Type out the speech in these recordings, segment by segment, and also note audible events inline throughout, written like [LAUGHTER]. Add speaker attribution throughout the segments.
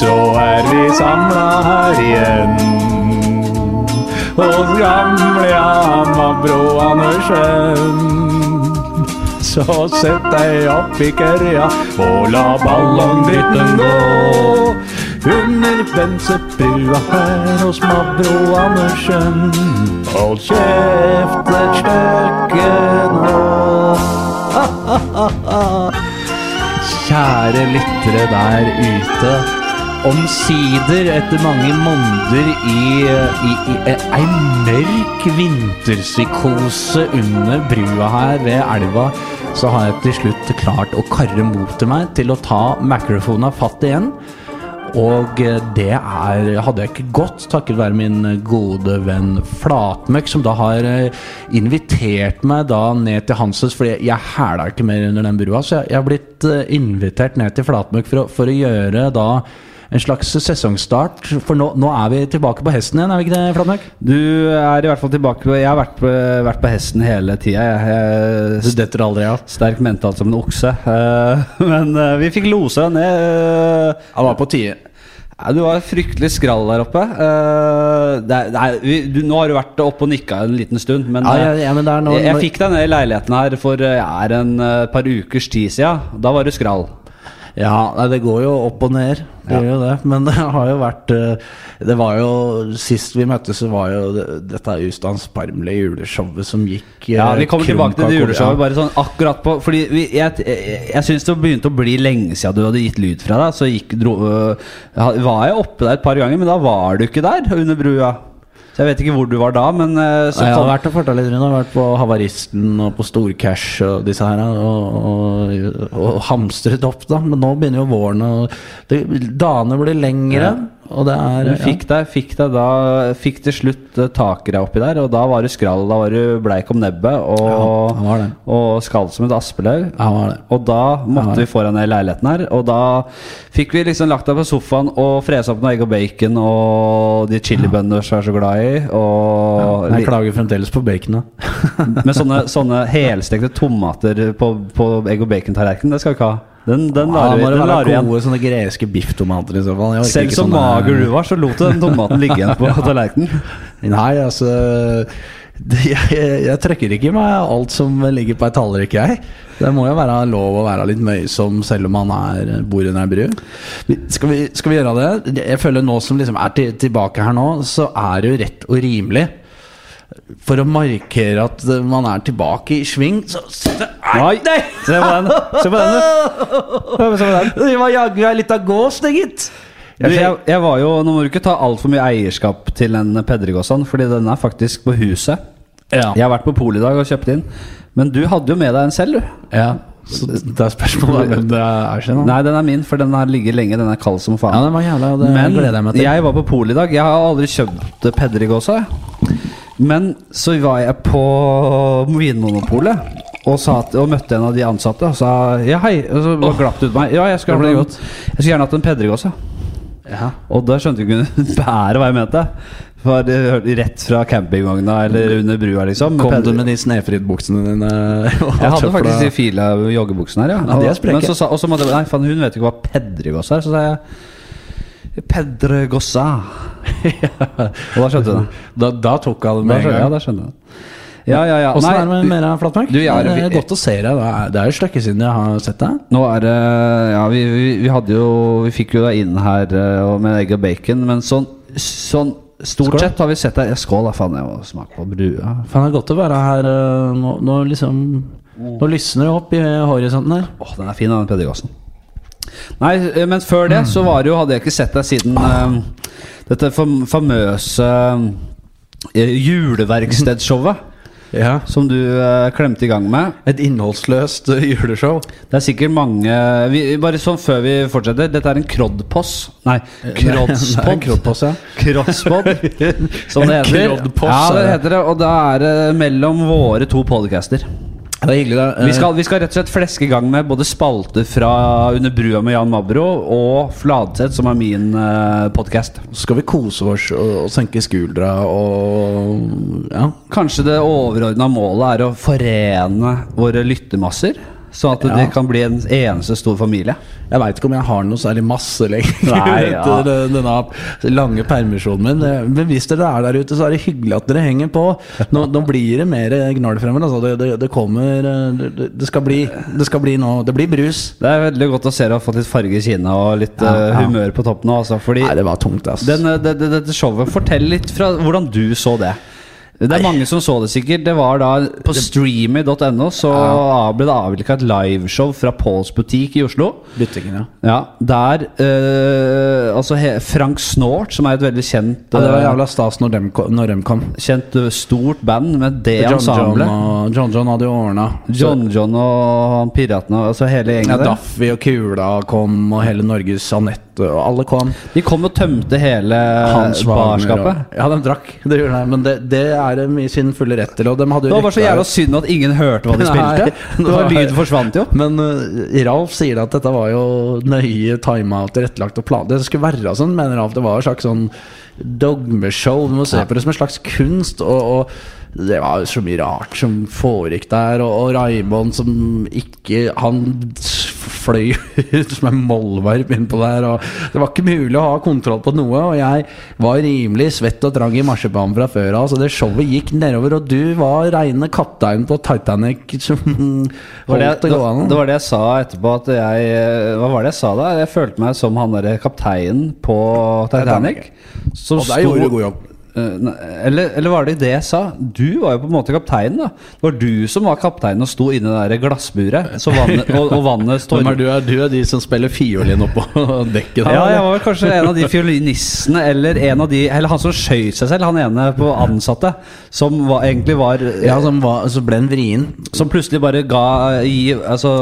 Speaker 1: Så er vi samla her igjen hos gamle Hamarbro Andersen. Så sett deg opp i kørja og la ballongdritten gå. Under bensebrua her hos Mabro Andersen. Hold kjeft et stykke nå. Kjære lyttere der ute. Omsider, etter mange måneder i, i, i ei mørk vinterpsykose under brua her ved elva, så har jeg til slutt klart å karre motet meg til å ta mikrofona fatt igjen. Og eh, det er, hadde jeg ikke gått takket være min gode venn Flatmøkk, som da har eh, invitert meg da ned til Hanses, for jeg, jeg hæla ikke mer under den brua. Så jeg, jeg har blitt eh, invitert ned til Flatmøkk for, å- for å gjøre da en slags sesongstart. For nå, nå er vi tilbake på hesten igjen, er vi ikke det, Flatmøkk?
Speaker 2: Du er i hvert fall tilbake på Jeg har vært på, vært på hesten hele tida. Jeg,
Speaker 1: Du
Speaker 2: jeg,
Speaker 1: detter aldri av.
Speaker 2: sterk mentalt som en okse. Eh, [LAUGHS] men eh, vi fikk losa deg ned. eh.
Speaker 1: Han var på tide.
Speaker 2: Nei, du var fryktelig skrall der oppe. Eh, det er, det er, vi, du, nå har du vært oppe og nikka en liten stund, men,
Speaker 1: Ja, ja,
Speaker 2: eh,
Speaker 1: ja, men det er noe-
Speaker 2: jeg, jeg fikk deg ned i leiligheten her for eh, er en eh, par ukers tid sia. Da var du skrall.
Speaker 1: Ja, nei, det går jo opp og ned. Det gjør jo det. Men [LAUGHS] det har jo vært eh, Det var jo Sist vi møttes, så var jo det- dette ustansbarmelige juleshowet som gikk eh,
Speaker 2: Ja, Vi kommer
Speaker 1: krum
Speaker 2: tilbake til det
Speaker 1: kakor-
Speaker 2: juleshowet.
Speaker 1: ja.
Speaker 2: Bare sånn akkurat på Fordi vi, jeg, jeg, jeg syns det begynte å bli lenge siden du hadde gitt lyd fra deg. Så gikk, dro, øh, ha- var jeg oppe der et par ganger, men da var du ikke der under brua. Så jeg vet ikke hvor du var da, men øh, så
Speaker 1: Nei, jeg har
Speaker 2: kom,
Speaker 1: vært og farta litt rundt. Jeg har vært på Havaristen og på Storcash og disse her. Og, og, og hamstret opp, da. Men nå begynner jo våren, og det, dagene blir lengre. Og det er
Speaker 2: du fikk deg, fikk deg da Fikk til slutt øh, tak i deg oppi der, og da var du skrall. Da var du bleik om nebbet
Speaker 1: Ja,
Speaker 2: og,
Speaker 1: han var det.
Speaker 2: og skall som et aspeløv.
Speaker 1: Ja, han var det.
Speaker 2: Og da måtte vi få deg ned i leiligheten her. Og da fikk vi liksom lagt deg på sofaen og frese opp noe egg og bacon og de chilibønner som jeg er så glad i. Og
Speaker 1: Jeg
Speaker 2: li-
Speaker 1: klager fremdeles på baconet.
Speaker 2: med sånne, sånne helstekte tomater på, på egg og bacon-tallerkenen, det skal vi ikke ha. Den, den
Speaker 1: Ja,
Speaker 2: lar vi
Speaker 1: må det
Speaker 2: den lar vi
Speaker 1: være
Speaker 2: igjen.
Speaker 1: gode sånne greske bifftomater i så fall. Jeg orker
Speaker 2: Selv
Speaker 1: ikke sånn, eh,
Speaker 2: som
Speaker 1: sånne-
Speaker 2: mager du var, så lot du den tomaten ligge igjen
Speaker 1: [LAUGHS]
Speaker 2: på tallerkenen.
Speaker 1: Nei, altså det, jeg, jeg, jeg trekker ikke i meg alt som ligger på ei tallrik, jeg. Det må jo være lov å være litt møysom selv om man er, bor under ei bru. Vi- Skal vi, skal vi gjøre det? Jeg føler nå som liksom er til, tilbake her nå, så er det jo rett og rimelig. For å markere at eh, man er tilbake i sving, så så det er-
Speaker 2: Nei! Se på den, se på den, du. Se på den.
Speaker 1: Det var jaggu ei lita gås, det, gitt.
Speaker 2: Du, jeg, jeg var jo, Nå må du ikke ta altfor mye eierskap til den Pedregåsan, sånn, fordi den er faktisk på huset.
Speaker 1: Ja.
Speaker 2: Jeg har vært på polet i dag og kjøpt inn. Men du hadde jo med deg en selv, du.
Speaker 1: ja. Så det er spørsmålet om hvem det er sin. da.
Speaker 2: Nei, den er min, for den har ligget lenge. Den er kald som faen.
Speaker 1: Ja, den var jævla, det
Speaker 2: Men
Speaker 1: gleder jeg meg til.
Speaker 2: jeg var på polet i dag. Jeg har aldri kjøpt Pedreg også. jeg. Men så var jeg på Vinmonopolet og, sa at, og møtte en av de ansatte og sa ja, hei. Og så bare glapp det ut på meg. Ja, jeg skulle,
Speaker 1: Da ble det
Speaker 2: gjerne hatt en- jeg skulle gjerne hatt en Pedreg også.
Speaker 1: Ja.
Speaker 2: Og da skjønte hun ikke [LAUGHS] bære hva jeg mente. For det hørte rett fra campingvogna eller under brua, liksom.
Speaker 1: Kom du
Speaker 2: Pedreg-
Speaker 1: med de Snefrid-buksene dine? og
Speaker 2: jeg hadde
Speaker 1: tøfla?
Speaker 2: faktisk de fila joggebuksene her, ja.
Speaker 1: Ja, de er spreke.
Speaker 2: Men så sa, og så måtte jeg Nei, faen, hun vet jo ikke hva pedregoss er. Så sa jeg Pedregossa.
Speaker 1: [LAUGHS]
Speaker 2: og da skjønte hun det.
Speaker 1: da, da tok jeg det
Speaker 2: Da
Speaker 1: med en
Speaker 2: skjønner, ja,
Speaker 1: gang.
Speaker 2: da skjønner hun det. Ja, ja, ja.
Speaker 1: Åssen
Speaker 2: Nei,
Speaker 1: er det med
Speaker 2: du-
Speaker 1: Mera Flatmark?
Speaker 2: Du, jeg er-
Speaker 1: det er godt å se deg. Det er- Det er jo et stykke siden jeg har sett deg.
Speaker 2: Nå er det Ja, vi, vi, vi hadde jo Vi fikk jo deg inn her eh, og med egg og bacon, men sånn, sånn Stort
Speaker 1: Skål.
Speaker 2: sett har vi sett deg ja, Skål, da, faen. Jeg må smake på brua.
Speaker 1: Faen, det er godt å være her
Speaker 3: eh,
Speaker 1: øh, nå, nå liksom Nå lysner det opp i horisonten her.
Speaker 2: Åh, den er fin, den Pedergassen. Nei, eh, men før det så var det jo, hadde jeg ikke sett deg siden eh, dette fam famøse eh, juleverkstedshowet som du eh, klemte i gang med.
Speaker 1: Et innholdsløst øh, juleshow.
Speaker 2: Det er sikkert mange vi, Bare sånn før vi fortsetter, dette er en kroddposs. Nei,
Speaker 1: Eh, Det er en
Speaker 2: krodspod.
Speaker 1: kroddposs, ja.
Speaker 2: Crosspod, som det
Speaker 1: En
Speaker 2: heter.
Speaker 1: kroddposs,
Speaker 2: Ja,
Speaker 1: er
Speaker 2: det
Speaker 1: det.
Speaker 2: heter det. Og da er det mellom våre to podcaster.
Speaker 3: Det er hyggelig, da. Eh,
Speaker 2: Vi skal, vi skal rett og slett fleske i gang med både spalte fra Under brua med Jan Mabro og Fladseth, som er min uh, podkast.
Speaker 3: Eh, skal vi kose oss og, og senke skuldra og Ja.
Speaker 2: Kanskje det overordna målet er å forene våre lyttermasser? Sånn at det
Speaker 3: Ja.
Speaker 2: kan bli en eneste stor familie.
Speaker 3: Jeg veit ikke om jeg har noe særlig masse lenger
Speaker 2: Nei, ja.
Speaker 3: [LAUGHS] etter den- denne lange permisjonen min. Eh, Men hvis dere er der ute, så er det hyggelig at dere henger på. Nå, nå blir det mer gnål fremover. Altså. Det, det, det kommer eh, det- det, det, skal bli, det skal bli nå Det blir brus.
Speaker 2: Det er veldig godt å se deg har fått litt farge i kinnet og litt eh,
Speaker 3: ja.
Speaker 2: humør på toppen. nå, Altså, fordi
Speaker 3: Nei, det var tungt, ass.
Speaker 2: den, eh, det- det- dette showet Fortell litt fra hvordan du så det. Det er mange som så det sikkert. Det var da På streamy.no så ble det avvikla et liveshow fra Pauls butikk i Oslo.
Speaker 3: Butikken, ja.
Speaker 2: Ja, der eh, Altså he, Frank Snort, som er et veldig kjent
Speaker 3: ja. Det var
Speaker 2: eh,
Speaker 3: jævla stas når dem, ko- når dem kom.
Speaker 2: Kjent eh, stort band med det
Speaker 3: John John,
Speaker 2: ensemblet.
Speaker 3: og, John John hadde jo ordna.
Speaker 2: John John og han piratene, altså hele
Speaker 3: Ja,
Speaker 2: gjengen der.
Speaker 3: Daffy og Kula kom, og hele Norges Anette og alle kom.
Speaker 2: De kom og tømte hele
Speaker 3: Hans Wagner
Speaker 2: barskapet.
Speaker 3: og- Ja, de drakk. Det gjorde de. Men det, det er de i sin fulle rett til. Og de hadde
Speaker 2: Det
Speaker 3: jo
Speaker 2: var bare så
Speaker 3: rykta
Speaker 2: jævla
Speaker 3: ut.
Speaker 2: synd at ingen hørte hva de spilte.
Speaker 3: [LAUGHS] Nei.
Speaker 2: Det var Lyden forsvant jo.
Speaker 3: Men eh, Ralf sier at dette var jo nøye tima og tilrettelagt og plan. Det skulle være sånn, mener Ralf. Det var et slags sånn dogmeshow. Vi må se på det som en slags kunst. Og, og det var så mye rart som foregikk der. Og, og Raymond som ikke Han fløy [LAUGHS] ut som en mollvarp innpå der. Og det var ikke mulig å ha kontroll på noe. Og jeg var rimelig svett og trang i marsipan fra før av, så det showet gikk nedover. Og du var reine kapteinen på Titanic som
Speaker 2: Det var
Speaker 3: holdt
Speaker 2: det,
Speaker 3: det gående.
Speaker 2: det var det jeg sa etterpå. At jeg, eh, hva var det jeg sa da? Jeg følte meg som han derre kapteinen på Titanic. Som
Speaker 3: Og der gjorde du god jobb.
Speaker 2: Eh, nei, Eller, eller var det det jeg sa? Du var jo på en måte kapteinen. da Det var du som var kapteinen og sto inni det der glassburet så vannet, og, og vannet storm-
Speaker 3: Hvem er du? Er du er de som spiller fiolin oppå [LAUGHS] dekket? der,
Speaker 2: Ja, jeg
Speaker 3: eller?
Speaker 2: var vel kanskje en av de fiolinistene eller en av de Eller han som skøyt seg selv, han ene på ansatte, som var, egentlig var
Speaker 3: ja som var, så ble en vrien.
Speaker 2: Som plutselig bare ga i altså,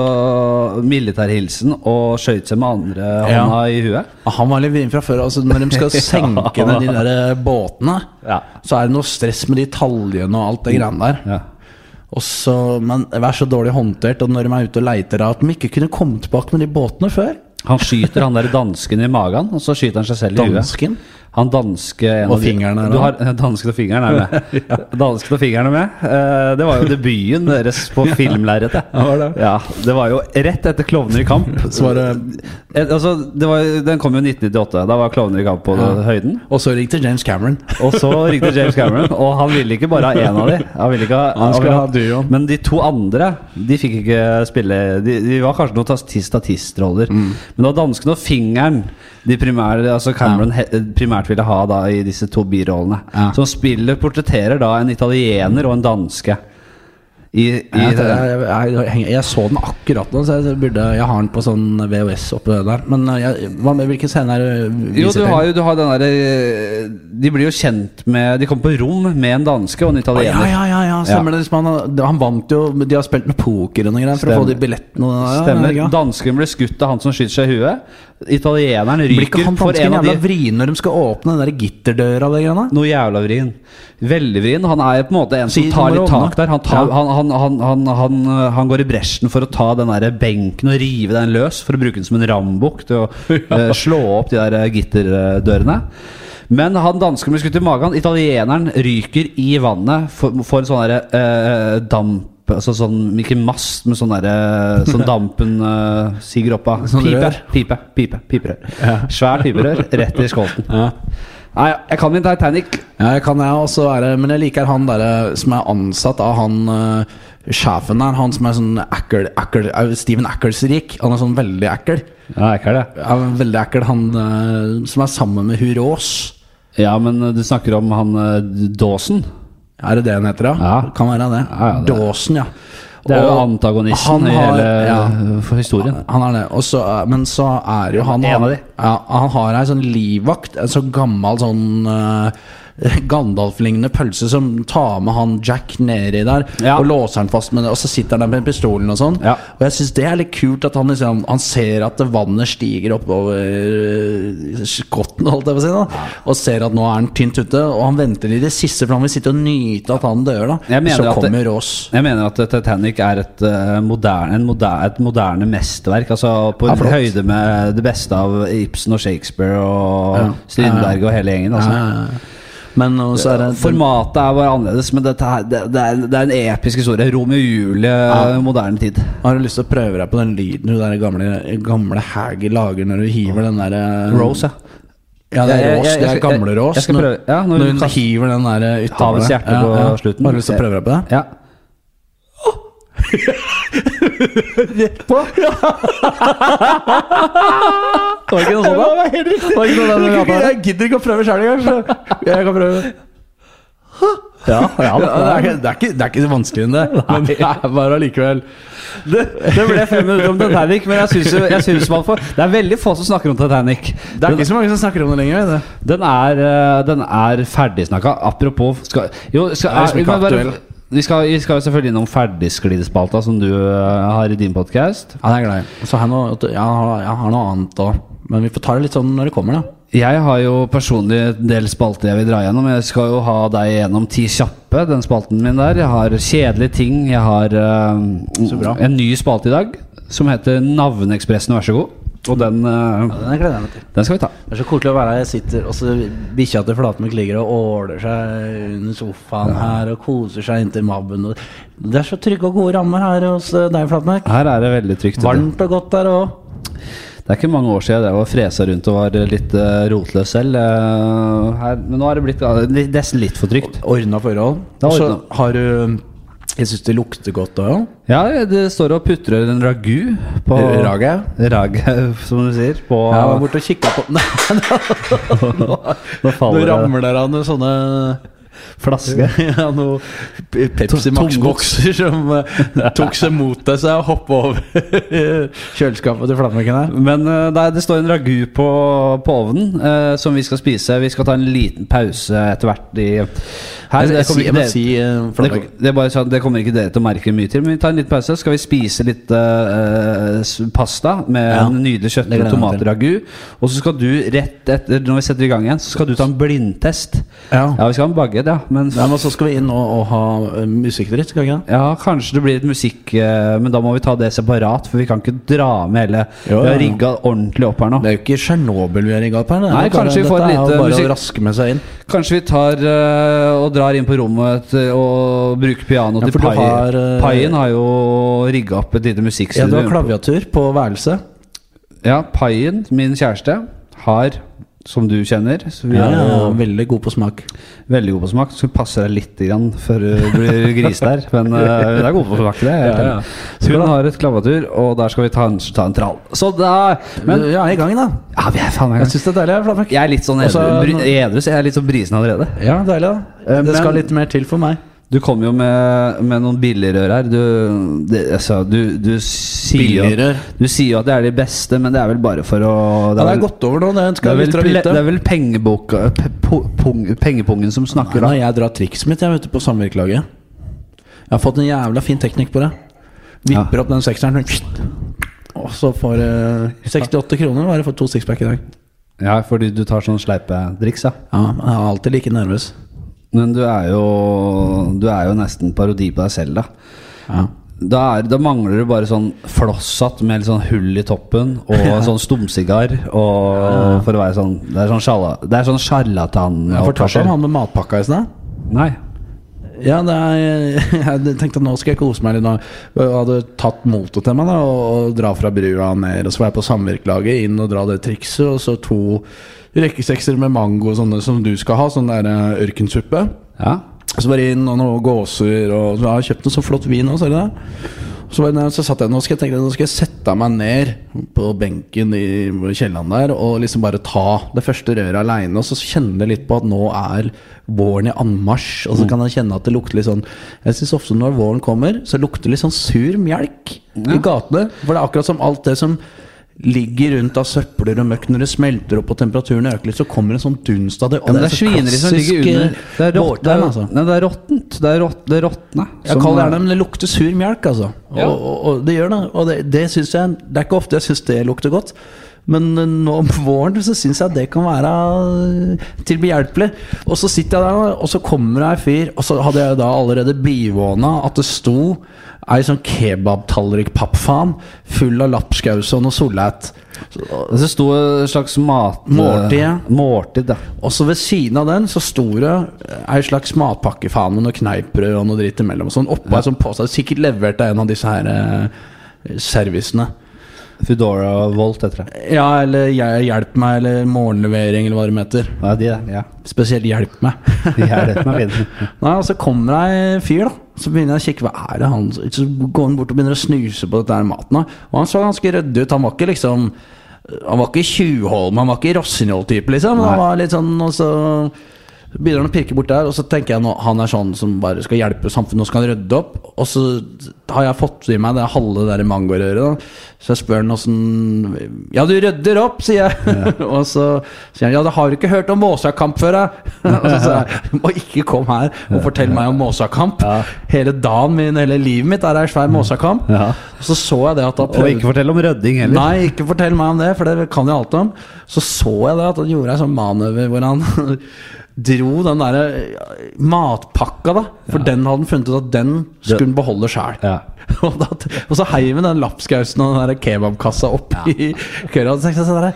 Speaker 2: militærhilsen og skøyt seg med andre
Speaker 3: Ja.
Speaker 2: hånda i huet.
Speaker 3: Ah, Han var litt vrien fra før. Altså når de [LAUGHS] skal senke ned de der eh, båtene,
Speaker 2: Ja.
Speaker 3: så er det noe stress med de taljene og alt det greiene der.
Speaker 2: Ja.
Speaker 3: Og så, men vær så dårlig håndtert Og når de er ute og leiter av at de ikke kunne komme tilbake med de båtene før.
Speaker 2: Han skyter han der dansken i magen, og så skyter han seg selv i huet.
Speaker 3: Dansken?
Speaker 2: Han danske en
Speaker 3: Og
Speaker 2: av de-
Speaker 3: fingeren er
Speaker 2: du
Speaker 3: av.
Speaker 2: har, [LAUGHS] Dansken og fingeren er med.
Speaker 3: [LAUGHS]
Speaker 2: Dansken og fingeren er med. Eh, det var jo debuten deres på filmlerretet.
Speaker 3: [LAUGHS] Ja, var det?
Speaker 2: Ja, det var jo rett etter 'Klovner i kamp'.
Speaker 3: [LAUGHS] Så var det-
Speaker 2: Eh, altså, det var, jo- den kom jo i 1998. Da var 'Klovner i kamp' på høyden.
Speaker 3: Og så ringte James Cameron.
Speaker 2: Og så ringte James Cameron, og han ville ikke bare ha én av de. Han ville ikke ha,
Speaker 3: Han skulle
Speaker 2: ville
Speaker 3: ha duoen.
Speaker 2: Men de to andre de fikk ikke spille De, de var kanskje noen tasti- statistroller. Men det var danskene og fingeren de primære, altså Cameron he, primært ville ha da i disse to birollene.
Speaker 3: Ja.
Speaker 2: Som spiller portretterer da en italiener og en danske. I, i
Speaker 3: Jeg, jeg, jeg, jeg, jeg så den akkurat nå, så jeg, burde, jeg har den på sånn VHS oppe der. Men eh, jeg, hva med hvilken scene er det
Speaker 2: jo, du har jo du har den derre De blir jo kjent med De kommer på rom med en danske og en
Speaker 3: Å,
Speaker 2: italiener.
Speaker 3: Ja, ja, ja, ja, stemmer det. Liksom, han, han vant jo De har spilt med poker og noe greier for å
Speaker 2: Stemmer.
Speaker 3: få de billettene. og- Ah, Ja,
Speaker 2: Stemmer.
Speaker 3: ja, ja.
Speaker 2: Dansken ble skutt av han som skyter seg i huet. Italieneren
Speaker 3: Blir ikke
Speaker 2: ryker
Speaker 3: han
Speaker 2: for
Speaker 3: dansken
Speaker 2: en av
Speaker 3: jævla
Speaker 2: de
Speaker 3: vrien når de skal åpne den der gitterdøra? og det greiene?
Speaker 2: Noe jævla vrien. Veldig vrien. Han er på en måte en som
Speaker 3: Sier
Speaker 2: tar
Speaker 3: nummer
Speaker 2: litt
Speaker 3: åpne.
Speaker 2: tak der. Han, tar,
Speaker 3: Ja.
Speaker 2: han, han, han, han, han, øh, han går i bresjen for å ta den der benken og rive den løs, for å bruke den som en rambukk til å [LAUGHS] øh, slå opp de der øh, gitterdørene. Men han dansken blir skutt i magen. Italieneren ryker i vannet, får får en sånn derre øh, damp Altså sånn, ikke mast, men sånn derre Sånn [LAUGHS] dampen øh, siger opp av.
Speaker 3: Sånn
Speaker 2: pipe,
Speaker 3: rør.
Speaker 2: pipe, pipe, piperør. Svær piperør [LAUGHS] rett i skolten. Nei, jeg kan min Titanic.
Speaker 3: Ja, jeg kan jeg også være Men jeg liker han der eh, som er ansatt av han eh, sjefen der. Han som er sånn ekkel, ekkel eh, Steven Eccles-rik. Han er sånn veldig ekkel.
Speaker 2: Ja, jeg kan det.
Speaker 3: Ja, veldig ekkel Han eh, som er sammen med hun Rås.
Speaker 2: Ja, men eh, du snakker om han eh, Dawson.
Speaker 3: Er det det han heter, ja?
Speaker 2: Ja.
Speaker 3: Kan være det.
Speaker 2: Ja, ja, det-
Speaker 3: Dawson, ja.
Speaker 2: Det er jo
Speaker 3: Og
Speaker 2: antagonisten
Speaker 3: han
Speaker 2: i
Speaker 3: har-
Speaker 2: hele
Speaker 3: ja.
Speaker 2: eh, for historien.
Speaker 3: Han er det. Og så, eh, men så er jo han
Speaker 2: En av de.
Speaker 3: Ja, han har ei sånn livvakt, en så gammel sånn eh, [LAUGHS] Gandalf-lignende pølse som tar med han Jack nedi der
Speaker 2: Ja.
Speaker 3: og låser han fast med det, og så sitter han der med pistolen og sånn.
Speaker 2: Ja.
Speaker 3: Og jeg syns det er litt kult at han liksom Han ser at vannet stiger oppover øh, skotten, holdt jeg på å si, da. Og ser at nå er han tynt ute, og han venter i det siste, for han vil sitte og nyte at han dør, da.
Speaker 2: Jeg mener at
Speaker 3: så
Speaker 2: det-
Speaker 3: kommer Ross.
Speaker 2: Jeg mener at Titanic er et eh, moderne, en moder- et moderne mesterverk. Altså på
Speaker 3: Ja,
Speaker 2: en
Speaker 3: flott.
Speaker 2: høyde med det beste av Ibsen og Shakespeare og
Speaker 3: Ja.
Speaker 2: Strindberg og hele gjengen. Altså.
Speaker 3: Eh, Men og så er det
Speaker 2: Formatet er bare annerledes, men dette her, det, det, er, det er en episk historie. Romeo og Julie, eh, moderne tid.
Speaker 3: Har du lyst til å prøve deg på den lyden hun der gamle, gamle Haggy lager når hun hiver den derre
Speaker 2: Rose, ja.
Speaker 3: Ja, det
Speaker 2: Jeg-
Speaker 3: er
Speaker 2: jeg-
Speaker 3: Rås.
Speaker 2: jeg-
Speaker 3: Det er
Speaker 2: jeg-
Speaker 3: gamle
Speaker 2: jeg-
Speaker 3: Rås.
Speaker 2: jeg skal prøve- ja, når
Speaker 3: når,
Speaker 2: hun
Speaker 3: hun
Speaker 2: kaster-
Speaker 3: hiver den der eh, utover
Speaker 2: Havets
Speaker 3: der.
Speaker 2: hjerte på slutten.
Speaker 3: Har du lyst til å prøve deg på det?
Speaker 2: ja. Rett [LAUGHS] på!
Speaker 3: Var det ikke noe sånt, da? Var det ikke noe der med jeg gidder ikke å prøve sjøl engang. Jeg kan prøve. Ja, ja, det, er, ikke- det, er ikke, det er ikke så vanskelig enn det, [LAUGHS] men det er bare allikevel
Speaker 2: Det, det ble fem minutter om Titanic, men jeg synes, jo- jeg synes man får Det er veldig få som snakker om Titanic.
Speaker 3: Det er ikke så mange som snakker om det lenger. Det.
Speaker 2: Den er, eh, den er ferdigsnakka. Apropos skal, jo, skal,
Speaker 3: Det er liksom
Speaker 2: vi
Speaker 3: ikke
Speaker 2: kan
Speaker 3: aktuell.
Speaker 2: vi, skal, vi skal jo selvfølgelig innom ferdigsklidespalta, som du eh, har i din podkast.
Speaker 3: Ja, det er jeg glad i. Så har jeg noe, jeg har, jeg har noe annet òg. Men vi får ta det litt sånn når det kommer, da.
Speaker 2: Jeg har jo personlig en del spalter jeg vil dra gjennom. Jeg skal jo ha deg gjennom Ti kjappe, den spalten min der. Jeg har kjedelige ting. Jeg har eh,
Speaker 3: Så bra.
Speaker 2: en ny spalte i dag som heter Navneekspressen, vær så god. Og den, eh,
Speaker 3: Den gleder jeg meg til.
Speaker 2: den skal vi ta.
Speaker 3: Det er så koselig å være her. Jeg sitter, og så bikkja til Flatmyk ligger og åler seg under sofaen her og koser seg inntil mabben. og- Det er så trygge og gode rammer her hos eh, deg, Flatmyk.
Speaker 2: Her er det veldig trygt.
Speaker 3: Varmt og godt der òg.
Speaker 2: Det er ikke mange år siden jeg drev og fresa rundt og var litt eh, rotløs selv. eh, her. Men nå har det blitt eh, litt- nesten litt for trygt.
Speaker 3: Ordna forhold.
Speaker 2: Det er
Speaker 3: Og så
Speaker 2: ordnet.
Speaker 3: har du Jeg syns det lukter godt òg.
Speaker 2: Ja, det står og putrer en ragu på
Speaker 3: Raget?
Speaker 2: Raget, [LAUGHS] som du sier. På
Speaker 3: Jeg var borte og kikka på [LAUGHS] Nei,
Speaker 2: Nå
Speaker 3: Nå
Speaker 2: faller det
Speaker 3: ramler det av noen sånne
Speaker 2: flaske.
Speaker 3: [LAUGHS] ja, noen Pepsi Max-bokser som eh, tok seg mot deg, så jeg hoppa over [LAUGHS] kjøleskapet til Flatmyken her.
Speaker 2: Men eh, nei, det står en ragu på, på ovnen eh, som vi skal spise. Vi skal ta en liten pause etter hvert i her.
Speaker 3: Jeg, jeg,
Speaker 2: kommer
Speaker 3: jeg,
Speaker 2: ikke
Speaker 3: må
Speaker 2: dere-
Speaker 3: si eh,
Speaker 2: Det,
Speaker 3: Flatmyken.
Speaker 2: det, er bare sånn, det kommer ikke dere til å merke mye til, men vi tar en liten pause. Skal vi spise litt eh, s- pasta med
Speaker 3: Ja.
Speaker 2: en nydelig kjøtt- og
Speaker 3: Det gleder jeg meg til.
Speaker 2: tomatragu? Og så skal du rett etter, når vi setter i gang igjen, så skal du ta en blindtest.
Speaker 3: Ja.
Speaker 2: Ja, vi skal ha en bagge, ja. Men
Speaker 3: Ja, men så skal vi inn og, og ha eh, musikkdritt, skal vi ikke det?
Speaker 2: ja, kanskje det blir litt musikk, eh, men da må vi ta det separat, for vi kan ikke dra med hele
Speaker 3: Jo,
Speaker 2: Vi
Speaker 3: ja.
Speaker 2: har rigga ordentlig opp her nå.
Speaker 3: Det er jo ikke Tsjernobyl vi er i gang på her. det er
Speaker 2: Nei,
Speaker 3: jo bare-
Speaker 2: kanskje vi får
Speaker 3: dette
Speaker 2: et
Speaker 3: er jo
Speaker 2: lite
Speaker 3: bare
Speaker 2: musikk-
Speaker 3: å raske med seg inn.
Speaker 2: Kanskje vi tar eh, og drar inn på rommet til- og bruker piano
Speaker 3: Ja,
Speaker 2: til
Speaker 3: for du
Speaker 2: pai.
Speaker 3: har, eh,
Speaker 2: Paien har jo rigga opp et lite musikkstudio.
Speaker 3: Ja, du har
Speaker 2: inne på-
Speaker 3: klaviatur på værelset.
Speaker 2: Ja, Paien, min kjæreste, har, som du kjenner så Vi
Speaker 3: Ja,
Speaker 2: er
Speaker 3: ja, ja,
Speaker 2: jo
Speaker 3: eh, Veldig god på smak.
Speaker 2: veldig gode på smak. Så passer deg litt grann før du blir
Speaker 3: [LAUGHS]
Speaker 2: gris der. Men eh, hun er god på smak, det. er helt
Speaker 3: Ja, ja.
Speaker 2: enig. Så Hun har et klavatur, og der skal vi ta en, ta en trall. Så da
Speaker 3: Men
Speaker 2: Men
Speaker 3: jeg er i gang, da.
Speaker 2: ja, vi er faen meg
Speaker 3: Jeg syns det er deilig. Flatmark.
Speaker 2: Jeg er litt sånn edru,
Speaker 3: Også-
Speaker 2: bry- edru, så jeg er litt sånn brisen allerede.
Speaker 3: Ja, deilig, da.
Speaker 2: Eh,
Speaker 3: Det skal
Speaker 2: men-
Speaker 3: litt mer til for meg.
Speaker 2: Du kom jo med, med noen billigrør her. Du, det, altså, du, du, sier jo,
Speaker 3: Billigrør?
Speaker 2: du sier jo at det er de beste, men det er vel bare for å
Speaker 3: Ja, det
Speaker 2: vel-
Speaker 3: er gått over nå, det
Speaker 2: Det
Speaker 3: skal
Speaker 2: er
Speaker 3: jeg
Speaker 2: vel,
Speaker 3: lytte og
Speaker 2: ple- det
Speaker 3: vite.
Speaker 2: er vel pengeboka, pe, po, pung, pengepungen som snakker,
Speaker 3: Nei,
Speaker 2: da.
Speaker 3: jeg drar trikset mitt jeg vet, du, på samvirkelaget. Jeg har fått en jævla fin teknikk på det. Vipper opp den sekseren, sånn, og så får eh, 68 kroner. Bare for to sixpack i dag.
Speaker 2: Ja, fordi du tar sånn sleipedriks, ja.
Speaker 3: Ja, jeg er alltid like nervøs.
Speaker 2: Men du er jo Du er jo nesten parodi på deg selv, da.
Speaker 3: Ja.
Speaker 2: Da, er, da mangler du bare sånn flosshatt med litt sånn hull i toppen og [LAUGHS] sånn stumsigar. Og for å være sånn Det er sånn, sjala, det er sånn sjarlatan.
Speaker 3: Jeg fortalte
Speaker 2: oppførsel.
Speaker 3: om han med matpakka i stad.
Speaker 2: Nei.
Speaker 3: Ja, det er, [LAUGHS] jeg tenkte at nå skal jeg kose meg litt. nå. Jeg hadde tatt motet til meg da, og, og dra fra brua ned. Og så var jeg på samvirkelaget inn og dra det trikset. Og så to rekkesekser med mango sånne som du skal ha. Sånn der eh, ørkensuppe.
Speaker 2: Ja.
Speaker 3: Så bare inn og noen gåser. Og så har jeg kjøpt noe så flott vin òg, ser du det? Så, var jeg ned, så satt jeg nå skal jeg tenke, nå skal jeg sette meg ned på benken i kjelleren der og liksom bare ta det første røret aleine. Og så kjenne litt på at nå er våren i anmarsj. Og så kan jeg kjenne at det lukter litt sånn Jeg syns ofte når våren kommer, så lukter det litt sånn sur melk i gatene. For det er akkurat som alt det som ligger rundt av søppler og møkk når det smelter opp og temperaturen øker litt, så kommer en sånn dunst av det. Og
Speaker 2: Ja, men det er svineri som ligger under Det er rått- det er-
Speaker 3: altså.
Speaker 2: Nei, det er råttent. Det er rått- det er råtne.
Speaker 3: Jeg
Speaker 2: som- eh,
Speaker 3: kaller gjerne det, men det lukter sur melk, altså. Og,
Speaker 2: Ja.
Speaker 3: og, og det gjør det. Og det, det synes jeg Det er ikke ofte jeg syns det lukter godt. Men eh, nå om [LAUGHS] våren så syns jeg det kan være eh, til behjelpelig. Og så sitter jeg der, og så kommer det ei fyr, og så hadde jeg da allerede bivåna at det sto ei sånn kebabtallrik-pappfaen full av lapskaus og noe solheit. Så-
Speaker 2: Det sto en slags mat...
Speaker 3: Måltid.
Speaker 2: Måltid, ja.
Speaker 3: Og så ved siden av den så sto det ei slags matpakkefane med noe kneippbrød og noe dritt imellom. og Sånn oppå ei sånn pose. Sikkert levert av en av disse her eh, servicene.
Speaker 2: Foodora Volt heter det.
Speaker 3: Ja, eller hj- hjelp meg, eller morgenlevering, eller hva det heter.
Speaker 2: Ja, de der. Ja.
Speaker 3: Spesielt hjelp meg.
Speaker 2: De er rett meg videre.
Speaker 3: [LAUGHS] Nei, og så kommer det ei fyr, da. Så begynner jeg å kikke, hva er det han Så går han bort og begynner å snuse på dette her maten. da. Og han så ganske rødd ut. Han var ikke liksom Han var ikke Tjuvholm, han var ikke Rossignol-type, liksom. Han var litt sånn, og så begynner han å pirke bort der, og så tenker jeg nå han er sånn som bare skal hjelpe samfunnet, og skal han rydde opp. Og så har jeg fått i meg det halve det der mangorøret, da. Så jeg spør han åssen Ja, du rydder opp, sier jeg. [LAUGHS] og så sier han ja, da har du ikke hørt om Måsakamp
Speaker 2: [LAUGHS]
Speaker 3: før, jeg. og så sier jeg du må ikke komme her og fortelle meg om Måsakamp. Hele dagen min, hele livet mitt er ei svær Måsakamp.
Speaker 2: Mm. Ja.
Speaker 3: Og så så jeg det at
Speaker 2: [LAUGHS]
Speaker 3: da
Speaker 2: Og ikke fortell om rødding heller.
Speaker 3: Nei, ikke fortell meg om det, for det kan jeg alt om. Så så jeg det at han gjorde ei sånn manøver hvor han [LAUGHS] dro den derre matpakka, da. For den hadde han funnet ut at den skulle han beholde sjæl.
Speaker 2: Ja.
Speaker 3: [LAUGHS] og, da- og så heiv han den lapskausen og den der kebabkassa opp i kølla. Og så tenkte jeg sånn derre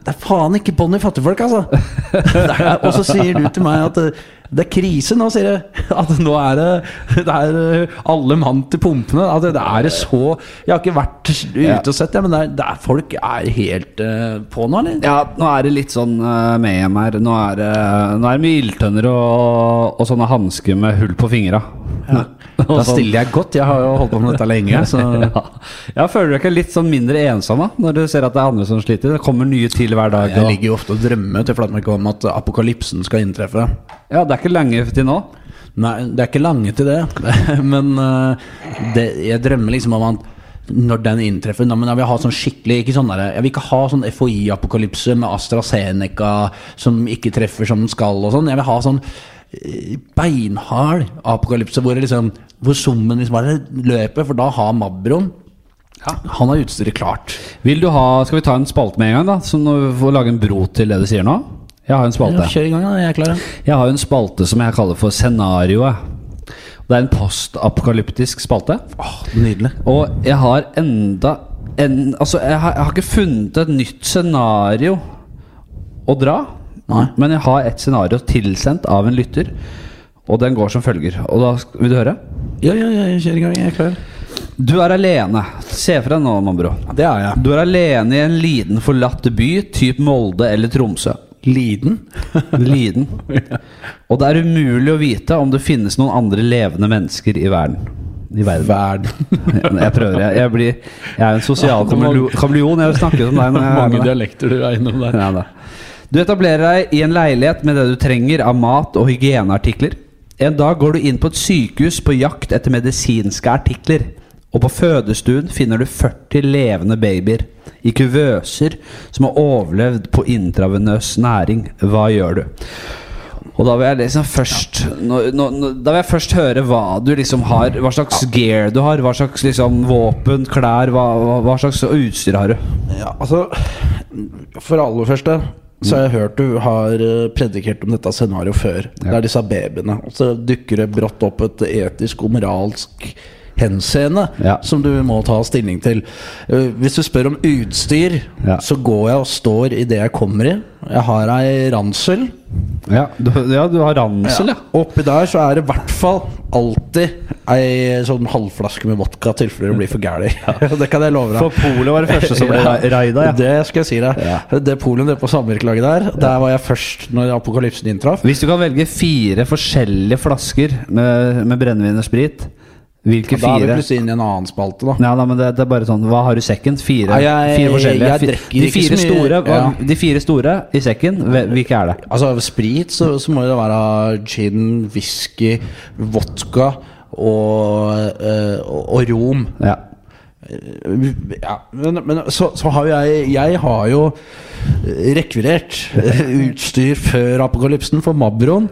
Speaker 3: det er faen ikke bånd i fattigfolk, [LAUGHS] altså! Det er- Og så sier du til meg at eh, det er krise nå, sier du. [LAUGHS] At nå er det, det er eh, alle mann til pumpene. At det er så Jeg har ikke vært ute og sett det, men det er, det er, folk er helt eh, på nå, eller?
Speaker 2: Ja, nå er det litt sånn eh, med hjem her. Nå er, det- nå er det mye ildtønner og, og sånne hansker med hull på fingra. [LAUGHS] sånn.
Speaker 3: Da stiller jeg godt. Jeg har jo holdt på med dette lenge. Så.
Speaker 2: [LAUGHS] ja. ja, føler du deg ikke litt sånn mindre ensom da? Når du ser at det er andre som sliter? Det kommer nye til hver dag.
Speaker 3: Jeg
Speaker 2: og-
Speaker 3: ligger jo ofte og drømmer til flatmarka om at apokalypsen skal inntreffe.
Speaker 2: Ja, det er ikke lenge til nå.
Speaker 3: Nei, det er ikke lange til det, [LAUGHS] men eh, det, jeg drømmer liksom om at når den inntreffer da, men Jeg vil ha sånn skikkelig ikke sånn der, Jeg vil ikke ha sånn FHI-apokalypse med AstraZeneca som ikke treffer som den skal og sånn. Jeg vil ha sånn eh, beinhard apokalypse hvor, det liksom, hvor summen liksom bare løper, for da har Mabron Han har utstyret klart.
Speaker 2: Vil du ha, Skal vi ta en spalte med en gang, da? Som når vi får lage en bro til det du sier nå? Jeg har jo en spalte.
Speaker 3: Kjør i gang, da. Jeg er klar.
Speaker 2: Jeg har jo en spalte som jeg kaller for Scenarioet. Det er en postapokalyptisk spalte.
Speaker 3: nydelig.
Speaker 2: Og jeg har enda en, Altså, jeg har, jeg har ikke funnet et nytt scenario å dra.
Speaker 3: Nei.
Speaker 2: Men jeg har et scenario tilsendt av en lytter, og den går som følger. Og da sk- Vil du høre?
Speaker 3: Ja, ja, ja, jeg kjører i gang. Jeg er klar.
Speaker 2: Du er alene. Se for deg nå, Mambro.
Speaker 3: Det er jeg.
Speaker 2: Du er alene i en liten, forlatt by, typ Molde eller Tromsø. [LAUGHS]
Speaker 3: Liden.
Speaker 2: Liden. Og det er umulig å vite om det finnes noen andre levende mennesker i verden. I verden. [LAUGHS] Jeg prøver. Jeg, jeg, blir, jeg er en sosial kameleon. kameleon. Jeg snakker som
Speaker 3: [LAUGHS]
Speaker 2: deg. Når jeg er med deg.
Speaker 3: dialekter du er innom der.
Speaker 2: Ja, da. Du etablerer deg i en leilighet med det du trenger av mat og hygieneartikler. En dag går du inn på et sykehus på jakt etter medisinske artikler. Og på fødestuen finner du 40 levende babyer i kuvøser som har overlevd på intravenøs næring. Hva gjør du? Og da vil jeg liksom først nå- nå- nå- Da vil jeg først høre hva du liksom har. Hva slags gear du har. Hva slags liksom våpen, klær, hva, hva, hva slags utstyr har du?
Speaker 3: Ja, altså For det aller første så har jeg
Speaker 2: Mm.
Speaker 3: hørt du har eh, predikert om dette scenarioet før. Det er disse babyene. Og så dukker det brått opp et etisk og moralsk henseende
Speaker 2: Ja.
Speaker 3: som du må ta stilling til. Eh, Hvis du spør om utstyr,
Speaker 2: Ja.
Speaker 3: så går jeg og står i det jeg kommer i. Jeg har ei ransel.
Speaker 2: Ja, du, ja, du har ransel, ja.
Speaker 3: Oppi der så er det i hvert fall alltid ei sånn halvflaske med vodka i tilfelle det blir for gæli. [LAUGHS] det kan jeg love deg.
Speaker 2: For Polet var det første som ble
Speaker 3: [LAUGHS] Ja,
Speaker 2: ra- raida, [LAUGHS] ja.
Speaker 3: Det skal jeg si deg. Det polet nede på samvirkelaget der, der var jeg først når apokalypsen inntraff.
Speaker 2: Hvis du kan velge fire forskjellige flasker med, med brennevin og sprit, hvilke
Speaker 3: Da er vi
Speaker 2: fire?
Speaker 3: plutselig inne i en annen spalte, da.
Speaker 2: Nei, nei, men det, det er bare sånn Hva har du i sekken? Fire,
Speaker 3: Nei, jeg-
Speaker 2: fire forskjellige.
Speaker 3: jeg drikker
Speaker 2: de,
Speaker 3: ikke
Speaker 2: fire
Speaker 3: så mye,
Speaker 2: store,
Speaker 3: ja.
Speaker 2: hva- de fire store i sekken, hve- hvilke er det?
Speaker 3: Altså av sprit så, så må det være gin, whisky, vodka og, eh, og, og rom.
Speaker 2: Ja.
Speaker 3: ja, men, men så, så har jo jeg Jeg har jo eh, rekvirert eh, utstyr før apokalypsen for Mabroen.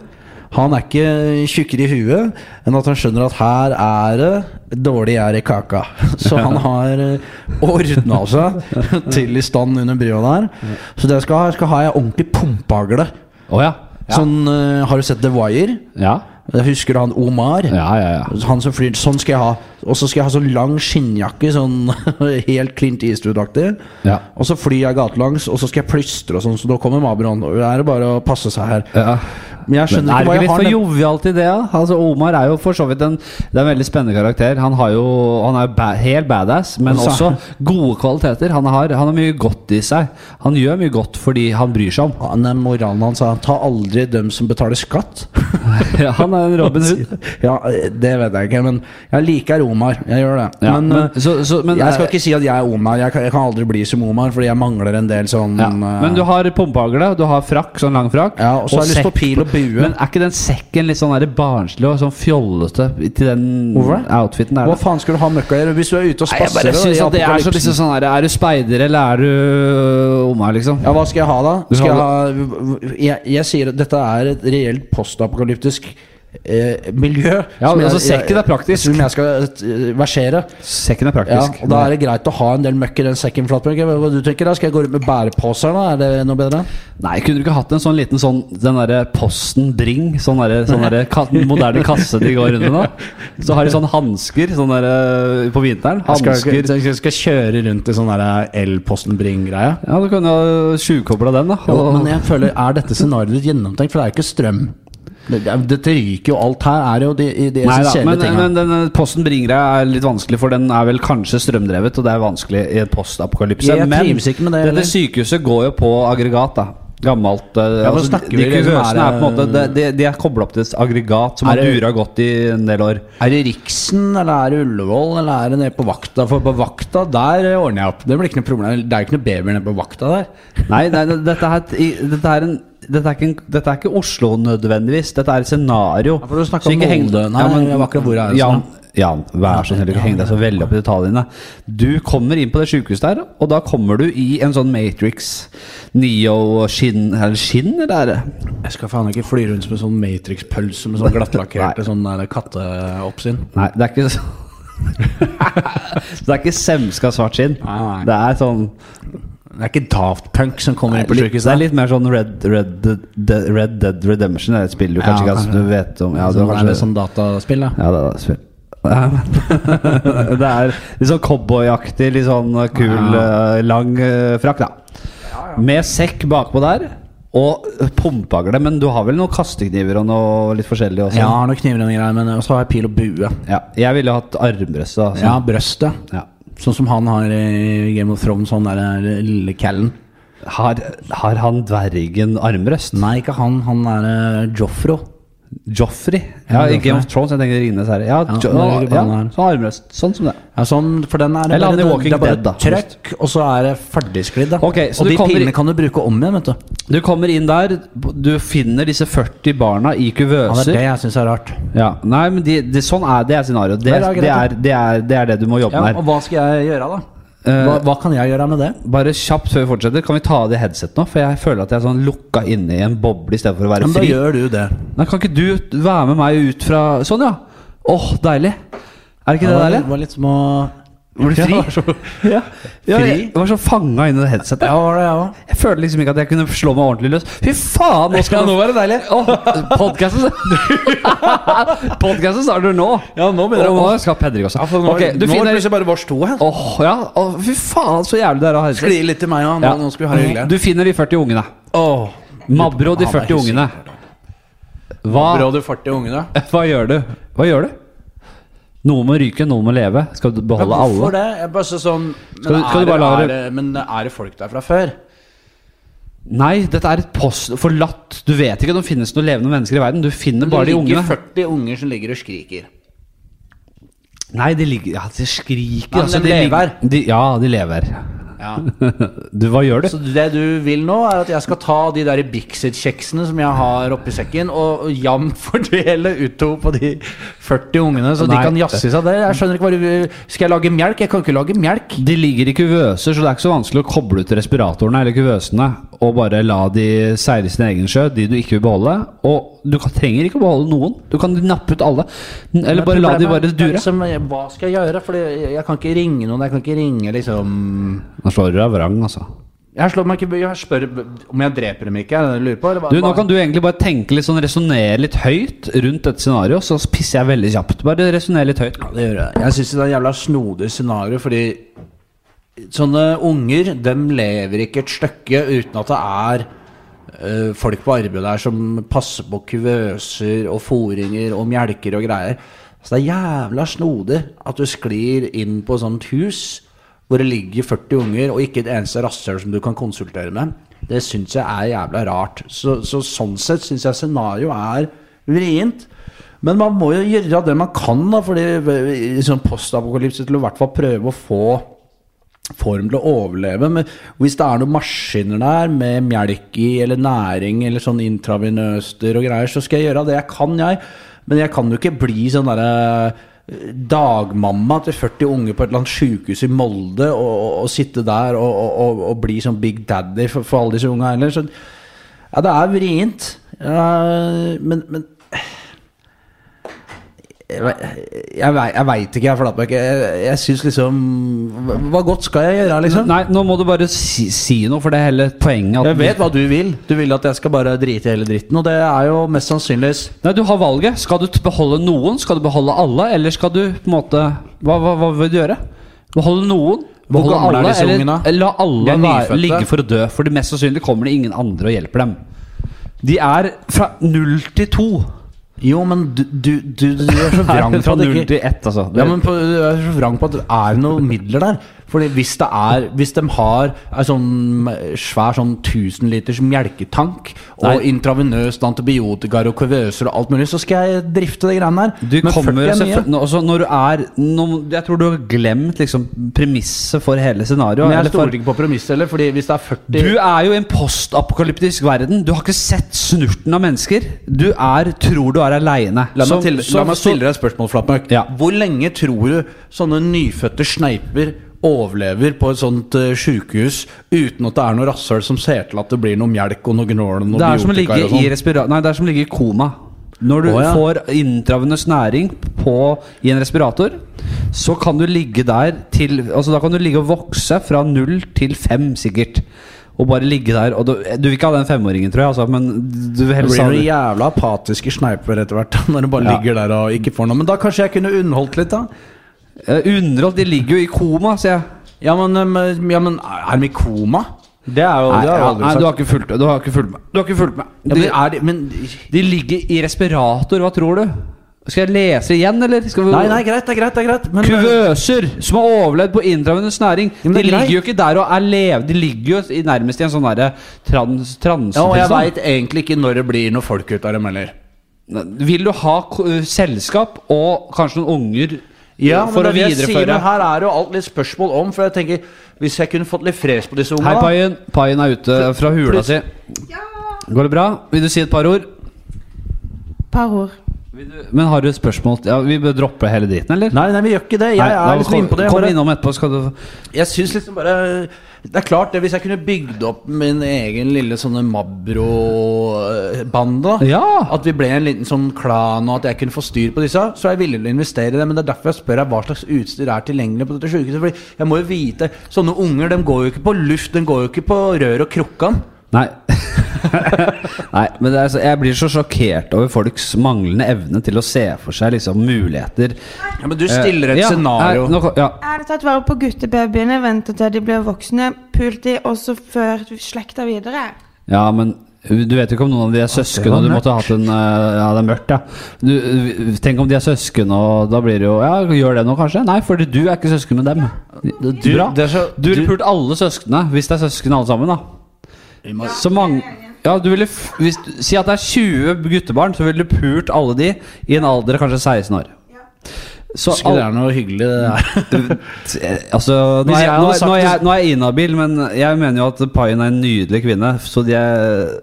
Speaker 3: Han er ikke tjukkere i huet enn at han skjønner at her er det dårlig gjær i kaka.
Speaker 2: [LAUGHS]
Speaker 3: Så han har ordna seg til i stand under brua der. Så det jeg skal ha, jeg skal ha ei ordentlig pumpehagle.
Speaker 2: Å ja. Ja.
Speaker 3: Sånn, eh, har du sett The Wire?
Speaker 2: ja.
Speaker 3: Jeg husker han Omar.
Speaker 2: Ja, ja, ja.
Speaker 3: Han som flyr, sånn skal jeg ha. Og så skal jeg ha sånn lang skinnjakke, sånn [LAUGHS] helt Clint Eastwood-aktig.
Speaker 2: Ja.
Speaker 3: Og så flyr jeg gatelangs, og så skal jeg plystre og sånn, så da kommer Mabron. Og da er det bare å passe seg her.
Speaker 2: ja.
Speaker 3: Men jeg
Speaker 2: Men
Speaker 3: skjønner
Speaker 2: er
Speaker 3: ikke
Speaker 2: det
Speaker 3: hva
Speaker 2: ikke
Speaker 3: jeg
Speaker 2: litt
Speaker 3: har.
Speaker 2: for
Speaker 3: den-
Speaker 2: jovialt i det? da? Altså, Omar er jo for så vidt en, det er en veldig spennende karakter. Han, har jo, han er jo ba helt badass, men
Speaker 3: Altså-
Speaker 2: også gode kvaliteter. Han har, han har mye godt i seg. Han gjør mye godt fordi han bryr seg om. [LAUGHS]
Speaker 3: Han er moralen hans er ta aldri dem som betaler
Speaker 2: [LAUGHS]
Speaker 3: skatt.
Speaker 2: Ja, han er en Robin
Speaker 3: [LAUGHS]
Speaker 2: Hood.
Speaker 3: ja, det vet jeg ikke, men jeg liker Omar. Jeg gjør det.
Speaker 2: Ja,
Speaker 3: men,
Speaker 2: men-
Speaker 3: eh,
Speaker 2: så- så- men-
Speaker 3: jeg skal ikke si at jeg er Omar. Jeg kan, jeg kan aldri bli som Omar, fordi jeg mangler en del sånn
Speaker 2: Ja.
Speaker 3: eh,
Speaker 2: Men du har pumpehagle, du har frakk, sånn lang frakk.
Speaker 3: Ja, og så har jeg lyst på
Speaker 2: sekk-
Speaker 3: pil og bue.
Speaker 2: Men er ikke den sekken litt sånn der barnslig og sånn fjollete til den
Speaker 3: Hvorfor det?
Speaker 2: outfiten der?
Speaker 3: Hva
Speaker 2: da?
Speaker 3: faen skal du ha møkka i? eller Hvis du er ute og
Speaker 2: Nei, jeg
Speaker 3: spasser
Speaker 2: bare
Speaker 3: da,
Speaker 2: synes
Speaker 3: i
Speaker 2: at det er så
Speaker 3: apokalypsen.
Speaker 2: liksom sånn her Er du speider, eller er du Omar, liksom?
Speaker 3: Ja, hva skal jeg ha da?
Speaker 2: Du
Speaker 3: Skal
Speaker 2: skal
Speaker 3: jeg, ha, jeg, jeg sier at dette er et reelt postapokalyptisk eh, miljø.
Speaker 2: Ja,
Speaker 3: som jeg-
Speaker 2: altså, sekken er praktisk.
Speaker 3: Som jeg skal eh, versere.
Speaker 2: Sekken er
Speaker 3: Ja,
Speaker 2: praktisk.
Speaker 3: og Da er det greit å ha en del møkk i den sekken. Flatbjørg. Hva du tenker da? Skal jeg gå rundt med bæreposer? da? Er det noe bedre?
Speaker 2: Nei, kunne du ikke hatt en sånn liten sånn Den derre Posten Bring? Sånn derre sånn derre ka moderne kasse de går rundt med nå? Så har de sånne hansker sånn derre på vinteren. Hansker
Speaker 3: kjøre rundt i sånn elposten Bring-greie.
Speaker 2: Ja, du kunne jo tjuvkobla den, da.
Speaker 3: Jo,
Speaker 2: Og-
Speaker 3: men jeg føler, er dette scenarioet ditt gjennomtenkt? For det er jo ikke strøm. Det- det er- Dette ryker jo. Alt her er jo de,
Speaker 2: Nei
Speaker 3: de
Speaker 2: da,
Speaker 3: essensielle
Speaker 2: men,
Speaker 3: tingene.
Speaker 2: men denne Posten Bring-greia er litt vanskelig, for den er vel kanskje strømdrevet, og det er vanskelig i et postapokalypse.
Speaker 3: Jeg
Speaker 2: men
Speaker 3: trives ikke med det,
Speaker 2: dette
Speaker 3: eller?
Speaker 2: sykehuset går jo på aggregat, da. Gammelt eh,
Speaker 3: Ja, for
Speaker 2: altså,
Speaker 3: snakker
Speaker 2: De
Speaker 3: vi
Speaker 2: de
Speaker 3: det som
Speaker 2: kuvøsene
Speaker 3: er,
Speaker 2: er på en måte De,
Speaker 3: eh,
Speaker 2: de, de er kobla opp til et aggregat som
Speaker 3: Er
Speaker 2: har
Speaker 3: det-
Speaker 2: dura godt i en del år.
Speaker 3: Er det Riksen, eller er det Ullevål, eller er det nede på vakta? For på vakta, der ordner jeg opp. Det blir ikke noe problem. Det er jo ikke noe babyer nede på vakta der.
Speaker 2: Nei, nei det- dette, er, et- i- dette, er en, dette, er ikke en, dette er ikke Oslo nødvendigvis. Dette er et scenario.
Speaker 3: Ja, for du snakker
Speaker 2: Så
Speaker 3: om
Speaker 2: ikke heng-
Speaker 3: Molde. Nei, jeg var akkurat hvor jeg er,
Speaker 2: Jan,
Speaker 3: sånn.
Speaker 2: Jan, vær så snill, ikke heng deg så veldig opp i detaljene. Du kommer inn på det sykehuset der, og da kommer du i en sånn Matrix Neo-skinn Er det skinn, eller er det?
Speaker 3: Jeg skal faen ikke fly rundt som en sånn Matrix-pølse med sånn
Speaker 2: [LAUGHS]
Speaker 3: glattlakkerte sånn der katteoppsyn.
Speaker 2: Nei, det er ikke så [LAUGHS] Så det er ikke semska svart skinn.
Speaker 3: Nei, nei.
Speaker 2: Det er sånn
Speaker 3: Det er ikke Daft Punk som kommer inn på
Speaker 2: litt, Det
Speaker 3: sykehuset.
Speaker 2: er litt mer sånn Red, Red, Dead- Red Dead Redemption. Det er et spill du
Speaker 3: Ja,
Speaker 2: kanskje ikke
Speaker 3: kanskje.
Speaker 2: altså, du vet om ja, du har
Speaker 3: sånn,
Speaker 2: kanskje-
Speaker 3: er det sånn dataspill, da?
Speaker 2: Ja, det er spill. [LAUGHS] det er litt sånn cowboyaktig, litt sånn kul, eh, lang eh, frakk, da. Med sekk bakpå der, og pumpehagle. Men du har vel noen kastekniver og noe litt forskjellig også?
Speaker 3: Ja, jeg har noen kniver og noen greier, men så har jeg pil og bue.
Speaker 2: Ja, Jeg ville hatt armbrøst, da.
Speaker 3: Ja,
Speaker 2: sånn.
Speaker 3: brøstet.
Speaker 2: Ja.
Speaker 3: Sånn som han har i Game of Thrones, han der eh, lille Callen.
Speaker 2: Har, har han dvergen armrøst?
Speaker 3: Nei, ikke han. Han er eh, Joffro.
Speaker 2: Joffrey? Ja, i
Speaker 3: Joffrey.
Speaker 2: Game of Thrones. Jeg tenker Ringenes herre. Ja,
Speaker 3: Ja,
Speaker 2: jo,
Speaker 3: nå er det ikke
Speaker 2: ja,
Speaker 3: på den her.
Speaker 2: så armrøst. Sånn som det.
Speaker 3: Ja, sånn, for den er
Speaker 2: Eller han i
Speaker 3: det, er
Speaker 2: Walking
Speaker 3: det er bare
Speaker 2: Dead, da.
Speaker 3: Trøkk, og så er det ferdigsklidd. da
Speaker 2: Ok, så
Speaker 3: Og
Speaker 2: du
Speaker 3: de
Speaker 2: kommer i-
Speaker 3: pilene kan du bruke om igjen, vet du.
Speaker 2: Du kommer inn der, du finner disse 40 barna i
Speaker 3: Ja, det er
Speaker 2: kuvøser.
Speaker 3: det jeg syns er rart.
Speaker 2: Ja, nei, men de, de, sånn er det er scenarioet. Det,
Speaker 3: Nei, det er greit,
Speaker 2: det, er- det, er- det er det du må jobbe
Speaker 3: Ja,
Speaker 2: med.
Speaker 3: og hva skal jeg gjøre, da?
Speaker 2: Eh,
Speaker 3: Hva, hva kan jeg gjøre med det?
Speaker 2: Bare kjapt før vi fortsetter, kan vi ta av det headsetet nå? For jeg føler at jeg er sånn lukka inne i en boble istedenfor å
Speaker 3: Ja,
Speaker 2: være
Speaker 3: Men da
Speaker 2: fri.
Speaker 3: gjør du det.
Speaker 2: Nei, kan ikke du være med meg ut fra Sånn, ja! Åh, deilig. Er ikke
Speaker 3: Ja,
Speaker 2: det
Speaker 3: det
Speaker 2: deilig?
Speaker 3: var litt som å
Speaker 2: Var du
Speaker 3: Ja, det var
Speaker 2: fri? [LAUGHS] Ja, ja jeg
Speaker 3: Fri?
Speaker 2: var så fanga inni det headsetet.
Speaker 3: Ja, var det jeg òg.
Speaker 2: Jeg føler liksom ikke at jeg kunne slå meg ordentlig løs. Fy faen, nå skal
Speaker 3: Ja, nå var det deilig.
Speaker 2: Åh, podcasten [LAUGHS] Podcasten starter nå.
Speaker 3: Ja, nå begynner det
Speaker 2: Og
Speaker 3: å-
Speaker 2: nå skal Pedrik også. Ok, du
Speaker 3: nå er
Speaker 2: finner
Speaker 3: det
Speaker 2: liksom-
Speaker 3: plutselig bare vårs to her.
Speaker 2: Åh, ja. Åh, fy faen, så jævlig det er å ha headset.
Speaker 3: Skli litt til meg òg. Nå,
Speaker 2: Ja.
Speaker 3: nå skal vi ha det hyggelig.
Speaker 2: Du finner de 40 ungene.
Speaker 3: Åh.
Speaker 2: Mabro de
Speaker 3: Ja, det er
Speaker 2: 40
Speaker 3: ikke
Speaker 2: ungene. Hva,
Speaker 3: Bra du 40 ungene.
Speaker 2: [LAUGHS] hva gjør du? Hva gjør du? Noe må ryke, noe må leve. Skal du
Speaker 3: Men
Speaker 2: beholde alle?
Speaker 3: hvorfor det? Jeg bare så sånn men,
Speaker 2: Skal du- skal du
Speaker 3: er,
Speaker 2: bare la
Speaker 3: er,
Speaker 2: det-
Speaker 3: det- men er det folk der fra før?
Speaker 2: Nei, dette er et post forlatt. Du vet ikke om det finnes noen levende mennesker i verden. Du finner
Speaker 3: Det
Speaker 2: bare de
Speaker 3: ligger
Speaker 2: ungene.
Speaker 3: 40 unger som ligger og skriker.
Speaker 2: Nei, de ligger Ja, de skriker. altså,
Speaker 3: Nei, men de
Speaker 2: lig-
Speaker 3: lever.
Speaker 2: De, ja, de lever. [LAUGHS]
Speaker 1: Du, hva gjør du?
Speaker 3: Så det du vil nå, er at jeg skal ta de der Bixit-kjeksene som jeg har oppi sekken, og og jevnt [LAUGHS] fordele utover på de 40 ungene, så
Speaker 2: Nei.
Speaker 3: de kan jazze seg der. Jeg skjønner ikke hva du Skal jeg lage melk? Jeg kan ikke lage melk.
Speaker 2: De ligger i kuvøser, så det er ikke så vanskelig å koble ut respiratorene eller kuvøsene og bare la de seile sin egen sjø, de du ikke vil beholde. Og du kan, trenger ikke å beholde noen. Du kan nappe ut alle. Eller bare la de bare
Speaker 3: Problemet er
Speaker 2: dure.
Speaker 3: liksom, hva skal jeg gjøre? For jeg kan ikke ringe noen. Jeg kan ikke ringe liksom
Speaker 2: Nå slår du deg vrang, altså.
Speaker 3: Jeg, slår meg ikke, jeg spør om jeg dreper dem ikke. Er det det du lurer på? Eller hva,
Speaker 2: Du, nå kan du egentlig bare tenke litt sånn, resonnere litt høyt rundt dette scenarioet, så pisser jeg veldig kjapt. Bare resonnere litt høyt.
Speaker 3: det gjør jeg. Jeg syns det er en jævla snodig scenario, fordi sånne unger, dem lever ikke et stykke uten at det er eh, folk på arbeid der som passer på kuvøser og fôringer og melker og greier. Så det er jævla snodig at du sklir inn på et sånt hus hvor det ligger 40 unger og ikke et eneste rasshøl som du kan konsultere med. Det syns jeg er jævla rart. Så, så sånn sett syns jeg scenarioet er vrient. Men man må jo gjøre det man kan, da, fordi i sånn postapokalypse til å i hvert fall prøve å få form til å overleve. Men hvis det er noen maskiner der med melk i eller næring eller sånn intravenøster og greier, så skal jeg gjøre det jeg kan, jeg. Men jeg kan jo ikke bli sånn derre eh, dagmamma til 40 unge på et eller annet sjukehus i Molde og, og, og sitte der og, og, og, og bli sånn Big Daddy for, for alle disse unga heller. Så ja, det er vrient. Ja, men, men jeg vei- jeg, vei- jeg veit ikke, jeg flatt meg ikke. Jeg, jeg syns liksom hva, hva godt skal jeg gjøre, liksom?
Speaker 2: Nei, nå må du bare si, si noe, for det er hele poenget. at-
Speaker 3: Jeg vet hva du vil. Du vil at jeg skal bare drite i hele dritten. Og det er jo mest sannsynligvis
Speaker 2: Nei, du har valget. Skal du t- beholde noen? Skal du beholde alle? Eller skal du på en måte Hva, hva, hva vil du gjøre? Beholde noen?
Speaker 3: Hvor
Speaker 2: Beholde
Speaker 3: gamle er
Speaker 2: alle,
Speaker 3: disse
Speaker 2: eller-
Speaker 3: ungene?
Speaker 2: eller La
Speaker 3: liksom, De
Speaker 2: alle
Speaker 3: er
Speaker 2: være,
Speaker 3: nyfødte.
Speaker 2: ligge for å dø. For det mest sannsynlig kommer det ingen andre og hjelper dem. De er fra null til to.
Speaker 3: Jo, men du, du, du, du er
Speaker 2: [LAUGHS]
Speaker 3: så vrang
Speaker 2: Fra
Speaker 3: på at
Speaker 2: null
Speaker 3: det ikke
Speaker 2: til ett, altså.
Speaker 3: ja, men på, du er så vrang på at det er noen midler der. Fordi hvis det er Hvis de har ei sånn svær sånn 1000 liters melketank og
Speaker 2: Nei.
Speaker 3: intravenøst antibiotika og kuvøser og alt mulig, så skal jeg drifte de greiene der.
Speaker 2: Du kommer
Speaker 3: 40 er mye.
Speaker 2: selvfø- nå- altså, Når du er nå- Jeg tror du har glemt liksom, premisset for hele scenarioet.
Speaker 3: Men jeg
Speaker 2: eller for-
Speaker 3: stoler ikke på premisset heller, fordi hvis det er 40
Speaker 2: Du er jo i en postapokalyptisk verden. Du har ikke sett snurten av mennesker. Du er, tror du er aleine.
Speaker 3: La meg, til, la meg stille deg et spørsmål, Flatmark.
Speaker 2: Ja.
Speaker 3: Hvor lenge tror du sånne nyfødte sneiper overlever på et sånt uh, sjukehus uten at det er noe rasshøl som ser til at det blir noe melk og noe gnål og noe
Speaker 2: Det er som å ligge
Speaker 3: biotika og
Speaker 2: i
Speaker 3: sånn?
Speaker 2: respira... Nei, det er som å ligge i koma. Når du
Speaker 3: Å, ja.
Speaker 2: får intravenøs næring på, i en respirator, så kan du ligge der til Altså da kan du ligge og vokse fra null til fem, sikkert. Og bare ligge der. Og du, du vil ikke ha den femåringen, tror jeg, altså, men du vil
Speaker 3: Det
Speaker 2: helst
Speaker 3: blir
Speaker 2: ha
Speaker 3: noen
Speaker 2: den.
Speaker 3: jævla apatiske sneiper etter hvert. [LAUGHS] Når du bare
Speaker 2: Ja.
Speaker 3: ligger der og ikke får noe Men da kanskje jeg kunne underholdt litt, da?
Speaker 2: Eh, Underholdt. De ligger jo i koma, sier jeg.
Speaker 3: Ja, men, um, ja, men er de i koma? Det er jo
Speaker 2: Nei,
Speaker 3: det har jeg
Speaker 2: ja,
Speaker 3: aldri
Speaker 2: nei
Speaker 3: sagt.
Speaker 2: du har ikke fulgt med. Du har ikke fulgt med. Du har ikke fulgt med.
Speaker 3: ja,
Speaker 2: De-
Speaker 3: men, er de, men
Speaker 2: De ligger i respirator, hva tror du? Skal jeg lese igjen, eller? Skal vi...
Speaker 3: Nei, nei, greit, det er greit. det er greit men,
Speaker 2: Kuvøser som har overlevd på intravenøs næring.
Speaker 3: Ja, men
Speaker 2: De
Speaker 3: det er greit.
Speaker 2: ligger jo ikke der og er lev... De ligger jo i nærmest i en sånn derre trans...
Speaker 3: Ja, og jeg
Speaker 2: transetilstand.
Speaker 3: veit egentlig ikke når det blir noe folk ut av dem heller.
Speaker 2: Vil du ha ko- eh, selskap og kanskje noen unger
Speaker 3: Ja,
Speaker 2: eh,
Speaker 3: men
Speaker 2: for å
Speaker 3: det er det jeg sier,
Speaker 2: videreføre?
Speaker 3: men her er jo alt litt spørsmål om, for jeg tenker Hvis jeg kunne fått litt fres på disse
Speaker 2: Hei,
Speaker 3: ungene da.
Speaker 2: Paien. Paien er ute fra hula si. Går det bra? Vil du si et par ord?
Speaker 4: Par ord.
Speaker 2: Men har du et spørsmål? Ja, vi bør droppe hele driten, eller?
Speaker 3: Nei, nei, vi gjør ikke det. Jeg
Speaker 2: Nei, da
Speaker 3: er liksom
Speaker 2: kom,
Speaker 3: inne på det. Jeg,
Speaker 2: Kom
Speaker 3: bare,
Speaker 2: innom etterpå, skal du
Speaker 3: jeg syns liksom bare Det er klart, det. Hvis jeg kunne bygd opp min egen lille sånne Mabro-banda
Speaker 2: Ja!
Speaker 3: At vi ble en liten sånn klan, og at jeg kunne få styr på disse, så er jeg villig til å investere i det. Men det er derfor jeg spør deg hva slags utstyr er tilgjengelig på dette sykehuset. Fordi jeg må jo vite Sånne unger, de går jo ikke på luft, de går jo ikke på rør og krukkan.
Speaker 2: Nei. [LAUGHS] Nei, men det er, så- jeg blir så sjokkert over folks manglende evne til å se for seg liksom muligheter.
Speaker 3: Ja, men du stiller
Speaker 2: Eh,
Speaker 3: et
Speaker 2: ja,
Speaker 3: scenario.
Speaker 2: nei, nå kom- ja.
Speaker 4: Jeg hadde tatt vare på guttebabyene, ventet til de ble voksne, pult de også før slekta videre.
Speaker 2: ja, men du vet jo ikke om noen av de er søsken, og du måtte ha hatt en eh, Ja, det er mørkt, ja. Du, tenk om de er søsken, og da blir det jo Ja, gjør det nå, kanskje? Nei, for du er ikke søsken med dem.
Speaker 3: Du-
Speaker 2: Bra.
Speaker 3: det er så-
Speaker 2: Du ville
Speaker 3: du-
Speaker 2: pult alle søsknene, hvis det er søsken alle sammen, da. Så mange ja, du ville, f- hvis, du- Si at det er 20 guttebarn, så ville du pult alle de i en alder av kanskje 16 år. Så
Speaker 3: Skulle det er noe hyggelig, det
Speaker 2: [LAUGHS]
Speaker 3: der.
Speaker 2: Altså, nå er,
Speaker 3: Hvis jeg
Speaker 2: jeg,
Speaker 3: hadde
Speaker 2: nå, er-
Speaker 3: sagt
Speaker 2: nå, er
Speaker 3: det-
Speaker 2: jeg, nå er jeg inhabil, men jeg mener jo at Paien er en nydelig kvinne. Så de er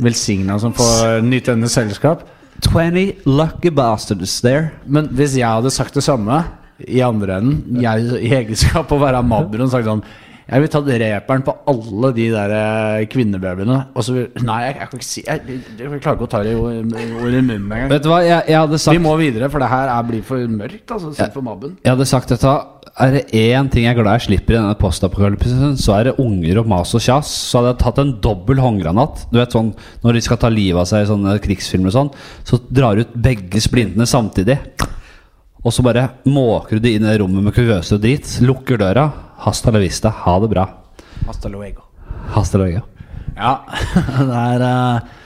Speaker 3: Velsigna som får nytt hennes selskap.
Speaker 2: 20 lucky bastards there.
Speaker 3: Men hvis jeg hadde sagt det samme i andre enden, jeg i egenskap av å være mabber og sagt sånn jeg vil ta reperen på alle de der eh, kvinnebabyene. Og så vil, nei, jeg, jeg kan ikke si Jeg, jeg klarer ikke å ta det i ordet i munnen engang.
Speaker 2: Vet du hva, jeg, jeg hadde
Speaker 3: Vi
Speaker 2: sagt
Speaker 3: må videre, for det her er, blir for mørkt. Altså, selv for mabben.
Speaker 2: Jeg hadde sagt dette Er det én ting jeg er glad jeg slipper i denne postapokalypsen, så er det unger og mas og kjas. Så hadde jeg tatt en dobbel håndgranat. Du vet sånn Når de skal ta livet av seg i sånne krigsfilmer og sånn, så drar du ut begge splintene samtidig. Og så bare måker du de inn i rommet med kuvøse og drit. Lukker døra. Hasta la vista. Ha det bra.
Speaker 3: Hasta luego.
Speaker 2: Hasta la vista.
Speaker 3: Ja, [LAUGHS] det er eh,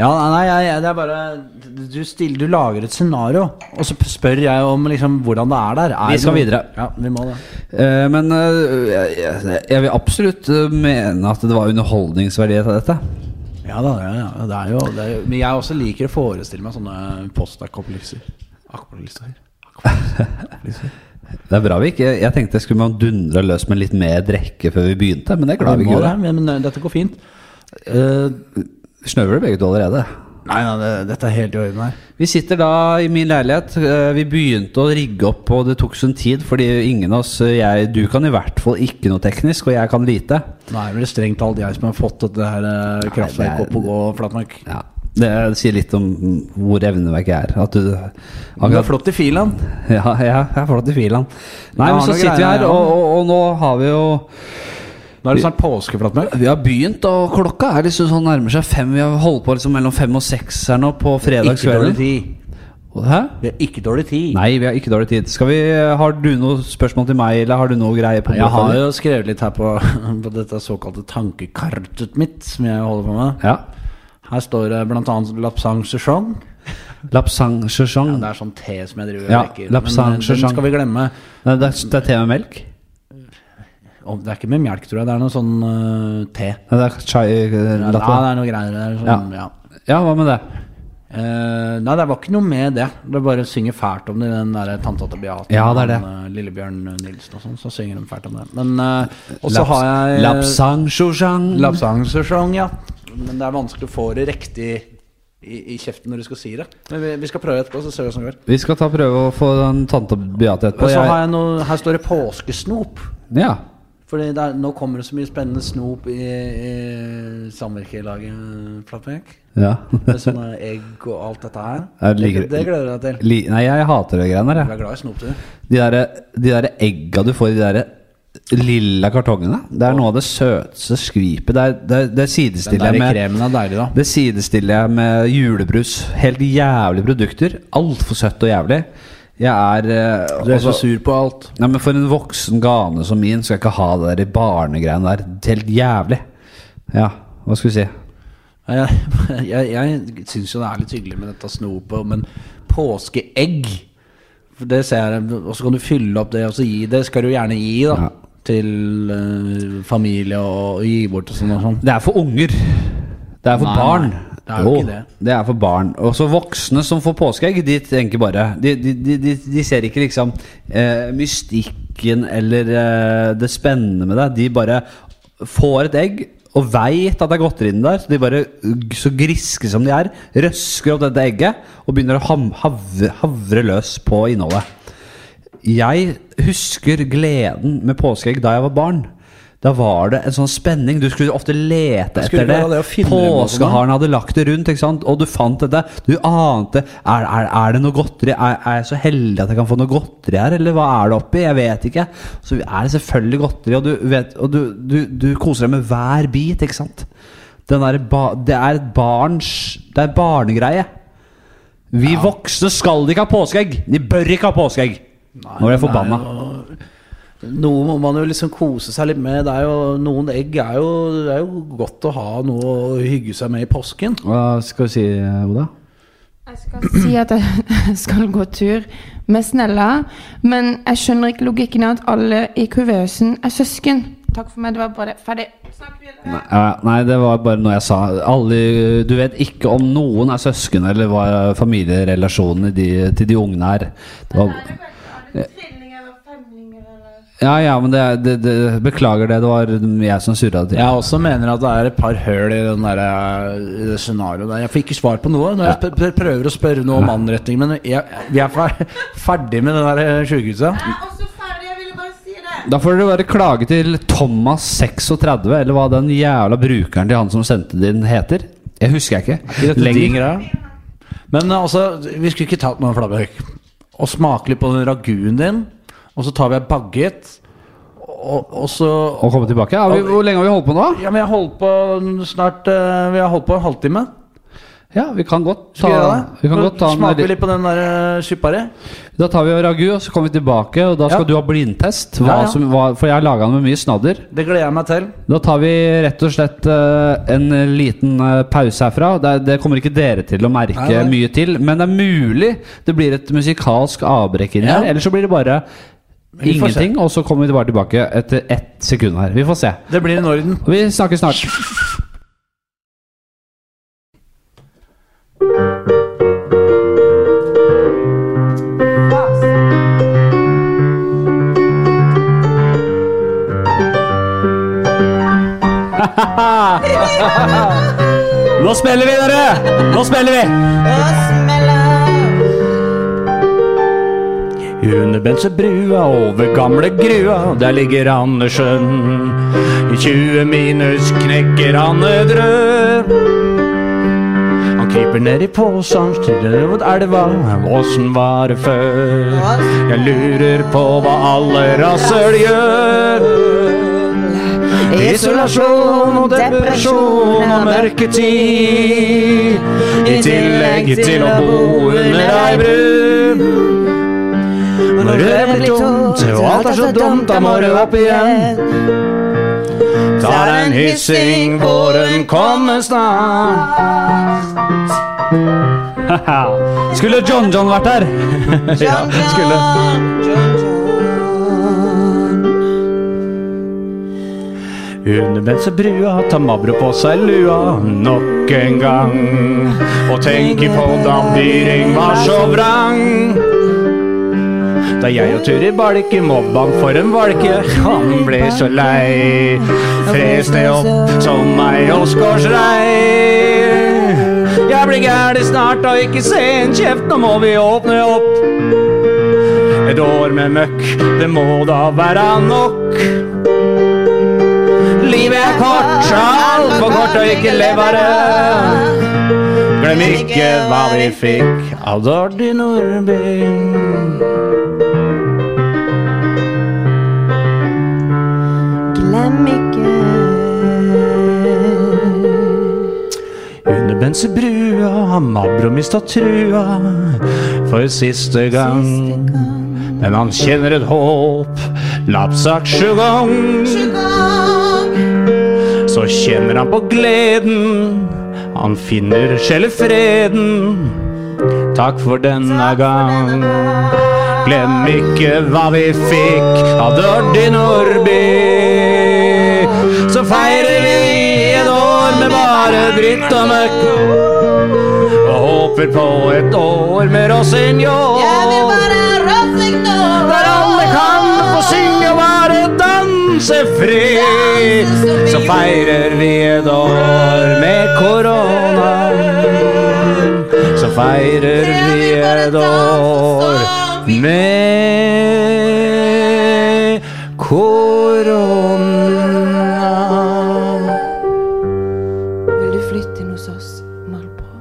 Speaker 3: Ja, nei, nei, jeg- jeg- det er bare Du, stiller, du lager et scenario, og så spør jeg om liksom, hvordan det er der. Er
Speaker 2: Vi skal
Speaker 3: det-
Speaker 2: videre.
Speaker 3: Ja, vi må det.
Speaker 2: Eh, men eh, jeg, jeg, jeg vil absolutt eh, mene at det var underholdningsverdi av dette.
Speaker 3: Ja da, ja, ja, det er jo, det er jo Men jeg også liker å forestille meg sånne postakopoliser. Akopoliser.
Speaker 2: Det er bra vi ikke Jeg tenkte jeg skulle man dundre løs med litt mer drikke før vi begynte, men det
Speaker 3: Vi
Speaker 2: klarer vi
Speaker 3: må
Speaker 2: ikke. å
Speaker 3: det,
Speaker 2: gjøre.
Speaker 3: men, men dette går fint. Eh,
Speaker 2: Snøvler begge to allerede.
Speaker 3: nei, nei, det, dette er helt i orden her.
Speaker 2: Vi sitter da i min leilighet. Eh, Vi begynte å rigge opp, og det tok sin tid fordi ingen av oss eh, jeg, Du kan i hvert fall ikke noe teknisk, og jeg kan lite.
Speaker 3: Nå er det vel strengt talt jeg som har fått dette her eh, kraftverket
Speaker 2: det er-
Speaker 3: opp og gå, Flatmark.
Speaker 2: Ja, Det sier litt om hvor evneverk jeg er. At du
Speaker 3: Men det er flott i filen.
Speaker 2: [LAUGHS] Ja, ja, jeg er flott i filen. Nei, men
Speaker 3: Jeg har
Speaker 2: så
Speaker 3: noen
Speaker 2: sitter vi
Speaker 3: greier,
Speaker 2: her,
Speaker 3: ja.
Speaker 2: og, og, og nå har vi jo
Speaker 3: Nå er det snart påske, Flatmark.
Speaker 2: Vi har begynt, og klokka er liksom sånn nærmer seg fem. Vi har holdt på liksom mellom fem og seks her nå på
Speaker 3: Ikke dårlig
Speaker 2: fredagskvelden.
Speaker 3: tid.
Speaker 2: Hæ?
Speaker 3: Vi har ikke dårlig tid.
Speaker 2: Nei, vi har ikke dårlig tid. Skal vi, eh, har du noe spørsmål til meg, eller har du noe greie på
Speaker 3: Jeg
Speaker 2: blokka
Speaker 3: har
Speaker 2: di?
Speaker 3: jo skrevet litt her på, [LAUGHS] på dette såkalte tankekartet mitt, som jeg holder på med.
Speaker 2: Ja.
Speaker 3: Her står det blant annet Lapsang Sesong.
Speaker 2: Lapsang chouchong.
Speaker 3: Ja, det er sånn te som jeg driver
Speaker 2: Mm.
Speaker 3: og
Speaker 2: Ja, sånn.
Speaker 3: leker.
Speaker 2: lapsang,
Speaker 3: Men eh, den
Speaker 2: sjasjang.
Speaker 3: skal vi glemme.
Speaker 2: Nei, det er, det er te med melk?
Speaker 3: Om- det er ikke med melk, tror jeg. Det er noe sånn eh, te.
Speaker 2: Nei, det er chai eh,
Speaker 3: Ja,
Speaker 2: latte.
Speaker 3: det er noe greier der. Sånn, ja.
Speaker 2: Ja, hva med det?
Speaker 3: Eh, nei, det var ikke noe med det. Det er bare å synge fælt om det i den der tanta til Beate.
Speaker 2: Ja, det er
Speaker 3: og han, eh, Lillebjørn Nilsen og sånn, så synger de fælt om det. Men eh, Og så
Speaker 2: Laps-
Speaker 3: har jeg eh,
Speaker 2: Lapsang chouchong.
Speaker 3: Lapsangsesong, ja. Men det er vanskelig å få det riktig i, i kjeften når du skal si det. Men vi, vi skal prøve etterpå, så ser vi hvordan det går.
Speaker 2: Vi skal ta prøve å få den tante Beate
Speaker 3: Og
Speaker 2: etterpå.
Speaker 3: så har
Speaker 2: Jeg,
Speaker 3: jeg noe Her står det påskesnop.
Speaker 2: ja.
Speaker 3: Fordi det er, nå kommer det så mye spennende snop i, i samvirkelaget, Flatmark.
Speaker 2: ja. [LAUGHS]
Speaker 3: Med sånne egg og alt dette her.
Speaker 2: Jeg liker-
Speaker 3: det, det gleder jeg deg til.
Speaker 2: Li- Nei, jeg hater de greiene der, jeg.
Speaker 3: Du er glad i snop, du.
Speaker 2: De der, de der egga du får i de der lilla kartongene, det er noe av det søteste skvipet. Det, er- det, er- det sidestiller jeg med
Speaker 3: er deilig, da.
Speaker 2: det sidestiller jeg med julebrus. Helt jævlige produkter. Altfor søtt og jævlig. Jeg er eh, altså-
Speaker 3: sur på alt.
Speaker 2: Nei, men For en voksen gane som min skal jeg ikke ha det der i barnegreiene der. Helt jævlig. Ja, hva skulle vi si?
Speaker 3: Jeg, [LAUGHS] jeg, jeg syns jo det er litt hyggelig med dette snopet, men påskeegg for Det ser jeg, Og så kan du fylle opp det, og så gi det. Skal du gjerne gi, da.
Speaker 2: Ja.
Speaker 3: Til eh, familie og, og gi bort og sånn og sånn.
Speaker 2: Det er for unger. Det er for
Speaker 3: Nei,
Speaker 2: barn.
Speaker 3: nei, det er jo ikke det.
Speaker 2: det er for barn. Også voksne som får påskeegg, de tenker bare De, de, de, de, de ser ikke liksom eh, mystikken eller eh, det spennende med det. De bare får et egg og veit at det er godteri inni der. Så de bare, g- så griske som de er, røsker opp dette egget og begynner å ham, havre, havre løs på innholdet. Jeg husker gleden med påskeegg da jeg var barn. Da var det en sånn spenning. Du skulle ofte lete
Speaker 3: skulle
Speaker 2: etter det.
Speaker 3: være det å finne det på også, da.
Speaker 2: Påskeharen hadde lagt det rundt, ikke sant? og du fant dette. Du ante Er, er, er det noe godteri? Er, er jeg så heldig at jeg kan få noe godteri her, eller hva er det oppi? Jeg vet ikke. Så er det selvfølgelig godteri, og du, vet, og du, du, du koser deg med hver bit, ikke sant? Den der ba, det er et barns Det er barnegreie. Vi voksne skal ikke ha påskeegg! De bør ikke ha påskeegg! Nå er jeg forbanna.
Speaker 3: Noe må man jo liksom kose seg litt med. Det er jo, noen egg er jo, det er jo godt å ha noe å hygge seg med i påsken.
Speaker 2: Hva skal vi si, Oda?
Speaker 4: Jeg skal si at jeg [LAUGHS] skal gå tur med Snella, men jeg skjønner ikke logikken av at alle i kuvøsen er søsken. Takk for meg, det var bare ferdig. Snakk videre.
Speaker 2: Ja, nei, det var bare noe jeg sa. Alle, du vet ikke om noen er søsken eller hva familierelasjonen i de, til de ungene er. Det var, ja, ja, men det, det, det Beklager det, det var jeg som surra det til.
Speaker 1: Jeg også mener at det er et par høl i, den der, eh, i det scenarioet der. Jeg får ikke svar på noe når jeg pr- pr- prøver å spørre noe om anretning, men jeg, vi er fer- ferdig med det der eh, sjukehuset.
Speaker 4: Jeg er også ferdig, jeg ville bare si det.
Speaker 2: Da får dere bare klage til Thomas36, eller hva den jævla brukeren til han som sendte det inn, heter. Jeg husker jeg ikke.
Speaker 1: Lenger.
Speaker 2: Lenger.
Speaker 1: Men eh, altså, vi skulle ikke tatt noen flabbehøk. Og smake litt på den raguen din, og så tar vi en bagget, og, og så
Speaker 2: Og komme tilbake. Har vi, hvor lenge har vi holdt på nå?
Speaker 1: Ja, men jeg har holdt på snart eh, Vi har holdt på en halvtime.
Speaker 2: Ja, vi kan godt ta,
Speaker 1: Skal vi gjøre det?
Speaker 2: vi kan
Speaker 1: Nå
Speaker 2: godt ta en
Speaker 1: Smaker vi litt på den der eh, kypare?
Speaker 2: Da tar vi ragu, og så kommer vi tilbake, og da skal
Speaker 1: Ja.
Speaker 2: du ha blindtest. Hva
Speaker 1: Ja, ja.
Speaker 2: Som, hva, for jeg har laga den med mye snadder.
Speaker 1: Det gleder jeg meg til.
Speaker 2: Da tar vi rett og slett eh, en liten eh, pause herfra. Det, er- det kommer ikke dere til å merke
Speaker 1: Nei, nei.
Speaker 2: mye til, men det er mulig det blir et musikalsk avbrekk inni
Speaker 1: Ja.
Speaker 2: her. Eller så blir det bare
Speaker 1: vi får se.
Speaker 2: ingenting, og så kommer vi bare tilbake etter ett sekund her. Vi får se.
Speaker 1: Det blir i Norden.
Speaker 2: Og vi snakkes snart. Nå spiller vi, dere! Nå spiller vi!
Speaker 1: Under Bensebrua, over gamle grua, der ligger Andersen. I 20 minus knekker han et rød. Han kryper ned i posen, stirrer mot elva, åssen var det før? Jeg lurer på hva alle rasøl gjør. Isolasjon og depresjon og mørketid. I tillegg til å bo under ei bru. Når det blir tomt, og alt er så dumt, da må du opp igjen. Tar en hyssing, våren kommer snart. [LAUGHS]
Speaker 2: Skulle John John vært her?
Speaker 1: Ja, skulle. Under bensebrua tar Mabro på seg lua nok en gang. Og tenker på da Byring var så vrang. Da jeg og Turi Balke mobba han for en valke, han ble så lei. Fres ned opp som ei åsgårdsrei. Jeg blir gæren snart og ikke se en kjeft, nå må vi åpne opp. Et år med møkk, det må da være nok. Livet er kort, altfor kort å ikke leve av det. Glem ikke hva vi fikk av Dordi Nordby.
Speaker 4: Glem ikke
Speaker 1: Under bensebrua har Mabro mista trua for siste gang. Men han kjenner et håp, lappsak sjugong. Så kjenner han på gleden, han finner sjelefreden. Takk for denne gang. Glem ikke hva vi fikk av Dordi Nordby. Så feirer vi et år med bare dritt og møkk. Og håper på et år med rosinjol. Der alle kan få synge og være dansefri. Så feirer vi et år med korona. Så feirer vi et år med korona.
Speaker 4: Vil du flytte inn hos oss, Malbro?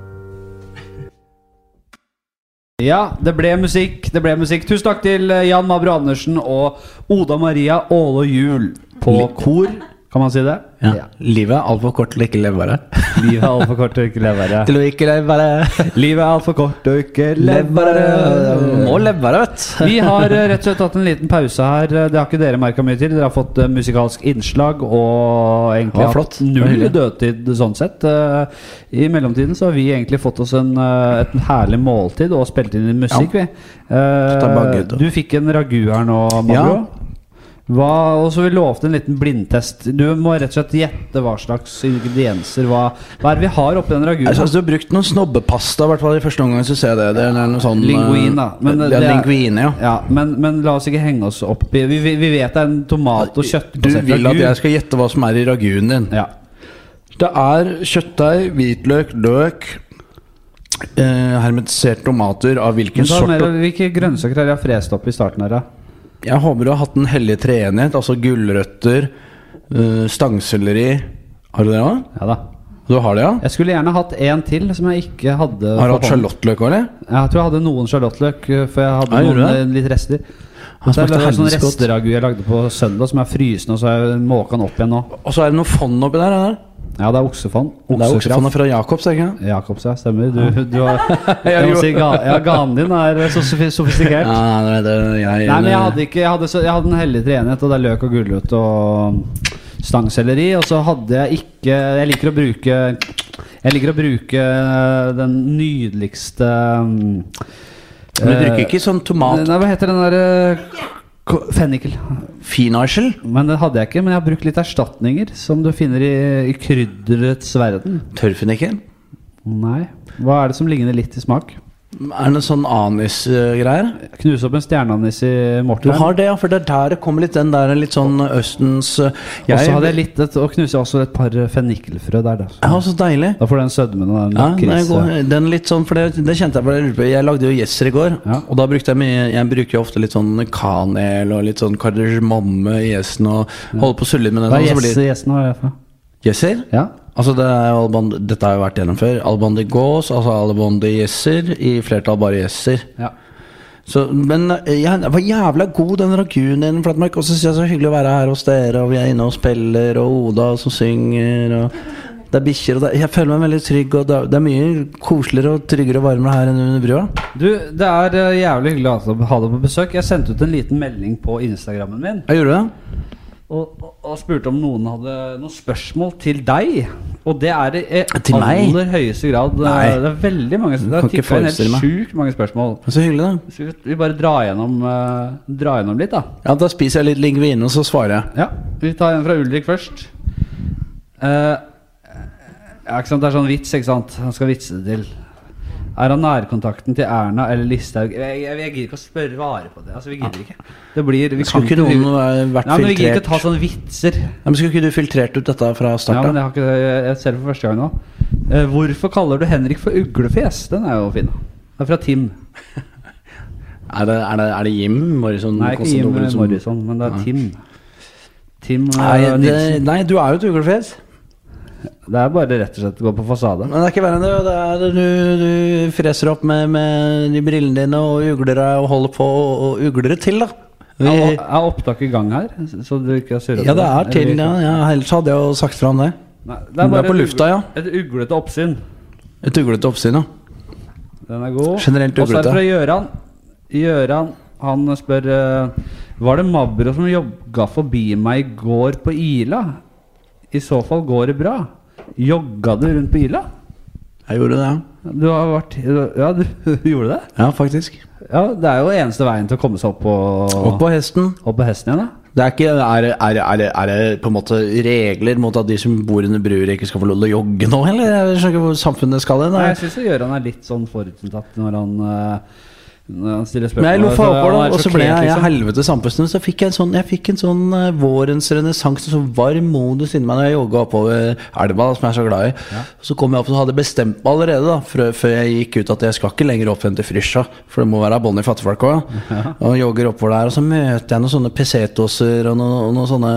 Speaker 2: Ja, det ble musikk. det ble musikk Tusen takk til eh, Jan Mabro Andersen og Oda Maria Åle Juel på kor. Kan man si det? Ja.
Speaker 1: Livet er altfor kort til å ikke leve av det.
Speaker 2: Livet er altfor kort til å ikke leve av det.
Speaker 1: Til å ikke leve av det.
Speaker 2: Livet er altfor kort til å ikke leve av det.
Speaker 1: Må leve av det, vet
Speaker 2: [LAUGHS] Vi har eh, rett og slett tatt en liten pause her. Eh, Det har ikke dere merka mye til. Dere har fått eh, musikalsk innslag og egentlig
Speaker 1: Det var
Speaker 2: hatt
Speaker 1: flott. Det var
Speaker 2: null
Speaker 1: hyggelig.
Speaker 2: dødtid sånn sett. Eh, I mellomtiden så har vi egentlig fått oss en, eh, et herlig måltid og spilt inn litt musikk, vi. Eh,
Speaker 1: ta bagget, da.
Speaker 2: du fikk en ragu her nå, Magro. Hva, og så Vi lovte en liten blindtest. Du må rett og slett gjette hva slags ingredienser Hva, hva er det vi har oppi den
Speaker 1: Altså,
Speaker 3: Jeg
Speaker 2: ragunen?
Speaker 3: synes Du har brukt noen snobbepasta, i hvert fall i første omgang. Synes jeg det. det er noe sånn, eh,
Speaker 2: Linguine, da. Men det-
Speaker 3: ja,
Speaker 2: det er-
Speaker 3: linguine, ja.
Speaker 2: Ja, men, men la oss ikke henge oss opp i Vi, vi, vi vet det er en tomat- og
Speaker 3: Du
Speaker 2: kjøttbasert
Speaker 3: vil at jeg skal gjette hva som er i raguen din.
Speaker 2: Ja.
Speaker 3: Det er kjøttdeig, hvitløk, løk, eh, hermetiserte tomater av hvilken
Speaker 2: Men ta
Speaker 3: sort
Speaker 2: med deg Hvilke grønnsaker har jeg frest opp i starten her, da?
Speaker 3: Jeg håper du har hatt den hellige treenighet, altså gulrøtter, eh, stangselleri Har du det òg?
Speaker 2: Ja da.
Speaker 3: Du har det, ja?
Speaker 2: Jeg skulle gjerne hatt en til som jeg ikke hadde.
Speaker 3: Har du
Speaker 2: på
Speaker 3: hatt
Speaker 2: hånden.
Speaker 3: sjalottløk òg, eller?
Speaker 2: Ja, Jeg tror jeg hadde noen sjalottløk, eh, for jeg hadde
Speaker 3: Ja, gjorde
Speaker 2: noen
Speaker 3: du det?
Speaker 2: eh, litt rester.
Speaker 3: Han
Speaker 2: Så Det
Speaker 3: smakte
Speaker 2: er sånn
Speaker 3: helvetes godt.
Speaker 2: resteragu jeg lagde på søndag, som er frysende, og så har jeg måka den opp igjen nå.
Speaker 3: Og så er det noe fond oppi der. er det?
Speaker 2: Ja, det er oksefond.
Speaker 3: Det er
Speaker 2: Oksekraft.
Speaker 3: oksefondet fra Jacobs, er det ikke det?
Speaker 2: Jacobs, ja. Stemmer.
Speaker 3: [LAUGHS]
Speaker 2: Du, du har
Speaker 3: Jeg
Speaker 2: jeg må
Speaker 3: gjorde-
Speaker 2: si, ga, ja, Ganen din er så sofi- sofistikert.
Speaker 3: Ja, nei, det, jeg,
Speaker 2: Nei, men jeg hadde ikke Jeg hadde, så, jeg hadde en hellig treenighet, og det er løk og gulrot og stangselleri. Og så hadde jeg ikke Jeg liker å bruke Jeg liker å bruke eh, den nydeligste mm,
Speaker 3: Men du
Speaker 2: eh,
Speaker 3: bruker ikke sånn tomat
Speaker 2: Nei, hva heter den derre ko- Fennikel.
Speaker 3: finarchel?
Speaker 2: Men den hadde jeg ikke. Men jeg har brukt litt erstatninger som du finner i, i krydderets verden.
Speaker 3: Tørrfennikel?
Speaker 2: Nei. Hva er det som ligner litt i smak?
Speaker 3: Er det noe sånn anisgreier?
Speaker 2: Knuse opp en stjerneanis i
Speaker 3: Du
Speaker 2: Morten.
Speaker 3: har det, ja, for det er der det kommer litt den der litt sånn østens eh,
Speaker 2: Og så hadde
Speaker 3: jeg
Speaker 2: jeg litt et, og knuste også et par fennikelfrø der. Da,
Speaker 3: Ja, så deilig.
Speaker 2: da får du den sødmen og den
Speaker 3: Ja, nei,
Speaker 2: lakris.
Speaker 3: god- den litt sånn, for det, det kjente jeg bare jeg lurte på. Jeg lagde jo Yes i går,
Speaker 2: Ja.
Speaker 3: og da brukte jeg mye Jeg bruker jo ofte litt sånn kanel og litt sånn kardemomme i Yessen og holder på å sulle litt med den.
Speaker 2: Hva er
Speaker 3: sånn, så
Speaker 2: yes,
Speaker 3: blir-
Speaker 2: yesen, hva er det for? noe?
Speaker 3: Yeser?
Speaker 2: Ja.
Speaker 3: Altså det er jo Alban, Dette har jo vært gjennom før. Alban de Gaas, altså Alban de Yeser, i flertall bare Yeser.
Speaker 2: ja.
Speaker 3: Så, men jeg var jævla god den ragunen din, Flatmark. Og så synes jeg så hyggelig å være her hos dere, og vi er inne og spiller, og Oda som synger, og det er bikkjer og det er, Jeg føler meg veldig trygg, og det er, det er mye koseligere og tryggere og varmere her enn under brua.
Speaker 2: Du, det er eh, jævlig hyggelig å ha deg- ha deg på besøk. Jeg sendte ut en liten melding på Instagrammen min
Speaker 3: Jeg gjorde det.
Speaker 2: og, og, og spurte om noen hadde noen spørsmål til deg. Og det er det i eh,
Speaker 3: Til meg?
Speaker 2: aller høyeste grad. Det
Speaker 3: Nei.
Speaker 2: er, det er veldig mange Det
Speaker 3: Kan
Speaker 2: har
Speaker 3: ikke
Speaker 2: tikka inn
Speaker 3: forestille
Speaker 2: helt
Speaker 3: meg.
Speaker 2: sjukt mange spørsmål.
Speaker 3: Men Så hyggelig, da.
Speaker 2: Skal vi, vi bare dra gjennom, eh, dra gjennom litt, da?
Speaker 3: Ja, Da spiser jeg litt lingvine, og så svarer jeg.
Speaker 2: Ja, vi tar en fra Ulrik først. Eh, ja, ikke sant, Det er sånn vits, ikke sant? Han skal vitse det til. Er han nærkontakten til Erna eller Listhaug? Jeg, jeg, jeg gidder ikke å spørre vare på det. Altså, Vi gidder ikke. Det blir, vi
Speaker 3: Skulle
Speaker 2: kan
Speaker 3: ikke noen eh, vært
Speaker 2: Nei, men Vi gidder ikke
Speaker 3: filtrert
Speaker 2: å ta sånne vitser.
Speaker 3: Nei, men Skulle ikke du filtrert ut dette fra
Speaker 2: Ja, men
Speaker 3: starten?
Speaker 2: jeg, har ikke, jeg, jeg ser det for første gang nå. Eh, hvorfor kaller du Henrik for uglefjes? Den er jo fin. Det er fra Tim.
Speaker 3: er, det, er, det, er det Jim Morrison?
Speaker 2: Nei, ikke Jim
Speaker 3: Konstantinopoulos som-
Speaker 2: Morrison, men det er Tim. Tim eh,
Speaker 3: Nei, det,
Speaker 2: Nilsen.
Speaker 3: nei, du er jo et uglefjes.
Speaker 2: Det er bare rett og slett å gå på fasade.
Speaker 3: Men det er ikke verre enn det. og det er, du, du freser opp med, med de brillene dine og ugler deg og holder på og, og ugler det til, da. Vi,
Speaker 2: Er er opptaket i gang her? Så du ikke har surret
Speaker 3: ja, det
Speaker 2: på
Speaker 3: er til. Ja, ja, ellers hadde jeg jo sagt fra om det.
Speaker 2: Nei, det
Speaker 3: Den er
Speaker 2: bare
Speaker 3: på
Speaker 2: et
Speaker 3: lufta, ja.
Speaker 2: ugle- Et uglete oppsyn.
Speaker 3: Et uglete oppsyn, ja.
Speaker 2: Den er god.
Speaker 3: Generelt
Speaker 2: Og så er
Speaker 3: uglete.
Speaker 2: det fra Gjøran. Gjøran han spør eh, Var det Mabro som jogga forbi meg i går på Ila? I så fall går det bra. Jogga du rundt på Ila?
Speaker 3: Jeg gjorde det, ja.
Speaker 2: Du har vært Ja, du [LAUGHS] gjorde det?
Speaker 3: Ja, faktisk.
Speaker 2: Ja, det er jo eneste veien til å komme seg opp på,
Speaker 3: Opp på hesten.
Speaker 2: opp på hesten igjen, da.
Speaker 3: Det er, ikke, er, det- er, det- er, det- er det på en måte regler mot at de som bor under bruer, ikke skal få lov til å jogge nå, eller? Jeg skjønner ikke hvor samfunnet skal hen.
Speaker 2: Nei, jeg
Speaker 3: da.
Speaker 2: syns Gjøran er litt sånn forutinntatt når han, eh, når han stiller spørsmål.
Speaker 3: Men jeg lo for
Speaker 2: Så han
Speaker 3: opphold,
Speaker 2: er
Speaker 3: og så ble
Speaker 2: sjokkert,
Speaker 3: jeg, jeg
Speaker 2: liksom.
Speaker 3: helvete sampusten. Så fikk jeg en sånn, jeg fikk en sånn eh, vårens renessanse, så varm modus inni meg når jeg jogga oppover elva, som jeg er så glad i. Så kom jeg opp, så hadde jeg bestemt meg allerede da, før, før jeg gikk ut at jeg skal ikke lenger opp enn til Frysja, for det må være Bonnie Fattigfolk òg. Og jogger oppover der, og så møter jeg noen sånne pesetoser og noen, og noen sånne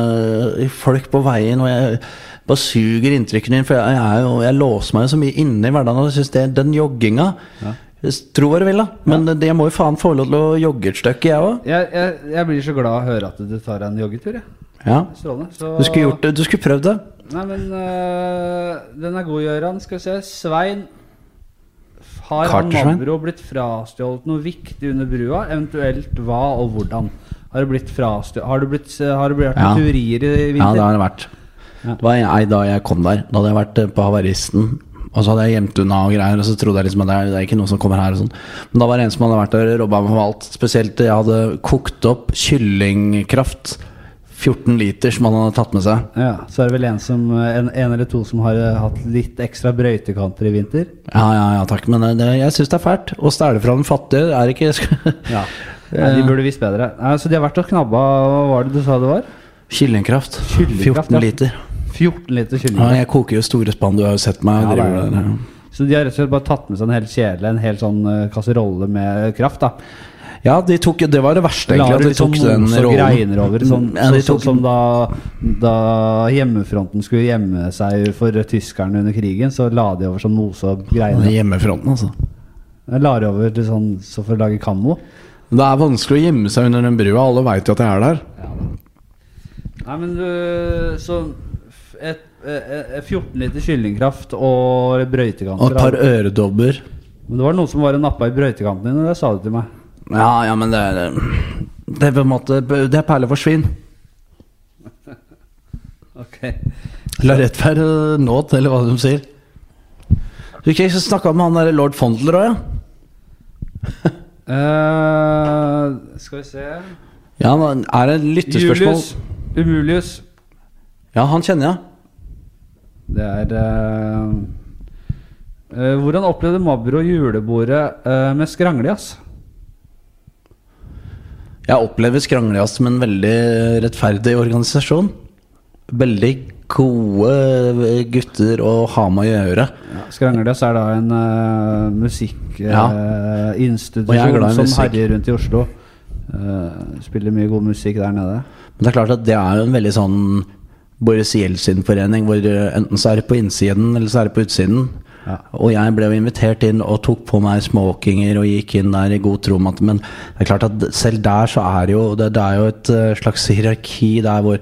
Speaker 3: eh, folk på veien, og jeg bare suger inntrykkene inn, for jeg, jeg, er jo, jeg låser meg jo så mye inne i hverdagen, og jeg synes det, den jogginga Tro hva du vil, da, men det- jeg må jo faen få lov til å jogge et stykke, jeg òg.
Speaker 2: Jeg, jeg, jeg blir så glad å høre at du tar deg en joggetur. Jeg.
Speaker 3: Ja.
Speaker 2: Strålende. Så,
Speaker 3: Du skulle gjort det, du skulle prøvd det.
Speaker 2: Nei, men øh, den er god, Gøran. Skal vi se. Svein. Har han
Speaker 3: Carter-Svein?
Speaker 2: Mabro blitt frastjålet noe viktig under brua? Eventuelt hva og hvordan? Har det blitt frastjålet Har det blitt, eh, har det blitt
Speaker 3: Ja.
Speaker 2: noen tyverier i
Speaker 3: Ja,
Speaker 2: vinter?
Speaker 3: det har det vært. Det var jeg, ei, da jeg kom der. Da hadde jeg vært eh, på havaristen. Og så hadde jeg gjemt unna og greier, og så trodde jeg liksom at det er, det er ikke noen som kommer her. og sånn Men da var det en som hadde vært der og robba meg for alt. Spesielt jeg hadde kokt opp kyllingkraft 14 liter som han hadde tatt med seg.
Speaker 2: Ja, så er det vel en, som, en, en eller to som har eh, hatt litt ekstra brøytekanter i vinter.
Speaker 3: Ja, ja, ja, takk, men eh, det, jeg syns det er fælt. Å stjele fra den fattige er ikke [LAUGHS]
Speaker 2: [LAUGHS] Ja. Nei, de burde visst bedre. Nei, så de har vært og knabba Hva var det du sa det var?
Speaker 3: Kyllingkraft.
Speaker 2: Kyllingkraft,
Speaker 3: 14
Speaker 2: ja.
Speaker 3: liter.
Speaker 2: 14 liter
Speaker 3: Ja,
Speaker 2: kylling.
Speaker 3: jeg koker jo store spann, du har jo sett meg.
Speaker 2: Ja,
Speaker 3: Ja,
Speaker 2: det er
Speaker 3: driver
Speaker 2: det.
Speaker 3: der.
Speaker 2: Så de har rett og slett bare tatt med seg en hel kjele, en hel sånn eh, kasserolle med kraft. da
Speaker 3: ja. ja de tok, det var det verste,
Speaker 2: La
Speaker 3: egentlig. At
Speaker 2: du
Speaker 3: de tok
Speaker 2: liksom
Speaker 3: den
Speaker 2: mos og
Speaker 3: rollen.
Speaker 2: greiner over, sånn,
Speaker 3: Ja, de
Speaker 2: sånn- sånn
Speaker 3: tok-
Speaker 2: som da, da hjemmefronten skulle gjemme seg for tyskerne under krigen, så la de over sånn mose og
Speaker 3: Den
Speaker 2: greiner.
Speaker 3: Hjemmefronten, altså.
Speaker 2: La de over til sånn så for å lage kammo.
Speaker 3: Det er vanskelig å gjemme seg under den brua. Alle veit jo at jeg er der.
Speaker 2: Nei, men du Så f- et, eh, eh, 14 liter kyllingkraft og
Speaker 3: Og
Speaker 2: brøytekanter.
Speaker 3: et par
Speaker 2: da.
Speaker 3: øredobber.
Speaker 2: Men det var noen som var og nappa i brøytekantene dine, det sa du til meg.
Speaker 3: Ja, ja, men det er Det er på en måte Det er perler for svin.
Speaker 2: Ok
Speaker 3: La rett være nåt, eller hva de sier. Du ikke snakka med han derre lord Fondler òg, ja?
Speaker 2: Eh, Skal vi se
Speaker 3: Ja, han er det et lyttespørsmål?
Speaker 2: Julius. Umulius.
Speaker 3: Ja, han kjenner jeg.
Speaker 2: Det er eh, eh, Hvordan opplevde Mabro julebordet eh, med skranglejazz?
Speaker 3: Jeg opplever Skranglejazz som en veldig rettferdig organisasjon. Veldig gode gutter å ha med å gjøre.
Speaker 2: Skranglejazz er da en eh, musikkinstitusjon
Speaker 3: Ja.
Speaker 2: uh,
Speaker 3: Og jeg er glad i
Speaker 2: som
Speaker 3: musikk.
Speaker 2: herjer rundt i Oslo. Eh, spiller mye god musikk der nede.
Speaker 3: Men det er klart at det er jo en veldig sånn Boris Jeltsin-forening, hvor eh, enten så er det på innsiden, eller så er det på utsiden.
Speaker 2: Ja.
Speaker 3: Og jeg ble jo invitert inn og tok på meg smokinger og gikk inn der i god tro om at Men det er klart at selv der så er det jo Det, det er jo et eh, slags hierarki der hvor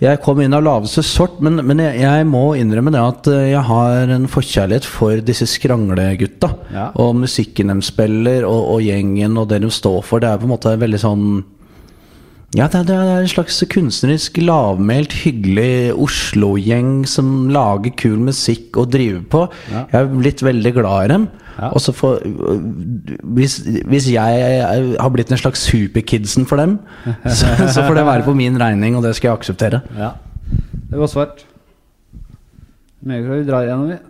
Speaker 3: jeg kom inn av laveste sort, men, men jeg, jeg må innrømme det at eh, jeg har en forkjærlighet for disse skranglegutta.
Speaker 2: Ja.
Speaker 3: Og musikken de spiller, og, og gjengen og det de står for. Det er på en måte veldig sånn ja, det er, det er en slags kunstnerisk, lavmælt, hyggelig Oslo-gjeng som lager kul musikk og driver på.
Speaker 2: Ja.
Speaker 3: Jeg er blitt veldig glad i dem.
Speaker 2: Ja.
Speaker 3: Og så får hvis, hvis jeg er- har blitt en slags superkidsen for dem, [LAUGHS] så, så får det være på min regning, og det skal jeg akseptere.
Speaker 2: Ja. Det var svart. Meget bra. Vi drar igjennom, vi.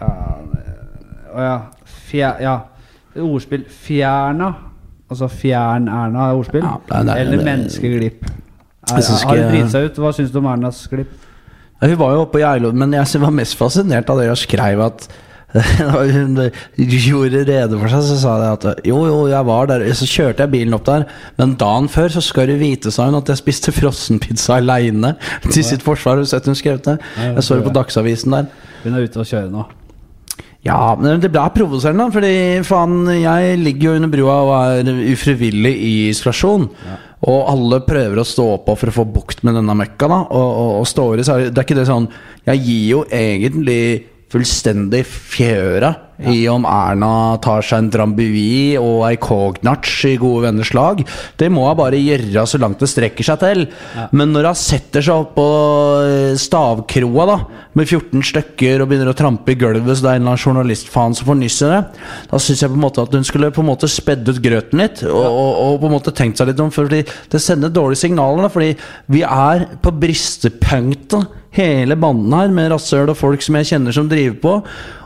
Speaker 2: Eh, ja, det- Å ja. Fjer, ja. Ordspill fjerna. Altså fjern-Erna er ordspill.
Speaker 3: Ja, det er- det er-
Speaker 2: Eller
Speaker 3: det-
Speaker 2: menneskeglipp. Er,
Speaker 3: Jeg synes
Speaker 2: har det
Speaker 3: ikke-
Speaker 2: driti seg ut? Hva syns du om Ernas glipp?
Speaker 3: Ja, Hun var jo oppe i Eilo, men jeg var mest fascinert av det hun skrev at [LAUGHS] hun gjorde rede for seg, så sa jeg at jo, jo, jeg var der, så kjørte jeg bilen opp der, men dagen før så skal du vite, sa hun, at jeg spiste frossenpizza aleine. Til sitt forsvar, har du sett hun skrev det? Jeg så det på Dagsavisen der.
Speaker 2: Hun er ute og kjører nå.
Speaker 3: Ja, men det ble provoserende, da, fordi faen, jeg ligger jo under brua og er ufrivillig i isolasjon. Og alle prøver å stå på for å få bukt med denne møkka, da. Og, og, og står i, så er det, det er ikke det sånn Jeg gir jo egentlig fullstendig fjøra i om Erna tar seg en Drambuie og ei Cognach i gode venners lag. Det må hun bare gjøre så langt det strekker seg til. Men når hun setter seg opp på eh, stavkroa da med 14 stykker og begynner å trampe i gulvet, så det er en eller annen journalistfaen som får nyss i det, da syns jeg på en måte at hun skulle på en måte spedd ut grøten litt. Og, og, og på en måte tenkt seg litt om, fordi det sender dårlige signaler. da, Fordi vi er på bristepunktet, hele banden her, med rasshøl og folk som jeg kjenner som driver på.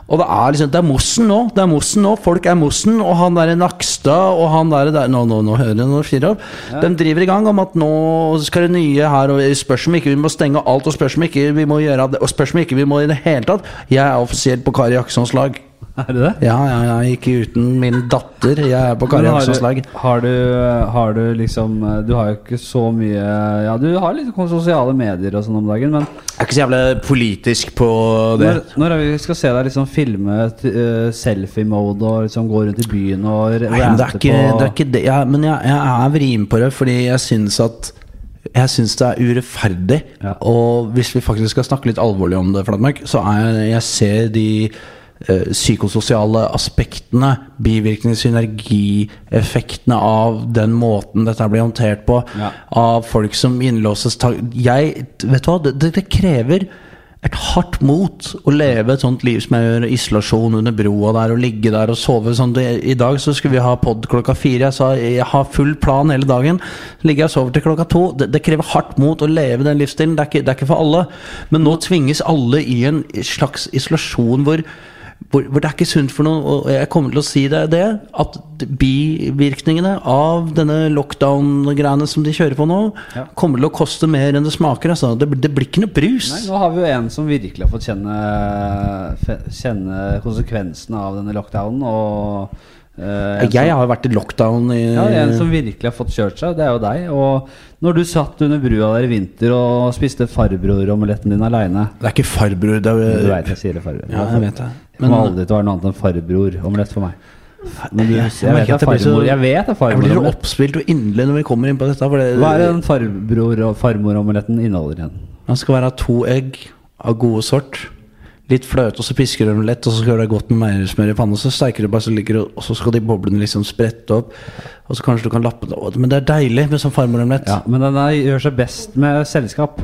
Speaker 3: Og det er liksom, det er Mossen nå. det er Mossen nå, Folk er Mossen. Og han derre Nakstad og han derre der Nå, nå, nå hører jeg noe fyrer opp. De driver i gang om at nå skal det nye her og Spørs om ikke vi må stenge alt, og spørs om ikke vi må gjøre det, og spørs om ikke vi må i det hele tatt. Jeg er offisielt på Kari Jaksons lag.
Speaker 2: Er det det?
Speaker 3: Ja, ja, ja, ikke uten min datter. Jeg er på Kari
Speaker 2: Men
Speaker 3: Jaksons
Speaker 2: har,
Speaker 3: lag.
Speaker 2: du, har, du, har du liksom eh, Du har jo ikke så mye Ja, du har litt sosiale medier og sånn om dagen, men
Speaker 3: Jeg er ikke så jævla politisk på det.
Speaker 2: Når, når er vi skal se deg liksom filme t- eh, selfie-mode og liksom gå rundt i byen og re-
Speaker 3: Nei, men det er
Speaker 2: rante
Speaker 3: ikke
Speaker 2: på-
Speaker 3: det. Er ikke det. Jeg, men jeg, jeg er vrien på det, fordi jeg syns at jeg syns det er urettferdig.
Speaker 2: Ja.
Speaker 3: Og hvis vi faktisk skal snakke litt alvorlig om det, Flatmark, så er jeg, jeg ser de eh, psykososiale aspektene, bivirkninger, synergieffektene av den måten dette blir håndtert på,
Speaker 2: Ja.
Speaker 3: av folk som innlåses ta- Jeg Vet du hva, det, det, det krever vært hardt mot å leve et sånt liv som jeg gjør, isolasjon under broa der, og ligge der og sove sånn. Det, I dag så skulle vi ha pod klokka fire. Jeg sa jeg har full plan hele dagen. Ligger jeg og sover til klokka to. Det, det krever hardt mot å leve den livsstilen. Det er, ikke, det er ikke for alle. Men nå tvinges alle i en slags isolasjon hvor hvor, hvor det er ikke sunt for noen, og jeg kommer til å si det, det at bivirkningene av denne lockdown-greiene som de kjører på nå, kommer til å koste mer enn det smaker. Altså. Det, det blir ikke noe brus.
Speaker 2: Nei, nå har vi jo en som virkelig har fått kjenne, fe- kjenne konsekvensene av denne lockdownen. Og eh, en,
Speaker 3: jeg har jo vært i lockdown i
Speaker 2: som, ja, en som virkelig har fått kjørt seg, det er jo deg. Og når du satt under brua der i vinter og spiste farbroromeletten din aleine
Speaker 3: Det er ikke farbror, det
Speaker 2: Du
Speaker 3: er
Speaker 2: veit jeg sier det, farbror.
Speaker 3: Ja, jeg vet det.
Speaker 2: Men,
Speaker 3: Men-
Speaker 2: må aldri til å være noe annet enn farbroromelett for meg. Men du,
Speaker 3: Jeg-
Speaker 2: jeg,
Speaker 3: jeg
Speaker 2: vet
Speaker 3: merker at
Speaker 2: det er
Speaker 3: jeg blir så-
Speaker 2: farmor. Jeg vet det er
Speaker 3: Jeg blir så
Speaker 2: farmorommelett.
Speaker 3: oppspilt og inderlig når vi kommer inn på dette. For det,
Speaker 2: Hva er det den farbror- og farmoromeletten inneholder igjen?
Speaker 3: Man skal være to egg av gode sort. Litt fløte, og så pisker du dem lett, og så skal du ha godt med meierismør i panna. Så steiker du bare, så ligger det, og så skal de boblene liksom sprette opp. Og så kanskje du kan lappe det over. Men det er deilig med sånn farmoremlett.
Speaker 2: Ja, men den der gjør seg best med selskap.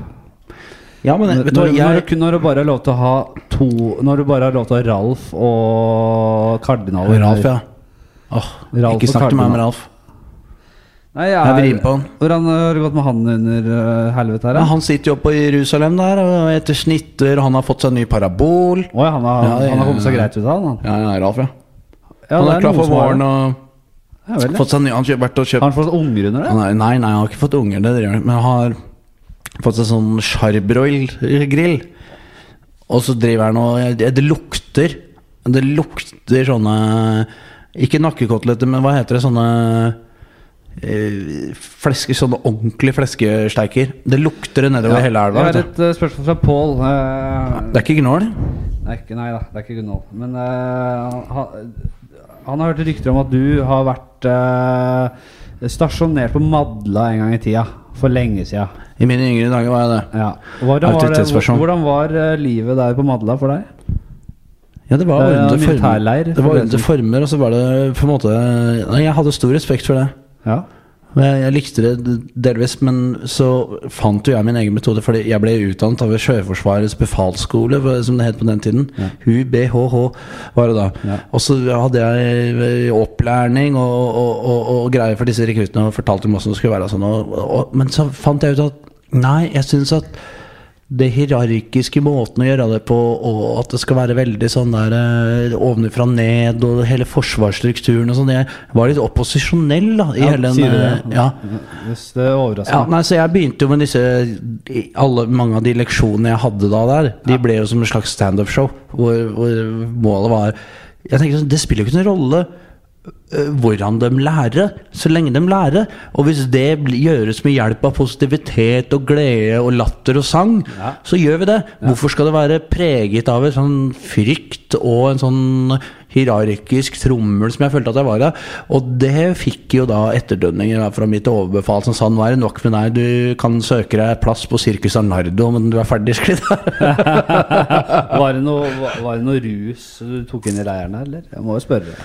Speaker 3: Ja, men
Speaker 2: Når,
Speaker 3: vet du hva,
Speaker 2: når,
Speaker 3: jeg,
Speaker 2: du kun- når du bare har lov til å ha to Når du bare har lov til å ha Ralf og kardinal
Speaker 3: Ralf, ja. Åh,
Speaker 2: Ralf og
Speaker 3: ikke snakk til
Speaker 2: kardinal.
Speaker 3: meg om Ralf.
Speaker 2: Nei, jeg
Speaker 3: Jeg
Speaker 2: er,
Speaker 3: vrir på han.
Speaker 2: Hvordan har det gått med han under eh, helvete her?
Speaker 3: Ja,
Speaker 2: da?
Speaker 3: han sitter jo oppe i Jerusalem der og etter snitter, og han har fått seg ny parabol.
Speaker 2: Å ja, han har,
Speaker 3: Ja, det-
Speaker 2: han har kommet seg greit ut av han. han.
Speaker 3: Ja, ja, Ralf, ja.
Speaker 2: Ja,
Speaker 3: han
Speaker 2: det
Speaker 3: er, klar
Speaker 2: noen
Speaker 3: for
Speaker 2: som har
Speaker 3: våren
Speaker 2: det.
Speaker 3: og
Speaker 2: Ja, vel, ja.
Speaker 3: fått seg ny Han har vært og kjøpt
Speaker 2: Har han fått unger under det?
Speaker 3: Han er, nei, nei, han har ikke fått unger, det driver han Men han har fått seg sånn charbroil-grill. Og så driver han og jeg- Det lukter Det lukter sånne Ikke nakkekoteletter, men hva heter det? Sånne eh, Fleske, sånne ordentlige fleskesteiker. Det lukter det nedover hele elva.
Speaker 2: Jeg har
Speaker 3: Vet du.
Speaker 2: et eh, spørsmål fra Pål. eh,
Speaker 3: Det er ikke gnål.
Speaker 2: Nei, ikke, nei da, det er ikke Gunnhold. Men eh, han, han har hørt rykter om at du har vært eh, stasjonert på Madla en gang i tida. For lenge sida.
Speaker 3: I mine yngre dager var jeg det.
Speaker 2: Ja. Hvordan, var det-
Speaker 3: Autoritetsperson.
Speaker 2: hvordan var eh, livet der på Madla for deg?
Speaker 3: Ja, det var
Speaker 2: Det er
Speaker 3: ordentlige
Speaker 2: militærleir,
Speaker 3: former. Det
Speaker 2: for
Speaker 3: var
Speaker 2: det
Speaker 3: ordentlige former, og så var det på en måte Nei, Jeg hadde stor respekt for det.
Speaker 2: Ja.
Speaker 3: Men Jeg, jeg likte det delvis, men så fant jo jeg min egen metode. Fordi jeg ble utdannet av Sjøforsvarets befalsskole, hva- som det het på den tiden. UBHH var det da.
Speaker 2: Ja.
Speaker 3: Og så hadde jeg eh, opplæring og, og, og, og greier for disse rekruttene og fortalte dem hvordan det skulle være. Og sånn, og, og, men så fant jeg ut at nei, jeg syns at det hierarkiske måten å gjøre det på, og at det skal være veldig sånn der eh, ovenfra og ned, og hele forsvarsstrukturen og sånn. Jeg var litt opposisjonell, da. I
Speaker 2: Ja,
Speaker 3: hele den,
Speaker 2: sier du det? Mm.
Speaker 3: eh, Ja.
Speaker 2: Yes, det overrasker
Speaker 3: Ja,
Speaker 2: meg.
Speaker 3: nei, så jeg begynte jo med disse i- alle, Mange av de leksjonene jeg hadde da der, de ble jo som en slags standup-show. Hvor, hvor målet var Jeg tenker sånn, Det spiller jo ikke noen rolle øh, hvordan de lærer, så lenge de lærer. Og hvis det bl- gjøres med hjelp av positivitet og glede og latter og sang, så gjør vi det. Hvorfor skal det være preget av en sånn frykt og en sånn hierarkisk trommel som jeg følte at jeg var i? Og det fikk jo da etterdønninger da fra mitt overbefal som sa nå er det nok med deg, du kan søke deg plass på Circus Arnardo, men du er ferdig sklidd.
Speaker 2: [LAUGHS] Var det, noe, var- var det noe rus du tok inn i leiren, her, eller? Jeg må jo spørre.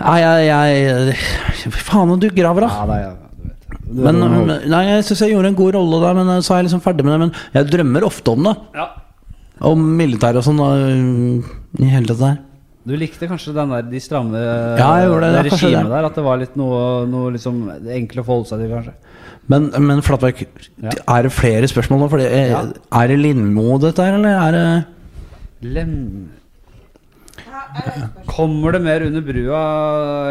Speaker 3: Nei, jeg, jeg Faen, du graver, da.
Speaker 2: Ja, nei, ja, du vet. det. Du
Speaker 3: Men,
Speaker 2: vet hvordan det
Speaker 3: men- nei, jeg syns jeg gjorde en god rolle der, men eh, så er jeg liksom ferdig med det. Men jeg drømmer ofte om det. Om militæret og sånn. og, mm, I hele tatt der.
Speaker 2: Du likte kanskje den der, de stramme
Speaker 3: Ja, jeg gjorde det,
Speaker 2: det
Speaker 3: det er kanskje
Speaker 2: regimet
Speaker 3: det.
Speaker 2: der? At det var litt noe, noe liksom enkelt å forholde seg til, kanskje?
Speaker 3: Men, men Flatberg,
Speaker 2: Ja.
Speaker 3: er det flere spørsmål nå? Fordi, eh,
Speaker 2: Ja.
Speaker 3: Er det Lindmo dette her, eller er det
Speaker 2: Lem... Kommer det mer under brua?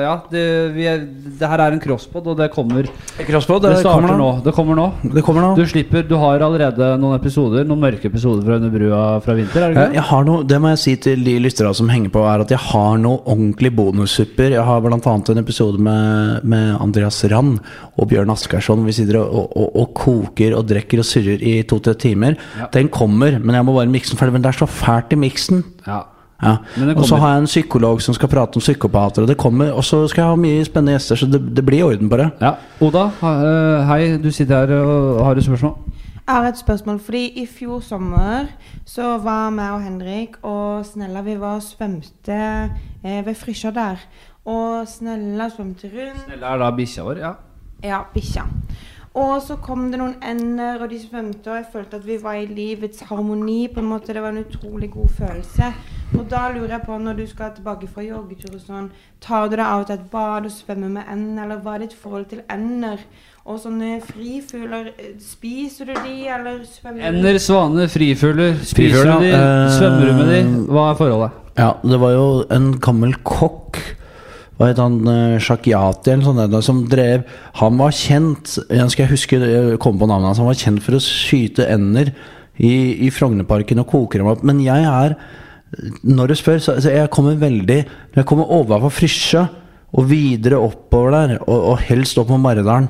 Speaker 2: Ja, det, vi er, det her er en crosspod, og det kommer. Det,
Speaker 3: Crossbow,
Speaker 2: starter nå. Det kommer nå.
Speaker 3: Det kommer nå.
Speaker 2: Du slipper, du har allerede noen episoder, noen mørke episoder fra Under brua fra vinter? er det
Speaker 3: Jeg
Speaker 2: ikke det?
Speaker 3: jeg har noe, det må jeg si til de lytterne som henger på, er at jeg har noe ordentlig bonussupper. Jeg har bl.a. en episode med, med Andreas Rand og Bjørn Askersson. Vi sitter og, og, og koker og drikker og surrer i to-tre timer. Den kommer, men jeg må bare mikse den ferdig. Men det er så fælt i miksen.
Speaker 2: Ja.
Speaker 3: Ja.
Speaker 2: Men det
Speaker 3: Og så
Speaker 2: kommer.
Speaker 3: har jeg en psykolog som skal prate om psykopater, og det kommer. Og så skal jeg ha mye spennende gjester, så det, det blir orden på det.
Speaker 2: ja. Oda, ha- eh, hei. Du sitter her og har et spørsmål.
Speaker 4: Jeg har et spørsmål, fordi i fjor sommer så var meg og Henrik og Snella Vi var og svømte eh, ved Frysja der. Og Snella svømte rundt
Speaker 2: Snella er da bikkja vår. Ja.
Speaker 4: Ja, bikkja. Og så kom det noen ender, og de svømte, og jeg følte at vi var i livets harmoni. på en måte. Det var en utrolig god følelse. Og da lurer jeg på, når du skal tilbake fra joggetur og sånn, tar du deg av til et bad og svømmer med ender, eller hva er ditt forhold til ender? Og sånne frifugler, eh, spiser du de, eller svømmer du
Speaker 2: Ender, svaner, frifugler. Spiser
Speaker 3: Frifugler,
Speaker 2: du de?
Speaker 3: ja. Eh,
Speaker 2: Svømmer du med de? Hva er forholdet?
Speaker 3: Ja, det var jo en gammel kokk Hva het han? eh, Shakyati eller sånn der, Som drev Han var kjent Jeg skal huske Jeg kom på navnet hans Han var kjent for å skyte ender I, i Frognerparken og koke dem opp Men jeg er Når du spør så, så jeg kommer veldig Jeg kommer overfor Frysja Og videre oppover der Og, og helst opp mot Maridalen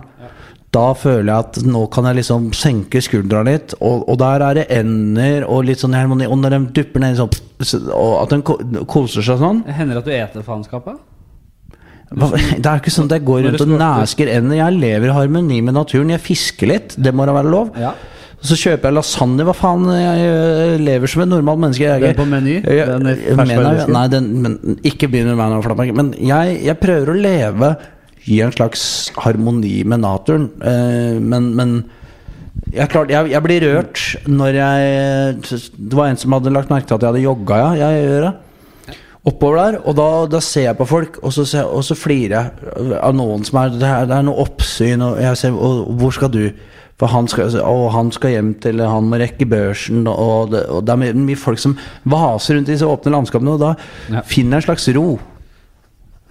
Speaker 3: da føler jeg at nå kan jeg liksom senke skuldra litt, og, og der er det ender og litt sånn harmoni. Og når de dupper ned sånn, og at de ko- koser seg sånn
Speaker 2: Hender det at du eter faenskapet?
Speaker 3: hva-
Speaker 2: Liksom.
Speaker 3: [LAUGHS] Det er ikke sånn at jeg går rundt og næsker ender. Jeg lever i harmoni med naturen. Jeg fisker litt. Det må da være lov.
Speaker 2: Ja.
Speaker 3: Så kjøper jeg lasagne. Hva faen? Jeg eh, lever som et normalt menneske. Jeg,
Speaker 2: Den på Meny?
Speaker 3: Jeg,
Speaker 2: Den i
Speaker 3: jeg mener,
Speaker 2: ferskvaredisken?
Speaker 3: nei, den, men, ikke begynn med Man of Flatmark. Men jeg, jeg prøver å leve i en slags harmoni med naturen. Eh, men, men jeg, er klart, jeg, jeg blir rørt når jeg Det var en som hadde lagt merke til at jeg hadde jogga, ja. Jeg gjør det oppover der, og da, da ser jeg på folk, og så, ser, og så flirer jeg av noen som er Det er, det er noe oppsyn, og jeg ser og, Hvor skal du? For han skal, altså, å, han skal hjem til Han må rekke børsen, og det, og det er mye, mye folk som vaser rundt i disse åpne landskapene, og da
Speaker 2: Ja.
Speaker 3: finner jeg en slags ro.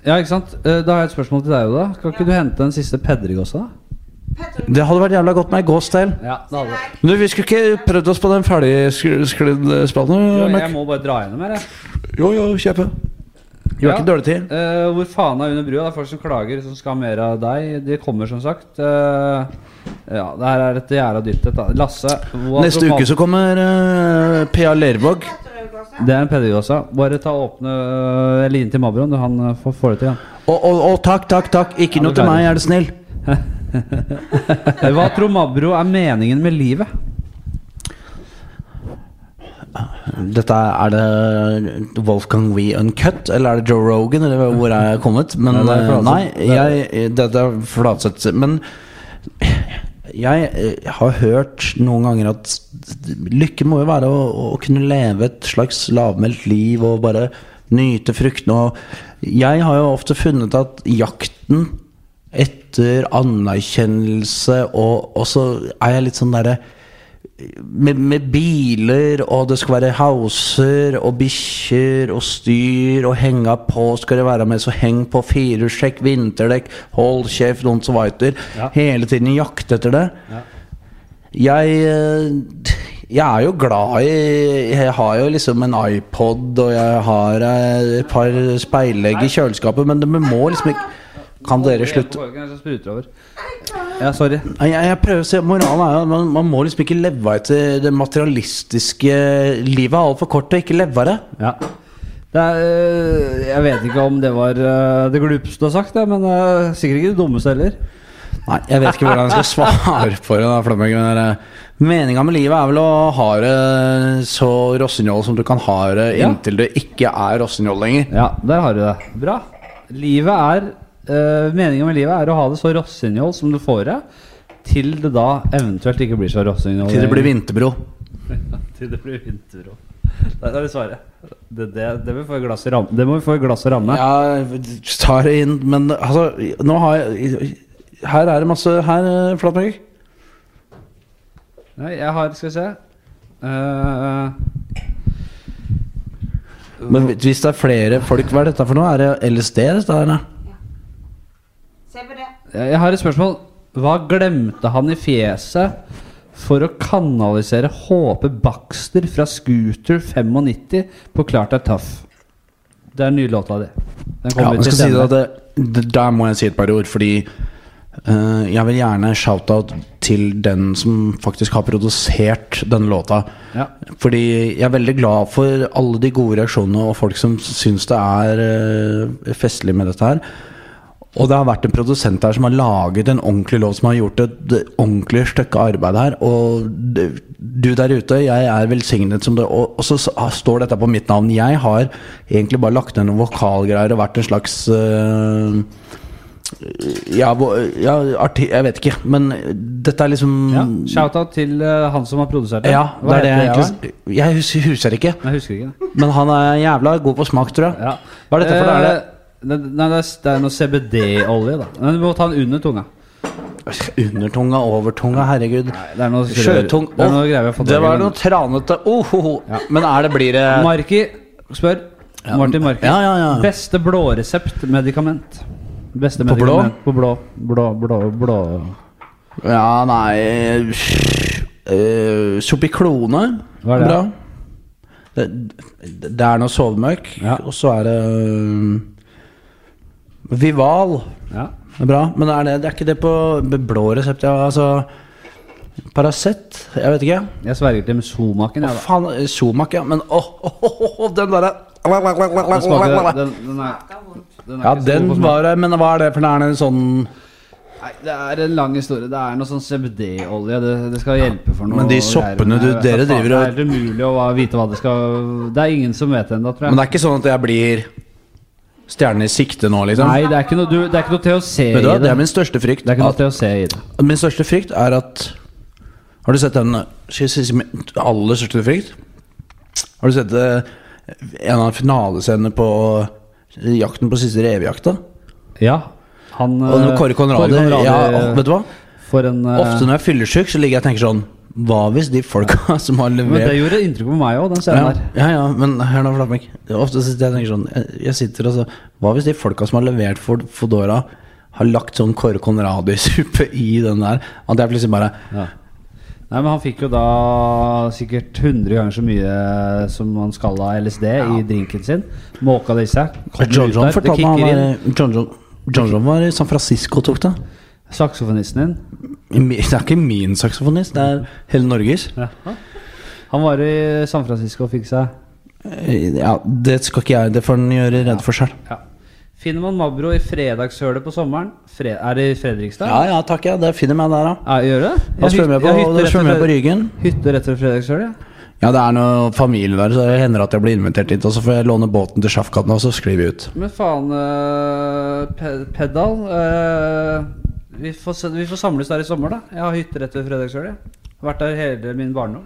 Speaker 2: Ja, ikke sant? Eh, Da har jeg et spørsmål til deg, Oda. Kan ikke du hente en siste pedring også? da?
Speaker 4: Petter,
Speaker 3: Det hadde vært jævla godt med ei gås til.
Speaker 2: Ja, det hadde det.
Speaker 3: Men du, vi skulle ikke prøvd oss på den ferdigsklidd
Speaker 2: Jo,
Speaker 3: eh, spalten?
Speaker 2: Jeg må bare dra gjennom her, jeg.
Speaker 3: Jo, jo, kjøpe. Vi har
Speaker 2: Ja.
Speaker 3: ikke dårlig tid.
Speaker 2: Eh, hvor faen er under brua? Det er folk som klager, som skal ha mer av deg. De kommer, som sagt. Eh, ja, det her er et gjerde og dyttet. da. Lasse hva-
Speaker 3: Neste uke så kommer eh, Pia Lervåg.
Speaker 4: Petter Øygåse?
Speaker 2: Det er en pedagog også. Bare ta og åpne eh, eller inn til Mabroen. Han eh, får, får det til, han.
Speaker 3: Og, og, og takk, takk, takk. Ikke
Speaker 2: Ja,
Speaker 3: noe
Speaker 2: du
Speaker 3: til
Speaker 2: klarer
Speaker 3: meg, er du snill.
Speaker 2: Eh, [LAUGHS] Hva tror Mabro er meningen med livet?
Speaker 3: Dette er, er det Wolfgang We Uncut, eller er det Joe Rogan, eller hvor er jeg kommet? Men
Speaker 2: Nei, det er
Speaker 3: eh,
Speaker 2: Flatseth.
Speaker 3: nei, jeg, dette er Flatseth. Men jeg eh, har hørt noen ganger at lykke må jo være å, å kunne leve et slags lavmælt liv og bare nyte fruktene. Og jeg har jo ofte funnet at jakten etter anerkjennelse og, og så er jeg litt sånn derre med, med biler, og det skal være hauser og bikkjer og styr og henga på skal det være med, så heng på firehjulstrekk, vinterdekk, hold kjeft, noen som viter.
Speaker 2: Ja.
Speaker 3: Hele tiden jakte etter det. Jeg, eh, jeg er jo glad i Jeg har jo liksom en iPod, og jeg har eh, et par speilegg i kjøleskapet, men det men må liksom ikke Kan dere slutte?
Speaker 2: Jeg spruter over. Ja, sorry.
Speaker 3: Nei, Jeg, jeg prøver å se, Moralen er jo at man, man må liksom ikke leve etter det materialistiske livet. er Altfor kort til å ikke leve av det.
Speaker 2: Ja. Det er, eh, jeg vet ikke om det var eh, det glupeste du har sagt, det, men eh, sikkert ikke det dummeste heller.
Speaker 3: Nei, Jeg vet ikke hvordan [LAUGHS] jeg skal svare på det. da, Flamberg, men det er- Meninga med livet er vel å ha det så rossignol som du kan ha det
Speaker 2: Ja.
Speaker 3: inntil det ikke er rossignol lenger.
Speaker 2: Ja, der har du det. Bra. Livet er eh, Meningen med livet er å ha det så rossinjål som du får det, til det da eventuelt ikke blir så rossinjål.
Speaker 3: Til det
Speaker 2: [LAUGHS]
Speaker 3: blir vinterbro.
Speaker 2: til det blir vinter Der er det svaret. Det, det, det, må vi få i glass i ram- det må vi få i glass og ramme.
Speaker 3: Jeg tar det inn, men altså Nå har jeg Her er det masse Her, eh, Flatberg.
Speaker 2: Nei, jeg har Skal vi se. Eh,
Speaker 3: Men hvis det er flere folk, hva er dette for noe? Er det LSD? Dette her, da?
Speaker 4: Se på det.
Speaker 2: Jeg har et spørsmål. Hva glemte han i fjeset for å kanalisere HP Baxter fra Scooter 95 på Klart er tøff? Det er den nye låta di. Den
Speaker 3: Ja,
Speaker 2: kommer
Speaker 3: men
Speaker 2: ut i
Speaker 3: skal si det
Speaker 2: senere.
Speaker 3: at det, det, Der må jeg si et par ord, fordi eh, jeg vil gjerne shout-out til den som faktisk har produsert denne låta.
Speaker 2: Ja.
Speaker 3: Fordi jeg er veldig glad for alle de gode reaksjonene og folk som syns det er eh, festlig med dette her. Og det har vært en produsent her som har laget en ordentlig låt, som har gjort et det ordentlig stykke arbeid her. Og det- du der ute, jeg er velsignet som det. Og, og så s- ah, står dette på mitt navn. Jeg har egentlig bare lagt ned noen vokalgreier og vært en slags eh, ja, bo- ja arti, Jeg vet ikke, men dette er liksom
Speaker 2: Ja. Shout-out til eh, han som har produsert den.
Speaker 3: Ja, det
Speaker 2: Hva
Speaker 3: er det jeg
Speaker 2: heter jævelen?
Speaker 3: egentlig Jeg husker, husker ikke,
Speaker 2: Jeg husker ikke. det.
Speaker 3: men han er jævla god på smak, tror jeg.
Speaker 2: Ja.
Speaker 3: Hva er dette for noe? Er det-
Speaker 2: Eh, det- Nei, det er, det er noe CBD-olje, da. Men du må ta den under tunga.
Speaker 3: Undertunga, overtunga, herregud.
Speaker 2: Nei, det er noe
Speaker 3: Sjøtung
Speaker 2: Det er noe greier vi har
Speaker 3: Å,
Speaker 2: fått
Speaker 3: Det
Speaker 2: tak i,
Speaker 3: var
Speaker 2: men-
Speaker 3: noe tranete oh, ho, ho. Men er det blir det
Speaker 2: Marki spør. Martin Marki.
Speaker 3: Eh, ja, ja, ja.
Speaker 2: Beste blåreseptmedikament. Beste
Speaker 3: På blå?
Speaker 2: medikament På blå? Blå, blå, blå
Speaker 3: Ja, nei uh, Sopiklone.
Speaker 2: Hva er det?
Speaker 3: Bra. Det, det- det er noe sovemøkk,
Speaker 2: Ja.
Speaker 3: og så er det eh, Vival.
Speaker 2: Ja.
Speaker 3: Det er Bra. Men er det, det er ikke det på blå resept? Ja, altså Paracet? Jeg vet ikke.
Speaker 2: Jeg sverger til Somaken, jeg, da.
Speaker 3: Faen, Somac, ja. Men åh, [LAUGHS] åh, åh, åh, den derre
Speaker 2: Den smaker Den, den er, den er
Speaker 3: Ja,
Speaker 2: ikke så
Speaker 3: den
Speaker 2: god på smak.
Speaker 3: var det, men hva er det for noe? Er det en sånn
Speaker 2: Nei, det er en lang historie. Det er noe sånn CBD-olje. Det, det skal hjelpe for noe.
Speaker 3: men de
Speaker 2: greier,
Speaker 3: soppene
Speaker 2: men
Speaker 3: du-
Speaker 2: jeg vet da
Speaker 3: dere
Speaker 2: faen,
Speaker 3: driver og-
Speaker 2: Det er helt umulig å hva- vite hva det skal Det er ingen som vet ennå, tror jeg.
Speaker 3: Men det er ikke sånn at jeg blir stjerne i sikte nå, liksom?
Speaker 2: Nei, det er ikke noe, du, det er ikke noe THC i
Speaker 3: Vet du hva, det
Speaker 2: det.
Speaker 3: er min største frykt.
Speaker 2: Det er ikke noe
Speaker 3: At,
Speaker 2: THC i det.
Speaker 3: min største frykt er at Har du sett den skal jeg si min aller største frykt? Har du sett eh, en av finalescenene på Jakten på siste revejakta?
Speaker 2: Ja. Han
Speaker 3: Og
Speaker 2: eh,
Speaker 3: Kåre Conradi.
Speaker 2: Conradi,
Speaker 3: Ja,
Speaker 2: eh,
Speaker 3: vet du hva?
Speaker 2: For en eh,
Speaker 3: Ofte når jeg er fyllesyk, så ligger jeg og tenker sånn Hva hvis de folka [LAUGHS] som har
Speaker 2: Men det
Speaker 3: levert
Speaker 2: gjorde inntrykk på meg òg, den scenen
Speaker 3: ja,
Speaker 2: der.
Speaker 3: ja, ja, men hør nå, Flatmek. Ofte sitter jeg og tenker sånn jeg- Jeg sitter og så Hva hvis de folka som har levert for Fodora, har lagt sånn Kåre Conradi-suppe i den der? At jeg plutselig bare
Speaker 2: Ja. Nei, men han fikk jo da sikkert 100 ganger så mye som han skal av LSD i drinken sin. Måka det i seg. kommer
Speaker 3: John
Speaker 2: ut
Speaker 3: John
Speaker 2: der, det
Speaker 3: fortalte
Speaker 2: kicker
Speaker 3: meg han
Speaker 2: inn.
Speaker 3: var- John John, John John var i San Francisco og tok det.
Speaker 2: Saksofonisten din.
Speaker 3: Mi- Det er ikke min saksofonist, det er hele Norges.
Speaker 2: Han var i San Francisco og fikk seg
Speaker 3: Ja, Det skal ikke jeg Det får han gjøre redd for sjøl.
Speaker 2: ja. Finner man Mabro i fredagshølet på sommeren Fre Er det i Fredrikstad?
Speaker 3: Ja ja, takk, ja. Det finner meg der, da.
Speaker 2: Ja, gjør det?
Speaker 3: Da
Speaker 2: Jeg
Speaker 3: svømmer jeg
Speaker 2: hyt- jeg
Speaker 3: på,
Speaker 2: hytter
Speaker 3: da
Speaker 2: rett
Speaker 3: svømmer
Speaker 2: ved-
Speaker 3: jeg på Ryggen.
Speaker 2: Hytter rett ved Fredrikshølet? ja.
Speaker 3: Ja, det er noe familie der, så det hender at jeg blir invitert dit. Og så får jeg låne båten til Sjafkatten, og så sklir vi ut.
Speaker 2: Men faen, eh, pe Pedal eh, vi, får, se- vi får samles der i sommer, da. Jeg har hytte rett ved Fredrikshølet. Vært der hele min barndom.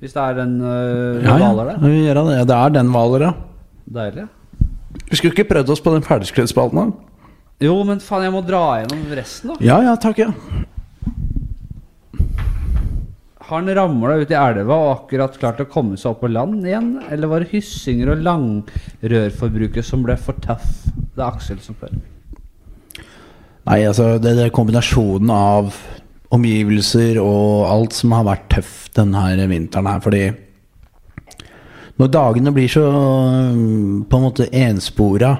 Speaker 2: Hvis det er en uh,
Speaker 3: Ja, ja.
Speaker 2: hvaler der.
Speaker 3: Vi gjør det. Ja, det er den hvaler, ja.
Speaker 2: Deilig.
Speaker 3: Vi skulle ikke prøvd oss på den ferdigskreddspalten, da?
Speaker 2: Jo, men faen, jeg må dra gjennom resten, da.
Speaker 3: Ja ja, takk, ja.
Speaker 2: Har han ramla ut i elva og akkurat klart å komme seg opp på land igjen? Eller var det hyssinger og langrørforbruket som ble for tøff? Det er Aksel som spør.
Speaker 3: Nei, altså, det det er kombinasjonen av omgivelser og alt som har vært tøft denne vinteren her, fordi når dagene blir så øhm, på en måte enspora,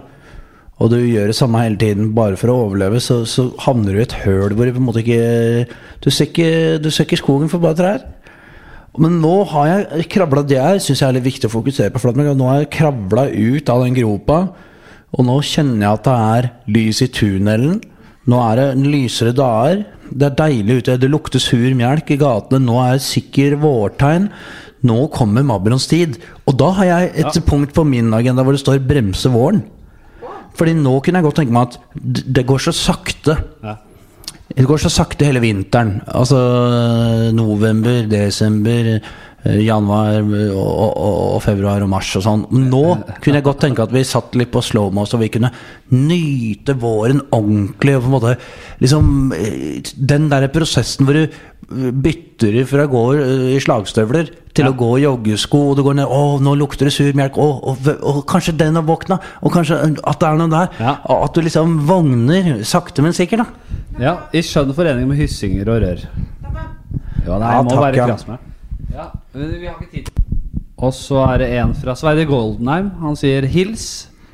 Speaker 3: og du gjør det samme hele tiden bare for å overleve, så, så havner du i et høl hvor du på en måte ikke Du ser ikke, du ser ikke skogen for bare trær. Men nå har jeg kravla Det er, synes jeg er litt viktig å fokusere på. For at nå har jeg kravla ut av den gropa, og nå kjenner jeg at det er lys i tunnelen. Nå er det lysere dager. Det er deilig ute. Det lukter sur melk i gatene. Nå er det sikker vårtegn. Nå kommer Mabrons tid. Og da har jeg et punkt på min agenda hvor det står 'bremse våren'. Fordi nå kunne jeg godt tenke meg at d- det går så sakte. Det går så sakte hele vinteren. Altså øh, november, desember, øh, januar øh, og, og, og februar og mars og sånn. Nå kunne jeg godt tenke at vi satt litt på slow-mo, så vi kunne nyte våren ordentlig. Og på en måte liksom øh, Den derre prosessen hvor du øh, bytter fra å gå øh, i slagstøvler til å gå i joggesko, og du går ned Å, nå lukter det sur melk. Å, og, og kanskje den har våkna. Og kanskje øh, at det er noe der.
Speaker 2: Ja.
Speaker 3: Og at du liksom vogner sakte, men sikkert, da.
Speaker 2: Ja, i skjønn forening med hyssinger og rør. Ja, nei,
Speaker 3: Ja,
Speaker 2: jeg må
Speaker 3: takk,
Speaker 2: være
Speaker 3: ja.
Speaker 2: krass med deg. Ja, men vi har ikke tid. Og så er det en fra Sverre Goldenheim. Han sier hils.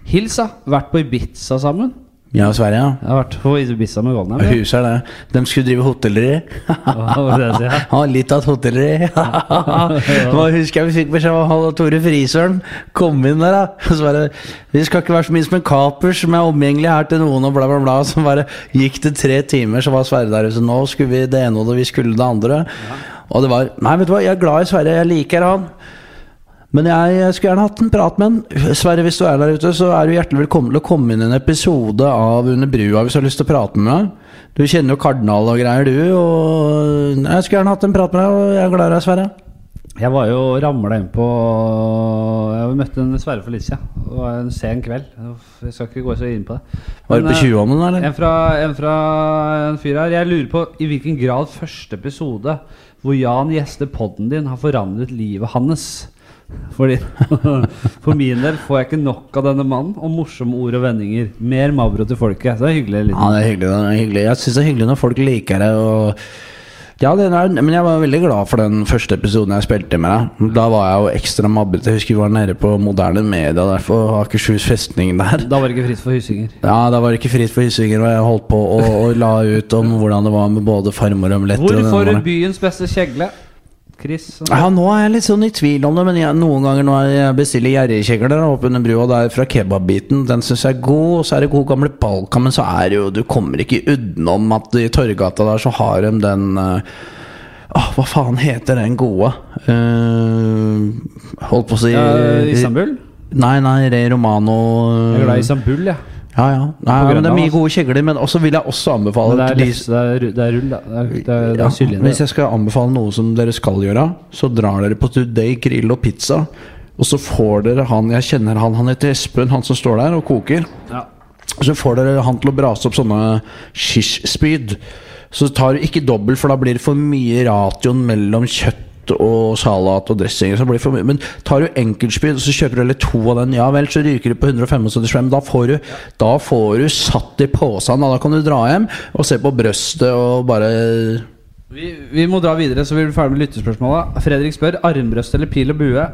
Speaker 2: Hils, da. Vært på Ibiza sammen.
Speaker 3: Ja, Sverige, ja.
Speaker 2: Jeg har vært på Ibiza med Goldenheim.
Speaker 3: [LAUGHS]
Speaker 2: ja.
Speaker 3: Huset er det. De skulle drive hotelleri.
Speaker 2: Hva var det jeg
Speaker 3: [LAUGHS]
Speaker 2: sier?
Speaker 3: Ja, litt av et hotelleri. [LAUGHS] Nå husker jeg vi fikk beskjed om han og Tore Frisøren kom inn der, da. [LAUGHS] Og så bare Vi skal ikke være så mye som en kapers som er omgjengelig her til noen, og bla, bla, bla. Så bare gikk det tre timer, så var Sverre der. Så nå skulle vi det ene, og vi skulle det andre. Og det var Nei, vet du hva, jeg er glad i Sverre. Jeg liker han. Men jeg skulle gjerne hatt en prat med han. Sverre, hvis du er der ute, så er du hjertelig velkommen til å komme inn i en episode av Under brua hvis du har lyst til å prate med meg. Du kjenner jo Kardinal og greier, du. Og jeg skulle gjerne hatt en prat med deg, og jeg er glad i deg, Sverre.
Speaker 2: Jeg var jo ramla inn på Jeg møtte en Sverre for litt siden. Det var en sen kveld. Uff, Jeg skal ikke gå så inn på det.
Speaker 3: Var du
Speaker 2: Men,
Speaker 3: på
Speaker 2: eh,
Speaker 3: 20-ånden, eller?
Speaker 2: En fra, en fra en fyr her. Jeg lurer på i hvilken grad første episode hvor Jan gjester podden din, har forandret livet hans. Fordi, [LAUGHS] for min del får jeg ikke nok av denne mannen og morsomme ord og vendinger. Mer Mavro til folket. Så det er hyggelig.
Speaker 3: Ja,
Speaker 2: Liten.
Speaker 3: det er hyggelig. Det er hyggelig. Jeg syns det er hyggelig når folk liker det. Og ja, det er, men jeg var veldig glad for den første episoden jeg spilte med deg. Da var jeg jo ekstra mabbete. Jeg husker vi var nede på Moderne Media der på Akershus festning der.
Speaker 2: Da var det ikke fritt for hyssinger.
Speaker 3: Ja, da var det ikke fritt for hyssinger, og jeg holdt på å, å la ut om hvordan det var med både farmor og omeletter. og
Speaker 2: Hvor
Speaker 3: denne
Speaker 2: får du
Speaker 3: morgenen.
Speaker 2: byens beste kjegle? Chris?
Speaker 3: Ja, Nå er jeg litt sånn i tvil om det, men jeg, noen ganger når jeg bestiller gjerrigkjegler oppe under brua, det er fra kebabbiten, den syns jeg er god, og så er det god gamle Balkan, men så er det jo Du kommer ikke utenom at i Torgata der så har de den eh, Åh, hva faen heter den gode? Eh, holdt på å si
Speaker 2: Ja, Istanbul?
Speaker 3: Nei, nei, Re Romano eh,
Speaker 2: Jeg er
Speaker 3: Mm.
Speaker 2: glad i Istanbul, jeg. Ja.
Speaker 3: Ja, ja. Nei,
Speaker 2: På
Speaker 3: men det er
Speaker 2: Grønland, altså.
Speaker 3: mye gode kjegler, men også vil jeg også
Speaker 2: Men
Speaker 3: anbefale
Speaker 2: det er,
Speaker 3: til de-
Speaker 2: lett, det, er, ru- det er rull, da. Det er, det er, det
Speaker 3: ja,
Speaker 2: er sylinder.
Speaker 3: hvis jeg skal anbefale noe som dere skal gjøre, så drar dere på Today Grill og Pizza. Og så får dere han jeg kjenner han, han heter Espen, han som står der og koker.
Speaker 2: Ja.
Speaker 3: Så får dere han til å brase opp sånne shishspyd. Så tar du ikke dobbelt, for da blir det for mye ration mellom kjøtt og salat og dressing. Så blir det for mye. Men tar du enkeltspyd, og så kjøper du eller to av den, ja vel, så ryker du på 175 spenn. Da får du, da får du satt i posen, da. Da kan du dra hjem og se på brøstet og bare
Speaker 2: Vi, vi må dra videre, så vi blir ferdig med lyttespørsmålet. Fredrik spør armbrøst eller pil og bue.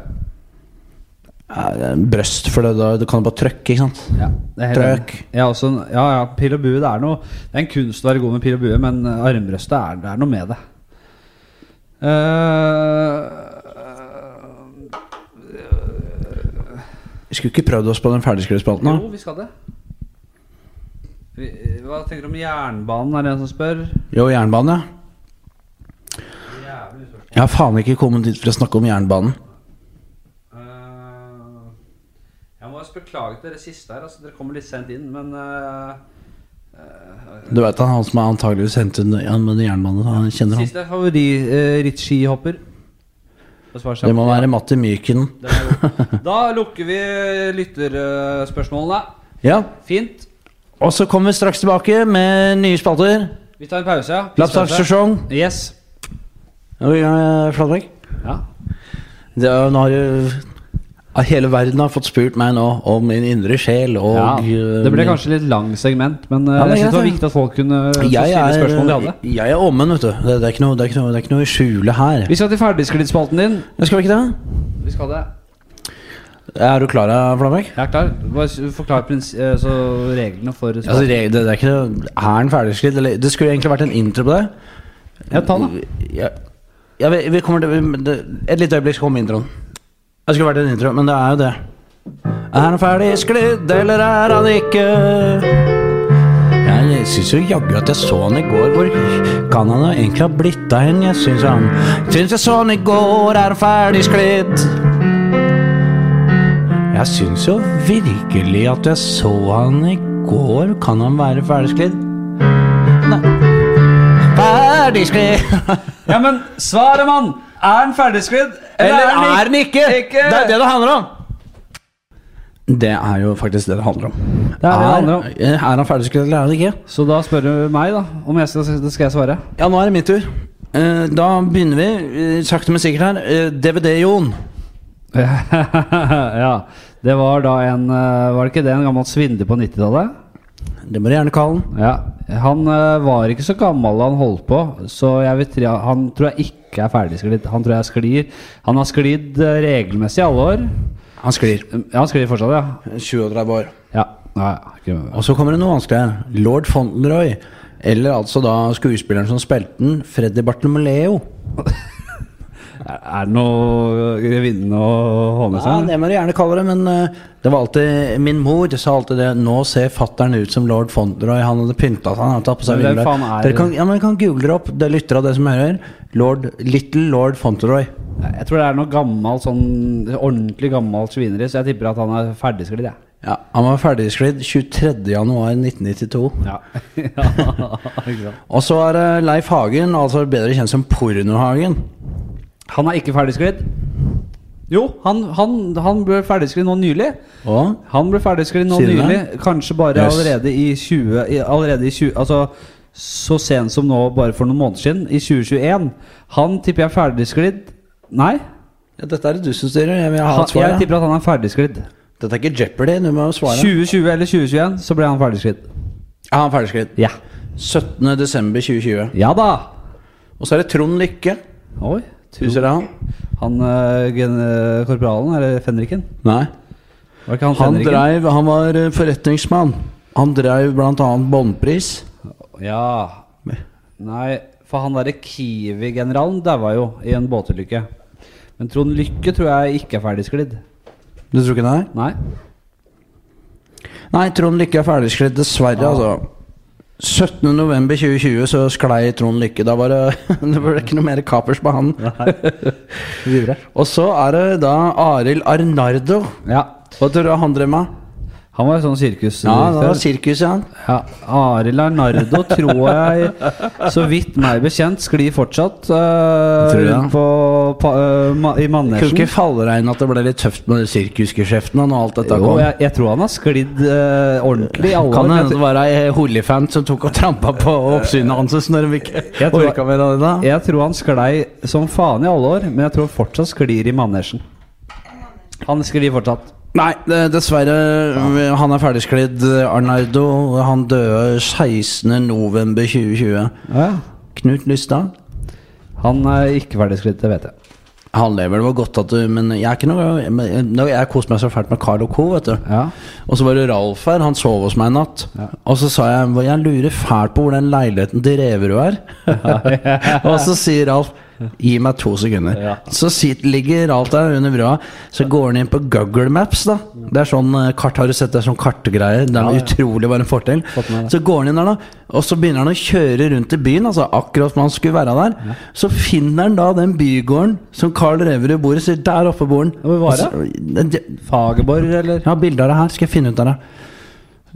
Speaker 3: Ja, det er en brøst, for det, da, du kan jo bare trykke, ikke sant?
Speaker 2: Ja, det er helt
Speaker 3: Trøkk.
Speaker 2: enig. Jeg er også en, ja, ja, pil og bue det er noe Det er en kunst å være god med pil og bue, men eh, armbrøstet er, det er noe med det. Eh,
Speaker 3: Vi skulle ikke prøvd oss på den ferdigskrivespalten,
Speaker 2: jo,
Speaker 3: da.
Speaker 2: vi skal det. Vi, hva tenker du om jernbanen, er det en som spør?
Speaker 3: Jo, jernbane, ja. Jeg har faen ikke kommet dit for å snakke om jernbanen.
Speaker 2: Eh, Jeg må også beklage dere siste her. Altså, dere kommer litt sent inn, men eh,
Speaker 3: Du veit han, han som er antageligvis hentet ja, med jernbane, han kjenner han.
Speaker 2: Siste eh, favorittskihopper.
Speaker 3: Det må være Matti Myken.
Speaker 2: Da lukker vi eh, lytterspørsmålene.
Speaker 3: Ja.
Speaker 2: Fint.
Speaker 3: Og så kommer vi straks tilbake med nye spalter.
Speaker 2: Vi tar en pause. ja.
Speaker 3: Lapsdagssesong.
Speaker 2: Yes.
Speaker 3: Flatbrekk.
Speaker 2: Ja.
Speaker 3: Det er- Nå har jo Hele verden har fått spurt meg nå om min indre sjel og eh,
Speaker 2: Det ble
Speaker 3: min-
Speaker 2: kanskje litt lang segment, men eh,
Speaker 3: Ja, men
Speaker 2: jeg synes det var
Speaker 3: greit,
Speaker 2: viktig at folk kunne eh, få
Speaker 3: jeg
Speaker 2: stille
Speaker 3: er, eh,
Speaker 2: spørsmål de hadde.
Speaker 3: jeg er ommen, vet du. Det, det, er ikke noe, det, er ikke noe, det er ikke noe å skjule her.
Speaker 2: Vi skal til ferdigsklittspalten din.
Speaker 3: Jeg skal vi ikke det?
Speaker 2: Vi skal det.
Speaker 3: Er du klar, Flammekk?
Speaker 2: Jeg er klar. Bare s- forklar prins eh, så reglene for
Speaker 3: Altså, det, det er ikke noe Er den ferdigskritt? Eller det skulle egentlig vært en intro på det.
Speaker 2: Ja, ta
Speaker 3: [LAUGHS]
Speaker 2: den, da.
Speaker 3: Ja, ja vi, vi kommer til vi, det, Et lite øyeblikk så kommer introen. Det skulle vært en intro, men det er jo det. Er han ferdig sklidd, eller er han ikke? Jeg syns jo jaggu at jeg så han i går. Hvor kan han egentlig ha blitt av hen? Jeg syns han Syns jeg så han i går, er han ferdig sklidd? Jeg syns jo virkelig at jeg så han i går. Kan han være ferdig sklidd? Nei. Ferdig sklidd!
Speaker 2: Ja, men svaret, mann! Er den ferdigsklidd,
Speaker 3: Eller er den ikke?
Speaker 2: Ikke.
Speaker 3: Det er det det handler om. Det er jo faktisk det det handler om.
Speaker 2: det det handler om.
Speaker 3: Er han ferdigskrevet eller er han ikke?
Speaker 2: Så da spør du meg, da. Om jeg skal, det skal jeg svare.
Speaker 3: Ja, nå er det min tur. Eh, Da begynner vi eh, sakte, men sikkert her. Eh, DVD-Jon.
Speaker 2: [LAUGHS] ja. Det var da en eh, Var det ikke det en gammel svindler på 90-tallet?
Speaker 3: Det må du gjerne kalle den.
Speaker 2: Ja. Han eh, var ikke så gammel da han holdt på, så jeg vil tre, han tror jeg ikke er ferdigsklidd. Han tror jeg sklir. Han har sklidd eh, regelmessig i alle år.
Speaker 3: Han sklir.
Speaker 2: Ja, han sklir fortsatt, ja.
Speaker 3: 37 Eh, år.
Speaker 2: Ja. Nei, ikke med.
Speaker 3: Og så kommer det noe vanskeligere. Lord Fauntleroy. Eller altså da skuespilleren som spilte den, Freddy Bartolomeo.
Speaker 2: Er er det noe grevinne å ha med
Speaker 3: Ja,
Speaker 2: seg?
Speaker 3: det må du gjerne kalle det, men eh, det var alltid Min mor sa alltid det Nå ser fattern ut som lord Fauntleroy. Han hadde pynta seg. Han hadde tatt på seg
Speaker 2: Men hvem
Speaker 3: vinduer.
Speaker 2: faen er
Speaker 3: Dere kan, ja, men dere kan google det opp. Det lytter av det som hører. Lord, Little lord Fauntleroy.
Speaker 2: Jeg tror det er noe gammel, sånn ordentlig gammel svineri, så jeg tipper at han er ferdigsklidd. jeg.
Speaker 3: Ja, han var ferdigsklidd 23.1.1992.
Speaker 2: Ja. [LAUGHS] ja.
Speaker 3: Og så er det Leif Hagen, altså bedre kjent som Pornohagen.
Speaker 2: Han er ikke ferdigsklidd. Jo, han, han, han ble ferdigsklidd nå nylig.
Speaker 3: Og
Speaker 2: Han ble ferdigsklidd nå
Speaker 3: Sier du det?
Speaker 2: nylig. Kanskje bare
Speaker 3: Yes.
Speaker 2: allerede i 20... i- Allerede i 20 altså, så sent som nå, bare for noen måneder siden, i 2021. Han tipper jeg er ferdigsklidd Nei,
Speaker 3: ja, Dette er det du som styrer. Jeg vil ha
Speaker 2: han, jeg
Speaker 3: et svar. ja.
Speaker 2: tipper at han er ferdigsklidd.
Speaker 3: Dette er ikke Jeopardy, du må jo svare.
Speaker 2: 2020 eller 2021, så ble han ferdigskridd.
Speaker 3: Ja, han er ferdigsklidd.
Speaker 2: Ja.
Speaker 3: 17.12.2020.
Speaker 2: Ja da!
Speaker 3: Og så er det Trond Lykke.
Speaker 2: Oi.
Speaker 3: Husker dere han?
Speaker 2: Han øh, gen- øh, korporalen, eller fenriken?
Speaker 3: Nei.
Speaker 2: Var ikke han
Speaker 3: Han
Speaker 2: fenriken?
Speaker 3: dreiv, han var eh, forretningsmann. Han dreiv bl.a. båndpris.
Speaker 2: Ja. Nei, for han derre Kiwi-generalen daua jo i en båtulykke. Men Trond Lykke tror jeg ikke er ferdigsklidd.
Speaker 3: Du tror ikke det? er?
Speaker 2: Nei.
Speaker 3: Nei, Trond Lykke er ferdigsklidd, dessverre, altså. 17.11.2020 så sklei Trond Lykke. Da var det, [LAUGHS] det var ikke noe mer kapers på han.
Speaker 2: Videre.
Speaker 3: [LAUGHS] Og så er det da Arild Arnardo.
Speaker 2: Ja.
Speaker 3: Hva tror du han drev med?
Speaker 2: Han var jo sånn sirkus...
Speaker 3: Ja, det var sirkus, ja.
Speaker 2: Ja, Arild Arnardo tror jeg, så vidt meg bekjent, sklir fortsatt øh,
Speaker 3: Tror du det?
Speaker 2: rundt på, pa, øh, ma, i
Speaker 3: Kunne
Speaker 2: manesjen.
Speaker 3: ikke falle deg inn at det ble litt tøft med sirkusgeskjeften og alt dette
Speaker 2: Jo,
Speaker 3: kom.
Speaker 2: jeg, jeg tror han har sklidd eh, ordentlig i alle år,
Speaker 3: Kan det
Speaker 2: men
Speaker 3: hende det var ei Holifant som tok og trampa på oppsynet hans når de ikke
Speaker 2: Jeg tror-
Speaker 3: orka mer av det? da?
Speaker 2: jeg, jeg tror han sklei som faen i alle år, men jeg tror fortsatt sklir i manesjen. Han sklir fortsatt.
Speaker 3: Nei, det- dessverre. Han er ferdigsklidd, Arnardo. Han døde 16.11.2020.
Speaker 2: Ja.
Speaker 3: Knut Lystad.
Speaker 2: Han er ikke ferdigsklidd, det vet jeg.
Speaker 3: Han lever, det var godt at du Men jeg er ikke noe men- nå- Jeg koste meg så fælt med Carl og co., vet du.
Speaker 2: Ja.
Speaker 3: Og så var det Ralf her. Han sov hos meg en natt. Og så sa jeg "Hva, Jeg lurer fælt på hvor den leiligheten til Reverud er.
Speaker 2: [LAUGHS]
Speaker 3: og så sier Ralf Gi meg to sekunder.
Speaker 2: Ja.
Speaker 3: Så sit, ligger alt der under brua. Så går han inn på Google Maps. da Det er sånn eh, kart, Har du sett det er sånn kartgreier? Det er noe utrolig varm fortell.
Speaker 2: Fått med det.
Speaker 3: Så går han inn der, da. Og så begynner han å kjøre rundt i byen. Altså akkurat som han skulle være der. Så finner han da den bygården som Carl Reverud bor i. Sier der oppe bor han.
Speaker 2: Hvor var
Speaker 3: Altså,
Speaker 2: det?
Speaker 3: Og så-
Speaker 2: Fagerborg, eller?
Speaker 3: jeg har bilde av det her, skal jeg finne ut av det.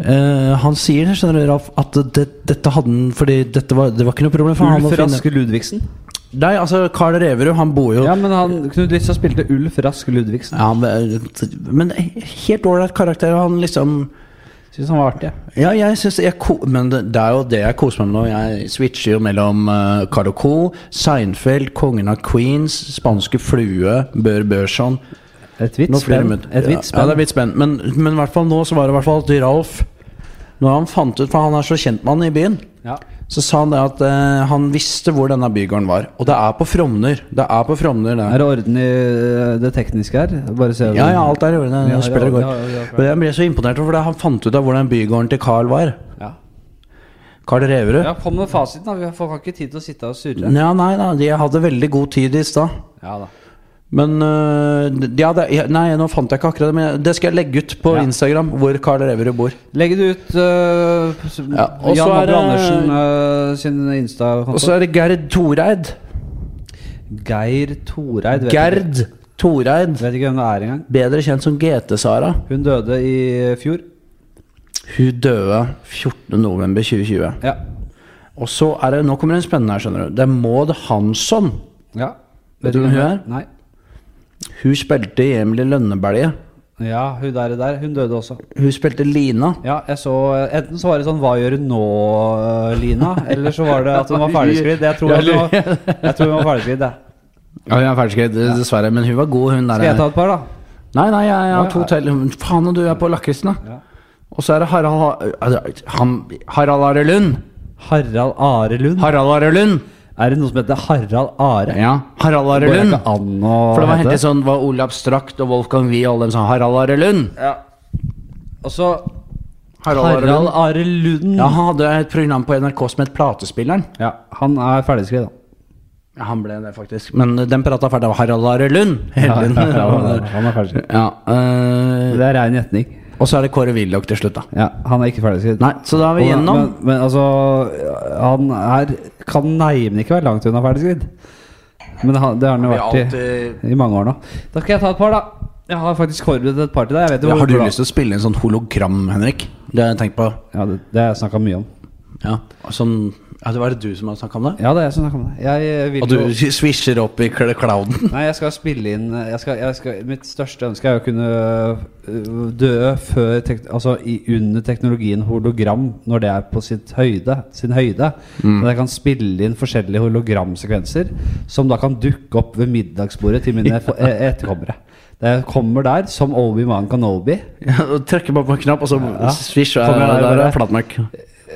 Speaker 3: Eh, han sier det, skjønner du, Ralf, at det, dette hadde han Fordi dette var, det var ikke noe problem for han å
Speaker 2: Ulf
Speaker 3: finne
Speaker 2: Raske Ludvigsen?
Speaker 3: Nei, altså, Carl Reverud, han bor jo
Speaker 2: Ja, men han, Knut Lystad spilte Ulf Rask Ludvigsen.
Speaker 3: Ja, men, men helt ålreit karakter. Han liksom
Speaker 2: Syns han var artig.
Speaker 3: Ja, jeg synes jeg ko Men det, det er jo det jeg koser meg med nå. Jeg switcher jo mellom eh, Carl og Co., Seinfeld, Kongen av Queens, Spanske flue, Bør Børson
Speaker 2: Et hvitt
Speaker 3: Nå flere
Speaker 2: spenn.
Speaker 3: minutter.
Speaker 2: Et hvitt
Speaker 3: Ja,
Speaker 2: spenn.
Speaker 3: det er vidt spenn. Men, men i hvert fall nå så var det i hvert fall at Ralf Når han fant ut, for han er så kjent med han i byen,
Speaker 2: Ja.
Speaker 3: så sa han det at eh, han visste hvor denne bygården var. Og det er på Frogner. Det er på Frogner, det.
Speaker 2: Er det orden i øh, det tekniske her? Bare se
Speaker 3: Ja, ja, alt er i orden.
Speaker 2: Ja,
Speaker 3: Jeg spiller i
Speaker 2: ja,
Speaker 3: går.
Speaker 2: ja, ja, ja,
Speaker 3: Og jeg ble så imponert over det. Han fant ut av hvordan bygården til Carl var.
Speaker 2: Ja.
Speaker 3: Carl Reverud.
Speaker 2: Ja, Kom med fasiten, da. Vi får ikke tid til å sitte og surre.
Speaker 3: Ja, nei da, de hadde veldig god tid i stad.
Speaker 2: Ja da.
Speaker 3: Men øh, de- ja, det, ja, Nei, nå fant jeg ikke akkurat det, men jeg- det skal jeg legge ut på
Speaker 2: Ja.
Speaker 3: Instagram hvor Carl Reverud bor.
Speaker 2: Legg det ut øh, s-
Speaker 3: Ja, og så
Speaker 2: Jan
Speaker 3: er
Speaker 2: Abel
Speaker 3: det-
Speaker 2: Andersen øh, sin Insta-konto.
Speaker 3: Og så er det Gerd Toreid.
Speaker 2: Geir Toreid. Vet Ikke,
Speaker 3: Gerd Toreid.
Speaker 2: vet ikke hvem det er engang.
Speaker 3: Bedre kjent som GT-Sara.
Speaker 2: Hun døde i fjor.
Speaker 3: Hun døde 14.11.2020.
Speaker 2: Ja.
Speaker 3: Og så er det Nå kommer det en spennende her, skjønner du. Det er Maud Hansson.
Speaker 2: ja.
Speaker 3: Vet du hvem hun er?
Speaker 2: Nei.
Speaker 3: Hun spilte i Emily Lønnebelje.
Speaker 2: Ja, hun der, der. Hun døde også.
Speaker 3: Hun spilte Lina.
Speaker 2: Ja, jeg så Enten så var det sånn 'Hva gjør du nå, eh, Lina?' Eller så var det at hun var ferdigskridd. Jeg tror, at hun var, jeg tror hun var ferdigskridd, jeg.
Speaker 3: Ja, hun er ferdigskrevet, dessverre. Men hun var god, hun der.
Speaker 2: Skal jeg ta et par, da?
Speaker 3: Nei, nei, jeg, jeg
Speaker 2: Å,
Speaker 3: har
Speaker 2: ja.
Speaker 3: to til. Faen, og du er på lakkrisen, da.
Speaker 2: Ja.
Speaker 3: Og så er det Harald Ha- han, Harald Are Lund.
Speaker 2: Harald Are Lund.
Speaker 3: Harald Are Lund.
Speaker 2: Er det noe som heter Harald Are?
Speaker 3: Ja, Harald Are
Speaker 2: Går det
Speaker 3: Lund.
Speaker 2: ikke an å
Speaker 3: For det var
Speaker 2: hete?
Speaker 3: helt sånn var Olav Strakt og Wolfgang Wie alle dem sånn Harald Are Lund.
Speaker 2: Ja. Og så
Speaker 3: Harald Are
Speaker 2: Harald
Speaker 3: Lund.
Speaker 2: Are Lund.
Speaker 3: Ja, han hadde et program på NRK som het Platespilleren.
Speaker 2: Ja, han er ferdigskrevet, da.
Speaker 3: Ja, han ble det, faktisk. Men eh, den prata ferdig av Harald Are Lund. Helund.
Speaker 2: han er ferdig.
Speaker 3: [LAUGHS] Ja, øh,
Speaker 2: Det er rein gjetning.
Speaker 3: og så er det Kåre Willoch til slutt, da.
Speaker 2: Ja, han er ikke ferdigskrevet.
Speaker 3: Nei, så da er vi
Speaker 2: Og-
Speaker 3: gjennom.
Speaker 2: Men, men altså Han er, kan nei, men ikke være langt unna ferdigskridd. Men han, det har han jo
Speaker 3: Vi har
Speaker 2: vært i, i mange år nå. Da skal jeg ta et par, da. Jeg har faktisk forberedt et par til deg. Jeg vet jo
Speaker 3: Ja,
Speaker 2: hvor
Speaker 3: har du
Speaker 2: glad-
Speaker 3: lyst til å spille en sånn hologram, Henrik? Det har jeg tenkt på.
Speaker 2: Ja, det, det har jeg snakka mye om.
Speaker 3: Ja, sånn, ja det var det du som har snakka om det?
Speaker 2: Ja, det er jeg som snakket om det. Jeg eh, vil
Speaker 3: Og
Speaker 2: jo-
Speaker 3: du swisher opp i kl- clouden?
Speaker 2: Nei, jeg skal spille inn jeg skal, jeg skal, Mitt største ønske er å kunne øh, dø før tek, Altså i, under teknologien hologram, når det er på sitt høyde, sin høyde.
Speaker 3: Mm.
Speaker 2: Men jeg kan spille inn forskjellige hologramsekvenser som da kan dukke opp ved middagsbordet til
Speaker 3: [LAUGHS]
Speaker 2: mine fo- eh, etterkommere. Det kommer der som Obi-Wan Kanobi.
Speaker 3: [LAUGHS] Ja, og Trykker bare på en knapp, og så swish, og
Speaker 2: Kommer
Speaker 3: der,
Speaker 2: der,
Speaker 3: der
Speaker 2: bare.
Speaker 3: er flatmørk.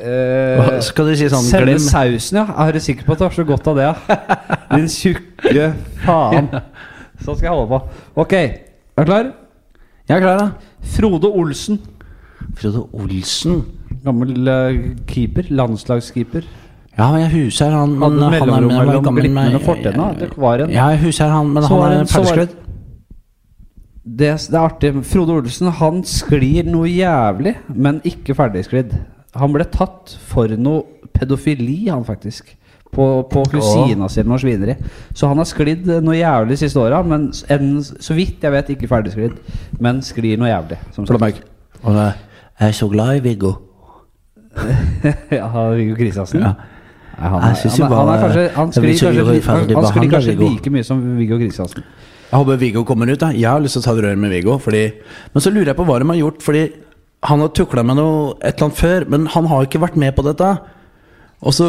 Speaker 2: Eh,
Speaker 3: Skal du si sånn
Speaker 2: Selve
Speaker 3: glem
Speaker 2: sausen, ja. Jeg er sikker på at du har så godt av det.
Speaker 3: [LAUGHS]
Speaker 2: Ja. Din tjukke faen. Sånn skal jeg holde på. Ok, er du klar?
Speaker 3: Jeg er klar, da.
Speaker 2: Frode Olsen.
Speaker 3: Frode Olsen.
Speaker 2: Gammel eh, keeper. Landslagskeeper.
Speaker 3: Ja, men jeg husker han men
Speaker 2: Hadde
Speaker 3: han er-
Speaker 2: mellomrom
Speaker 3: han var
Speaker 2: mellom
Speaker 3: gammel
Speaker 2: Glitmen
Speaker 3: med-
Speaker 2: og Fortena, at det var en-
Speaker 3: Ja, jeg husker han, men
Speaker 2: Så var
Speaker 3: han er
Speaker 2: det- så var det-
Speaker 3: ferdigskrevet.
Speaker 2: Det, det er artig. Frode Olsen han sklir noe jævlig, men ikke ferdigsklidd. Han ble tatt for noe pedofili, han faktisk. På, på kusina si eller noe svineri. Så han har sklidd noe jævlig siste åra, men s- en, så vidt jeg vet, ikke ferdigsklidd. Men sklir noe jævlig. Som sagt.
Speaker 3: Og det er, Jeg er så glad i Viggo.
Speaker 2: [LAUGHS] ja, Viggo Kristiansen?
Speaker 3: Ja.
Speaker 2: Nei, han, er,
Speaker 3: Jeg synes
Speaker 2: han,
Speaker 3: jo
Speaker 2: er, han er
Speaker 3: bare-
Speaker 2: kanskje Han
Speaker 3: jeg blir
Speaker 2: sklir
Speaker 3: så
Speaker 2: kanskje,
Speaker 3: urettferdig
Speaker 2: han, han sklir
Speaker 3: behandlet,
Speaker 2: kanskje
Speaker 3: Viggo.
Speaker 2: like mye som Viggo Kristiansen.
Speaker 3: Jeg håper Viggo kommer ut. da Jeg har lyst til å ta et rør med Viggo. Fordi, men så lurer jeg på hva de har gjort. Fordi han har tukla med noe et eller annet før, men han har ikke vært med på dette. Og så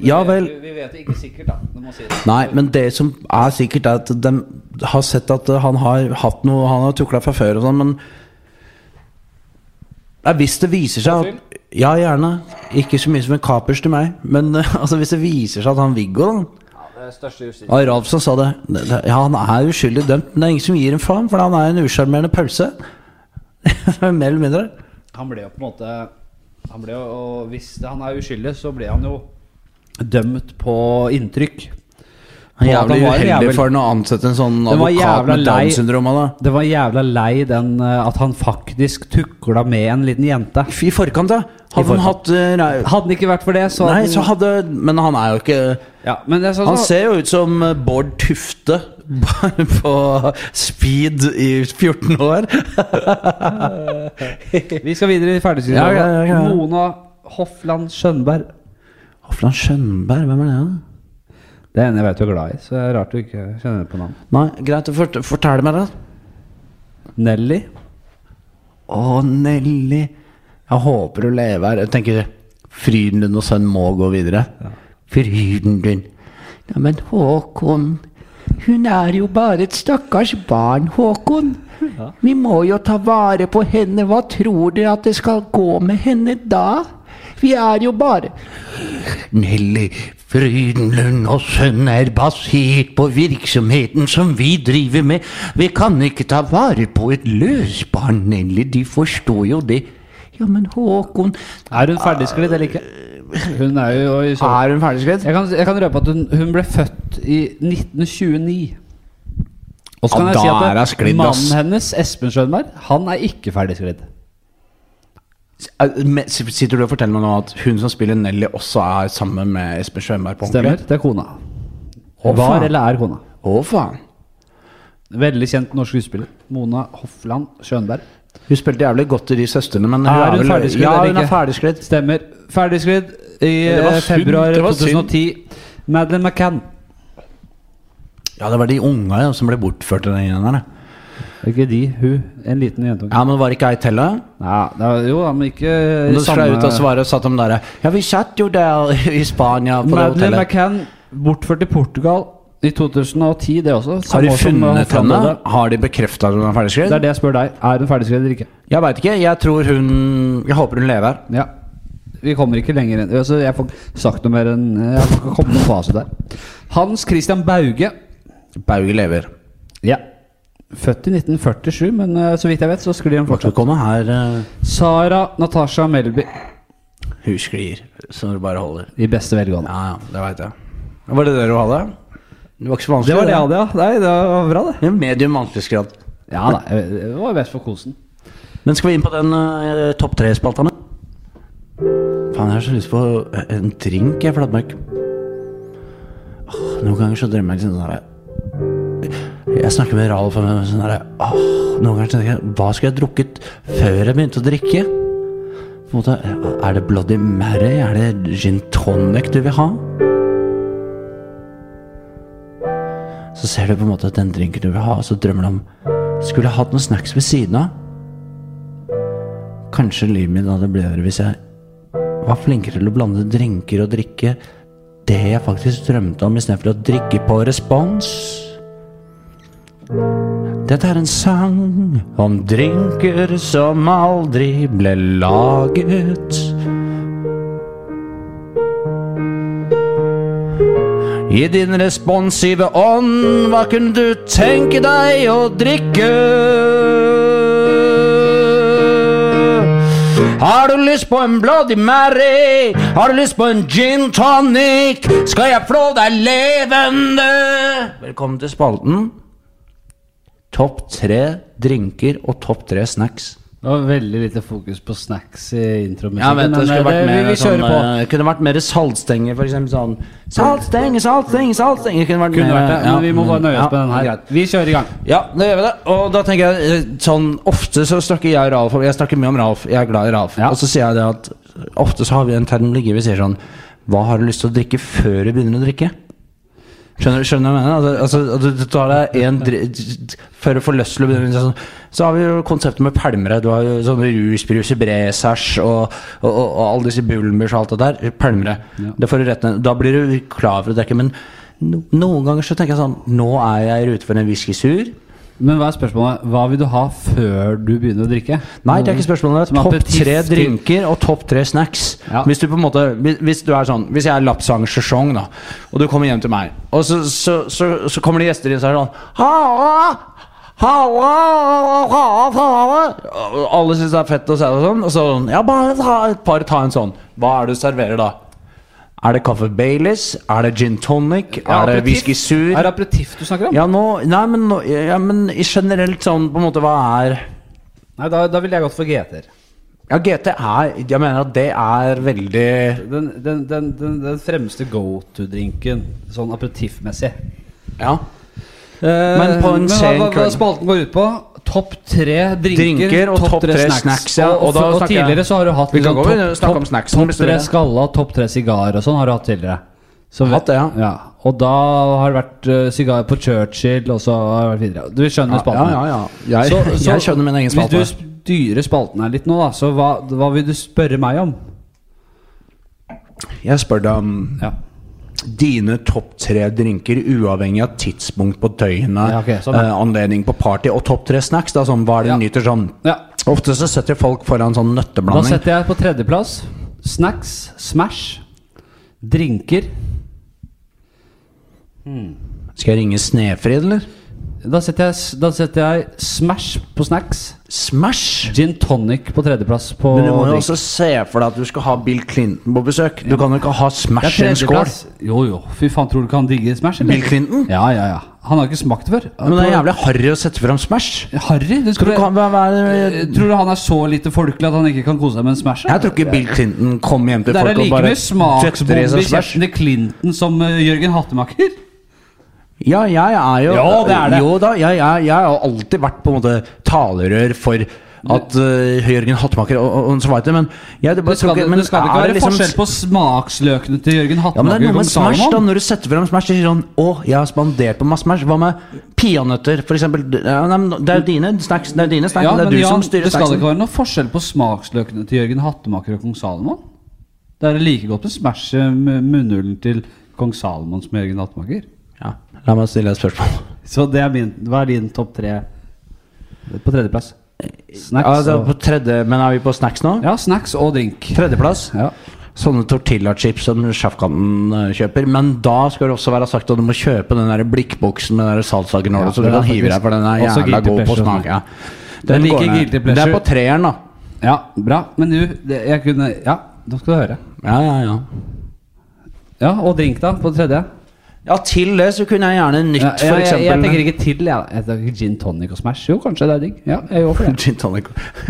Speaker 3: Ja vel.
Speaker 2: Vi, vi vet det ikke sikkert, da. Du må si det.
Speaker 3: Nei, men det som er sikkert, er at de har sett at han har hatt noe Han har tukla fra før og sånn, men Nei, Hvis det viser seg at Ja, gjerne. Ikke så mye som en kapers til meg, men [LAUGHS] eh, altså, hvis det viser seg at han Viggo da ja, Ralfsson sa det. det- det- Ja, han er uskyldig dømt, men det er ingen som gir en faen, for han er en usjarmerende pølse. [LAUGHS] Mer eller mindre.
Speaker 2: Han ble jo på en måte han ble jo, og Hvis det- han er uskyldig, så ble han jo dømt på inntrykk.
Speaker 3: Han
Speaker 2: Ja,
Speaker 3: er
Speaker 2: at han
Speaker 3: jævlig
Speaker 2: var en
Speaker 3: uheldig
Speaker 2: jævel-
Speaker 3: for han å ansette en sånn
Speaker 2: Den var
Speaker 3: advokat
Speaker 2: jævla
Speaker 3: med
Speaker 2: lei.
Speaker 3: Downs syndrom. av det.
Speaker 2: Det var jævla lei den eh, at han faktisk tukla med en liten jente.
Speaker 3: I forkant, da. Hadde han
Speaker 2: forkant.
Speaker 3: hatt eh, nei,
Speaker 2: Hadde det ikke vært for det, så
Speaker 3: Nei,
Speaker 2: hadde-
Speaker 3: så hadde Altså- Men han er jo ikke
Speaker 2: ja, men det er sånn,
Speaker 3: Han
Speaker 2: så-
Speaker 3: ser jo ut som eh, Bård Tufte [LAUGHS] bare på speed i 14 år.
Speaker 2: Vi skal videre i ferdigstilt.
Speaker 3: Ja, ja, ja, ja.
Speaker 2: Mona Hofland Skjønberg.
Speaker 3: Hofland Skjønberg, hvem er det? da?
Speaker 2: Det er en jeg vet du er glad i, så det er rart du ikke kjenner på navn.
Speaker 3: Nei, greit å fort fortelle meg det.
Speaker 2: Nelly.
Speaker 3: Å, Nelly. Jeg håper du lever her. Jeg tenker Frydenlund og sønn må gå videre. Frydenlund. Ja, men Håkon Hun er jo bare et stakkars barn, Håkon. Vi må jo ta vare på henne. Hva tror dere at det skal gå med henne da? Vi er jo bare Nelly Frydenlund og sønn er basert på virksomheten som vi driver med. Vi kan ikke ta vare på et løsbarn, Nelly. De forstår jo det. Ja, men Håkon
Speaker 2: Er hun ferdigsklidd eller ikke? Hun er jo i så
Speaker 3: Er hun ferdigskrevet?
Speaker 2: Jeg kan, jeg kan røpe at hun, hun ble født i 1929. Og så
Speaker 3: Ja,
Speaker 2: kan jeg
Speaker 3: da
Speaker 2: si
Speaker 3: er hun
Speaker 2: at
Speaker 3: sklidd, ass.
Speaker 2: mannen hennes, Espen Schønberg, han er ikke ferdig sklidd.
Speaker 3: Sitter du og forteller meg nå at hun som spiller Nelly, også er sammen med Espen Sjøenberg på
Speaker 2: Stemmer. Det er kona.
Speaker 3: Å,
Speaker 2: Var
Speaker 3: faen.
Speaker 2: eller er kona.
Speaker 3: Å, faen.
Speaker 2: Veldig kjent norsk skuespiller. Mona Hofland Schønberg.
Speaker 3: Hun spilte jævlig godt i De søstrene, men
Speaker 2: Er hun
Speaker 3: vel-
Speaker 2: ferdigsklidd
Speaker 3: Ja,
Speaker 2: eller
Speaker 3: hun er
Speaker 2: ikke?
Speaker 3: ferdigsklidd.
Speaker 2: Stemmer. Ferdigsklidd i
Speaker 3: Det var
Speaker 2: eh,
Speaker 3: synd,
Speaker 2: februar
Speaker 3: det var synd.
Speaker 2: 2010. Madeleine McCann.
Speaker 3: Ja, det var de unga ja, som ble bortført. i Den gjengen der. da.
Speaker 2: Ikke de, hun. En liten jentunge.
Speaker 3: Ja, men var det ikke ei til? da?
Speaker 2: Ja, det er, jo, men ikke i
Speaker 3: Men Da skulle jeg ut og svare, og satt de der Ja, vi satt jo der i Spania på det
Speaker 2: Madeleine
Speaker 3: hotellet.
Speaker 2: McCann, bortført til Portugal i 2010, det også.
Speaker 3: Har
Speaker 2: Samme
Speaker 3: de
Speaker 2: år som,
Speaker 3: funnet
Speaker 2: uh,
Speaker 3: henne?
Speaker 2: Fernando.
Speaker 3: Har de bekrefta at hun
Speaker 2: Det
Speaker 3: er
Speaker 2: er
Speaker 3: ferdigskrevet?
Speaker 2: det jeg spør deg. Er hun ferdigskrevet eller ikke?
Speaker 3: Jeg veit ikke. Jeg tror hun Jeg håper hun lever.
Speaker 2: Ja. Vi kommer ikke lenger inn. Altså, jeg får ikke sagt noe mer enn eh, Jeg får ikke komme noen fase der. Hans Christian Bauge.
Speaker 3: Bauge lever.
Speaker 2: Ja. Født i 1947, men uh, så vidt jeg vet, så sklir han
Speaker 3: Skal
Speaker 2: fortsatt.
Speaker 3: komme her eh,
Speaker 2: Sara Natasha Melby
Speaker 3: Hun sklir, så det bare holder.
Speaker 2: i beste velgående.
Speaker 3: Ja, ja, det veit jeg. Var det det du hadde? Det var ikke så
Speaker 2: Det
Speaker 3: vanskelig.
Speaker 2: var det jeg hadde, ja. Nei, det var bra, det.
Speaker 3: Ja, Medium vanskelighetsgrad.
Speaker 2: Ja da, jeg- det var best for kosen.
Speaker 3: Men skal vi inn på den eh, topp tre-spalta nå? Faen, jeg har så lyst på en drink, jeg, Flatmark. Åh, noen ganger så drømmer jeg liksom sånn herre Jeg snakker med Ralf om sånn herre Åh, noen ganger tenker jeg Hva skulle jeg drukket før jeg begynte å drikke? På en måte, Er det Bloody Mary? Er det gin tonic du vil ha? Så ser du på en måte den drinken du vil ha, og så drømmer du om Skulle jeg hatt noen snacks ved siden av? Kanskje livet mitt hadde blitt bedre hvis jeg var flinkere til å blande drinker og drikke det jeg faktisk drømte om, istedenfor å drikke på respons. Dette er en sang om drinker som aldri ble laget. I din responsive ånd, hva kunne du tenke deg å drikke? Har du lyst på en Bloody Mary? Har du lyst på en gin tonic? Skal jeg flå deg levende? Velkommen til spalten. Topp tre drinker og topp tre snacks.
Speaker 2: Det var veldig lite fokus på snacks i intromusikken. eh,
Speaker 3: mer
Speaker 2: vi kjører på.
Speaker 3: eh, kunne vært mer saltstenger, for eksempel sånn Saltstenger, saltstenger, saltstenger Kunne vært
Speaker 2: Kunne
Speaker 3: mer-
Speaker 2: vært det,
Speaker 3: ja,
Speaker 2: men vi må bare nøye oss
Speaker 3: ja,
Speaker 2: på den her.
Speaker 3: greit.
Speaker 2: Vi kjører i gang.
Speaker 3: Ja, da gjør vi det. Og da tenker jeg eh, sånn Ofte så snakker jeg og Ralf om- Jeg snakker mye om Ralf. Jeg er glad i Ralf.
Speaker 2: Ja.
Speaker 3: Og så sier jeg det at ofte så har vi en termologi vi sier sånn Hva har du lyst til å drikke før du begynner å drikke? Skjønner, skjønner du hva jeg mener? Altså, altså, at du, du tar deg en dri- Før du får lyst til å begynne sånn. Så har vi jo konseptet med pælmere. Du har jo sånne rusbrus i bresers og, og, og, og alle disse bulmers og alt det der. Pælmere. Det får du rett ned. Da blir du klar for å drikke. Men no, noen ganger så tenker jeg sånn Nå er jeg i rute for en whisky sur.
Speaker 2: Men hva er spørsmålet? Hva vil du ha før du begynner å drikke?
Speaker 3: Nei, det er ikke spørsmålet.
Speaker 2: Som
Speaker 3: Topp
Speaker 2: appetitt
Speaker 3: tre
Speaker 2: til-
Speaker 3: drinker og topp tre snacks.
Speaker 2: Ja.
Speaker 3: Hvis du på en måte hvis- Hvis du er sånn Hvis jeg er lapsang sesong, da, og du kommer hjem til meg, og så, så, så, så kommer det gjester inn og er det sånn Halla! Halla! Halla! Halla! Og Alle syns det er fett å se det sånn, og så sånn Ja, bare ta et par, ta en sånn. Hva er det du serverer da? Er det kaffe Baileys? Er det gin tonic? er det
Speaker 2: aperitif.
Speaker 3: whisky sur?
Speaker 2: Er det aperitiff du snakker om?
Speaker 3: ja, nå, nei, men, nå, ja, men generelt sånn på en måte Hva er
Speaker 2: Nei, da, da ville jeg gått for GT-er.
Speaker 3: Ja, GT er Jeg mener at det er veldig
Speaker 2: Den, den, den, den, den fremste go to-drinken, sånn aperitiffmessig.
Speaker 3: Ja. Men på en
Speaker 2: Eh, men hva,
Speaker 3: sen
Speaker 2: hva, hva
Speaker 3: kveld.
Speaker 2: spalten går ut på? Topp tre drinker,
Speaker 3: Drinker og topp tre snacks, ja.
Speaker 2: Og,
Speaker 3: Og
Speaker 2: og,
Speaker 3: da
Speaker 2: og,
Speaker 3: snakker jeg-
Speaker 2: tidligere så har du hatt
Speaker 3: Vi kan
Speaker 2: liksom
Speaker 3: gå inn
Speaker 2: topp-
Speaker 3: og snakke om
Speaker 2: topp-
Speaker 3: snacksen, hvis
Speaker 2: Topp
Speaker 3: du vil
Speaker 2: tre
Speaker 3: det.
Speaker 2: skalla, topp tre sigar og sånn har du hatt tidligere. Så
Speaker 3: Hatt det, ja.
Speaker 2: Og da har det vært eh, sigar på Churchill, og så har det vært videre. Du skjønner
Speaker 3: ja,
Speaker 2: spalten?
Speaker 3: ja, ja. Jeg, [LAUGHS] jeg skjønner min egen spalte.
Speaker 2: Hvis du styrer spalten her litt nå, da, så hva, hva vil du spørre meg om?
Speaker 3: Jeg spør deg om
Speaker 2: Ja.
Speaker 3: dine topp tre drinker uavhengig av tidspunkt på døgnet,
Speaker 2: Ja, ok, sånn.
Speaker 3: eh, anledning på party og topp tre snacks. Da, sånn, hva er det
Speaker 2: Ja.
Speaker 3: du nyter sånn?
Speaker 2: ja.
Speaker 3: Ofte så setter folk foran sånn
Speaker 2: Da
Speaker 3: nøtteblanding.
Speaker 2: setter jeg på tredjeplass snacks, Smash, drinker.
Speaker 3: Skal jeg ringe Snefrid, eller?
Speaker 2: Da setter jeg, s- da setter jeg Smash på snacks.
Speaker 3: Smash!
Speaker 2: Gin tonic på tredjeplass på
Speaker 3: Men du må jo
Speaker 2: drink.
Speaker 3: også se for deg at du skal ha Bill Clinton på besøk. Du kan jo ikke ha
Speaker 2: Det er
Speaker 3: Smash i en skål.
Speaker 2: tredjeplass. Jo, jo. Fy faen, tror du ikke han digger Smash? eller?
Speaker 3: Bill Clinton?
Speaker 2: Ja, ja, ja. Han har ikke smakt det før.
Speaker 3: Men det er jævlig harry å sette fram Smash. Eh,
Speaker 2: Harry? Du
Speaker 3: Tror
Speaker 2: tror,
Speaker 3: du kan være- være
Speaker 2: Eh, tror du han er så lite folkelig at han ikke kan kose seg med en Smash?
Speaker 3: Jeg tror ikke Bill Clinton kom hjem til
Speaker 2: Det er
Speaker 3: folk og
Speaker 2: like
Speaker 3: bare
Speaker 2: mye smaksbombe
Speaker 3: døtter i
Speaker 2: i
Speaker 3: seg Smash.
Speaker 2: kjeften til Clinton som eh, Jørgen Hattemaker.
Speaker 3: Ja, jeg er jo
Speaker 2: Ja, det er det.
Speaker 3: Jo da, jeg, jeg, jeg har alltid vært på en måte talerør for at uh, Jørgen Hattemaker og, og, og så veit det, men jeg, det,
Speaker 2: Det skal, det,
Speaker 3: men
Speaker 2: det skal det ikke
Speaker 3: er
Speaker 2: være
Speaker 3: liksom-
Speaker 2: forskjell på smaksløkene til Jørgen
Speaker 3: Ja, men det er
Speaker 2: Hattemaker
Speaker 3: noe med
Speaker 2: og
Speaker 3: Smash da
Speaker 2: Salomon.
Speaker 3: Når du setter frem Smash og sier sånn Å, jeg har spandert på masse Smash Hva med peanøtter, for eksempel ja, nei, men Det er jo dine snacks Det er dine snacks
Speaker 2: Ja,
Speaker 3: Det
Speaker 2: men
Speaker 3: er du
Speaker 2: Jan,
Speaker 3: som
Speaker 2: det
Speaker 3: styrer
Speaker 2: skal det
Speaker 3: snacksen
Speaker 2: ikke være noe forskjell på smaksløkene til Jørgen Hattemaker og kong Salomon. Det er like godt å smashe med munnhulen til kong Salomon som Jørgen Hattemaker.
Speaker 3: ja, La meg stille et spørsmål
Speaker 2: Så det er min, hva er din topp tre på tredjeplass?
Speaker 3: ja,
Speaker 2: Snacks,
Speaker 3: det er
Speaker 2: og,
Speaker 3: Altså, på tredje, Men er vi på snacks nå?
Speaker 2: ja, snacks og drink.
Speaker 3: Tredjeplass
Speaker 2: Ja.
Speaker 3: Sånne tortillachips som Sjafkanten eh, kjøper. Men da skal det også være sagt at du må kjøpe den der blikkboksen med den der salsagnolo,
Speaker 2: Ja,
Speaker 3: så du
Speaker 2: det er
Speaker 3: kan hive deg,
Speaker 2: faktisk
Speaker 3: for den er
Speaker 2: også
Speaker 3: jævla
Speaker 2: guilty
Speaker 3: god på
Speaker 2: pleasure.
Speaker 3: smak. Ja.
Speaker 2: Det er like
Speaker 3: går ned.
Speaker 2: guilty
Speaker 3: det
Speaker 2: pleasure.
Speaker 3: er på treeren, da.
Speaker 2: Ja, bra. Men du, det, jeg kunne Ja, nå skal du høre.
Speaker 3: Ja, ja, ja.
Speaker 2: Ja, Og drink, da? På tredje?
Speaker 3: Ja, til det så kunne jeg gjerne nytt,
Speaker 2: Ja,
Speaker 3: for
Speaker 2: jeg, jeg,
Speaker 3: eksempel.
Speaker 2: jeg tenker ikke til, jeg. Jeg tenker gin tonic og Smash. Jo, kanskje det er digg. Ja, jeg går for det.
Speaker 3: [LAUGHS] Gin tonic.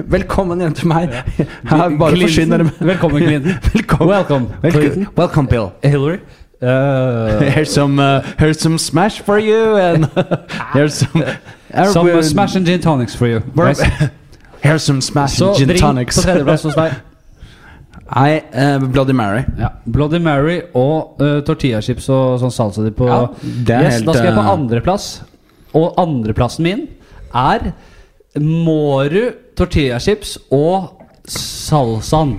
Speaker 3: Velkommen hjem til [LAUGHS] meg. [LAUGHS] Her, bare
Speaker 2: Clinton.
Speaker 3: forsyn dere med [LAUGHS]
Speaker 2: Velkommen, Clinton.
Speaker 3: Velkommen.
Speaker 2: Welcome, Clinton.
Speaker 3: Welcome, Bill.
Speaker 2: Hillary.
Speaker 3: Here's some, uh, here's some smash for
Speaker 2: [LAUGHS]
Speaker 3: you, and here's some,
Speaker 2: Some uh, Smash and gin tonics for you.
Speaker 3: Yes.
Speaker 2: Yes.
Speaker 3: [LAUGHS] Here's some smash
Speaker 2: Så
Speaker 3: and gin
Speaker 2: drink
Speaker 3: tonics.
Speaker 2: på tredjeplass hos
Speaker 3: [LAUGHS]
Speaker 2: deg.
Speaker 3: I, uh, Bloody Mary.
Speaker 2: Ja. Bloody Mary og eh, tortillachips og sånn salsa di på
Speaker 3: Ja, det er
Speaker 2: yes,
Speaker 3: helt,
Speaker 2: Da skal jeg på
Speaker 3: eh,
Speaker 2: andreplass. Og andreplassen min er Mårud tortillachips og salsaen,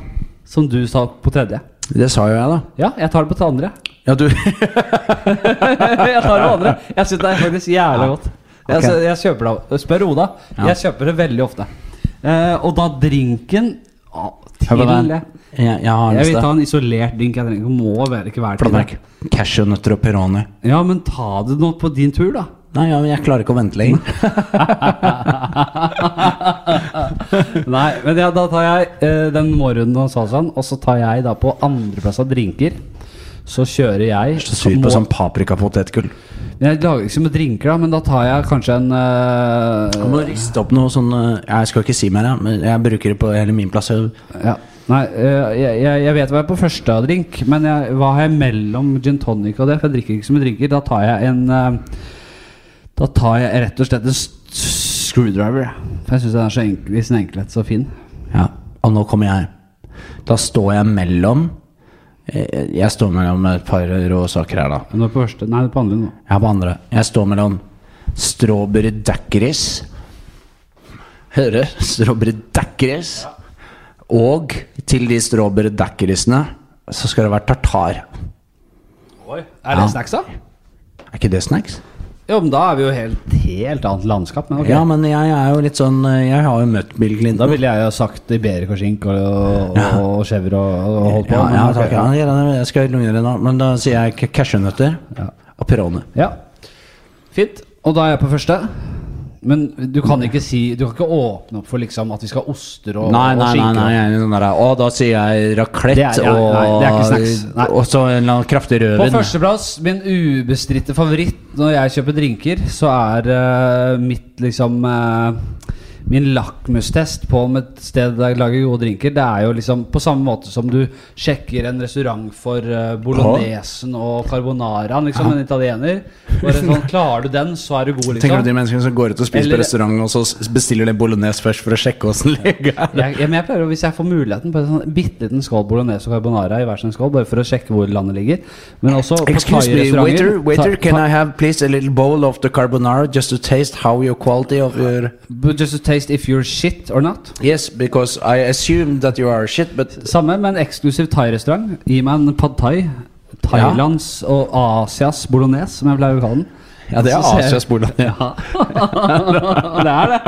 Speaker 2: som du sa på tredje.
Speaker 3: Det sa jo jeg, da.
Speaker 2: Ja, jeg tar det på til andre.
Speaker 3: Ja, [LAUGHS] du
Speaker 2: [LAUGHS] jeg tar det på andre. Jeg syns det er faktisk jævlig godt. Jeg,
Speaker 3: Ok.
Speaker 2: jeg kjøper det Spør Oda.
Speaker 3: Ja.
Speaker 2: Jeg kjøper det veldig ofte. Eh, og da drinken å,
Speaker 3: Hør
Speaker 2: til
Speaker 3: på den.
Speaker 2: Jeg,
Speaker 3: Jeg, jeg har
Speaker 2: vil
Speaker 3: lyst
Speaker 2: ta
Speaker 3: til
Speaker 2: en isolert drink. Jeg trenger ikke må være ikke være til det.
Speaker 3: Blåmerk. Cashewnøtter og pepperoni.
Speaker 2: Ja, men ta det nå på din tur, da.
Speaker 3: Nei, ja, men jeg klarer ikke å vente lenger.
Speaker 2: Nei, men ja, da tar jeg eh, den morgenen og salsaen, og så tar jeg da på andreplass av drinker. Så kjører jeg
Speaker 3: [LAUGHS] Så sur på
Speaker 2: må-
Speaker 3: sånn paprikapotetgull.
Speaker 2: Men Jeg lager ikke så mye drinker, da, men da tar jeg kanskje en
Speaker 3: Jeg
Speaker 2: eh,
Speaker 3: må riste opp noe sånn eh, Jeg skal ikke si mer, jeg, men jeg bruker det på hele min plass. Jeg-
Speaker 2: ja. Nei, eh, jeg, jeg- jeg vet hva jeg er på første av drink, men jeg, hva har jeg mellom gin tonic og det? For jeg drikker ikke så mye drinker. Da tar jeg en eh, Da tar jeg rett og slett en s- s- screwdriver. jeg. For jeg syns den er så enkel i sin enkelhet så fin.
Speaker 3: Ja, og nå kommer jeg. Da står jeg mellom eh, Jeg står mellom et par rå saker her, da.
Speaker 2: Men nå er det på første Nei, det er på andre nå.
Speaker 3: Jeg er på andre. Jeg står mellom strawberry daiquiris Hører? Strawberry daiquiris. Og til de strawberry daiquirisene så skal det være tartar.
Speaker 2: Er
Speaker 3: det
Speaker 2: snacks, da?
Speaker 3: Er ikke det snacks?
Speaker 2: Jo, men da er vi jo helt, helt annet landskap. Men ok.
Speaker 3: Ja, men jeg er jo litt sånn eh, Jeg har jo møtt Bill
Speaker 2: Da
Speaker 3: Clinton.
Speaker 2: ville jeg jo sagt Iberik og skink og, og, og skjever og, og holdt på.
Speaker 3: Ja,
Speaker 2: men
Speaker 3: ja,
Speaker 2: ok,
Speaker 3: takk, ja, gjerne, jeg skal lugne det nå, men da sier jeg ca- cashewnøtter og peroni.
Speaker 2: ja. Fint. Og da er jeg på første. Men du kan ikke si Du kan ikke åpne opp for liksom at vi skal ha oster og,
Speaker 3: Nei, nei,
Speaker 2: og
Speaker 3: nei,
Speaker 2: skinke.
Speaker 3: nei, jeg er sånn der, Og da sier jeg raclette
Speaker 2: Det er- ja,
Speaker 3: og,
Speaker 2: nei, det er ikke snacks. Nei.
Speaker 3: og så en eller annen kraftig
Speaker 2: På
Speaker 3: rødvin.
Speaker 2: førsteplass, min ubestridte favoritt når jeg kjøper drinker, så er eh, mitt liksom eh, Min lakmustest på om et sted der jeg lager gode drinker, det er jo liksom på samme måte som du sjekker en restaurant for eh, bolognesen og carbonaraen, liksom, en italiener. Bare
Speaker 3: [LAUGHS]
Speaker 2: sånn, Klarer du den, så er du god,
Speaker 3: Tenker du
Speaker 2: liksom.
Speaker 3: de menneskene som går ut og spiser
Speaker 2: Eller-
Speaker 3: på restaurant, og så s- bestiller de bolognese først for å sjekke åssen [LAUGHS] ligger her?
Speaker 2: Jeg, ja, men jeg pleier, å- Hvis jeg får muligheten på en sånn bitte liten skål bolognese og carbonara i hver sin skål, bare for å sjekke hvor landet ligger Men også på
Speaker 3: Excuse me,
Speaker 2: thai-restauranter-
Speaker 3: waiter, waiter,
Speaker 2: tha-
Speaker 3: can
Speaker 2: tha-
Speaker 3: I have please a little bowl of the carbonara just to taste how your quality of your
Speaker 2: But just to taste if you're shit or not.
Speaker 3: Yes, because I assume that you are shit, but
Speaker 2: Samme, men eksklusiv thai-restaurant. Gi meg en pad thai. Thailands og Asias bolognese, som jeg pleier å kalle den.
Speaker 3: Ja, det
Speaker 2: [LAUGHS]
Speaker 3: er
Speaker 2: Så ser jeg-
Speaker 3: Asias [LAUGHS] bolognese.
Speaker 2: Ja. det er det.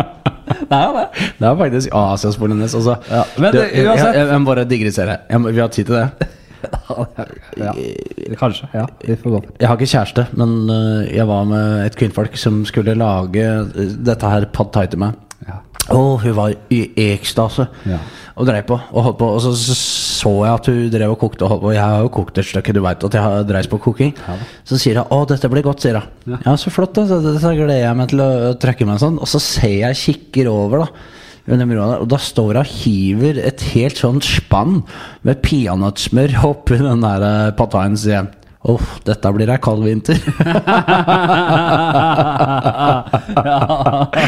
Speaker 2: Det er jo det.
Speaker 3: Det er faktisk Asias bolognese, altså.
Speaker 2: Ja, men
Speaker 3: Du,
Speaker 2: det- uansett-
Speaker 3: Jeg, jeg, jeg må bare digresere. Jeg må- Vi har tid til det. [LAUGHS]
Speaker 2: Ja. Kanskje. Ja, vi får gå.
Speaker 3: Jeg har ikke kjæreste, men øh, jeg var med et kvinnfolk som skulle lage øh, dette her pad thai til meg.
Speaker 2: Ja.
Speaker 3: Og hun var i ekstase
Speaker 2: Ja.
Speaker 3: og drev på og holdt på. Og så så så jeg at hun drev og kokte, og, holdt på. og jeg har jo kokt et stykke, du veit at jeg har dreist på koking. så sier hun 'Å, dette blir godt', sier hun. Ja, så flott, da. Så, så gleder jeg meg til å trekke meg sånn. Og så ser jeg kikker over, da. Under broa der, og da står hun og hiver et helt sånt spann med peanøttsmør oppi den der eh, pad thaien, sier jeg. Uff, dette blir ei kald [LAUGHS] vinter.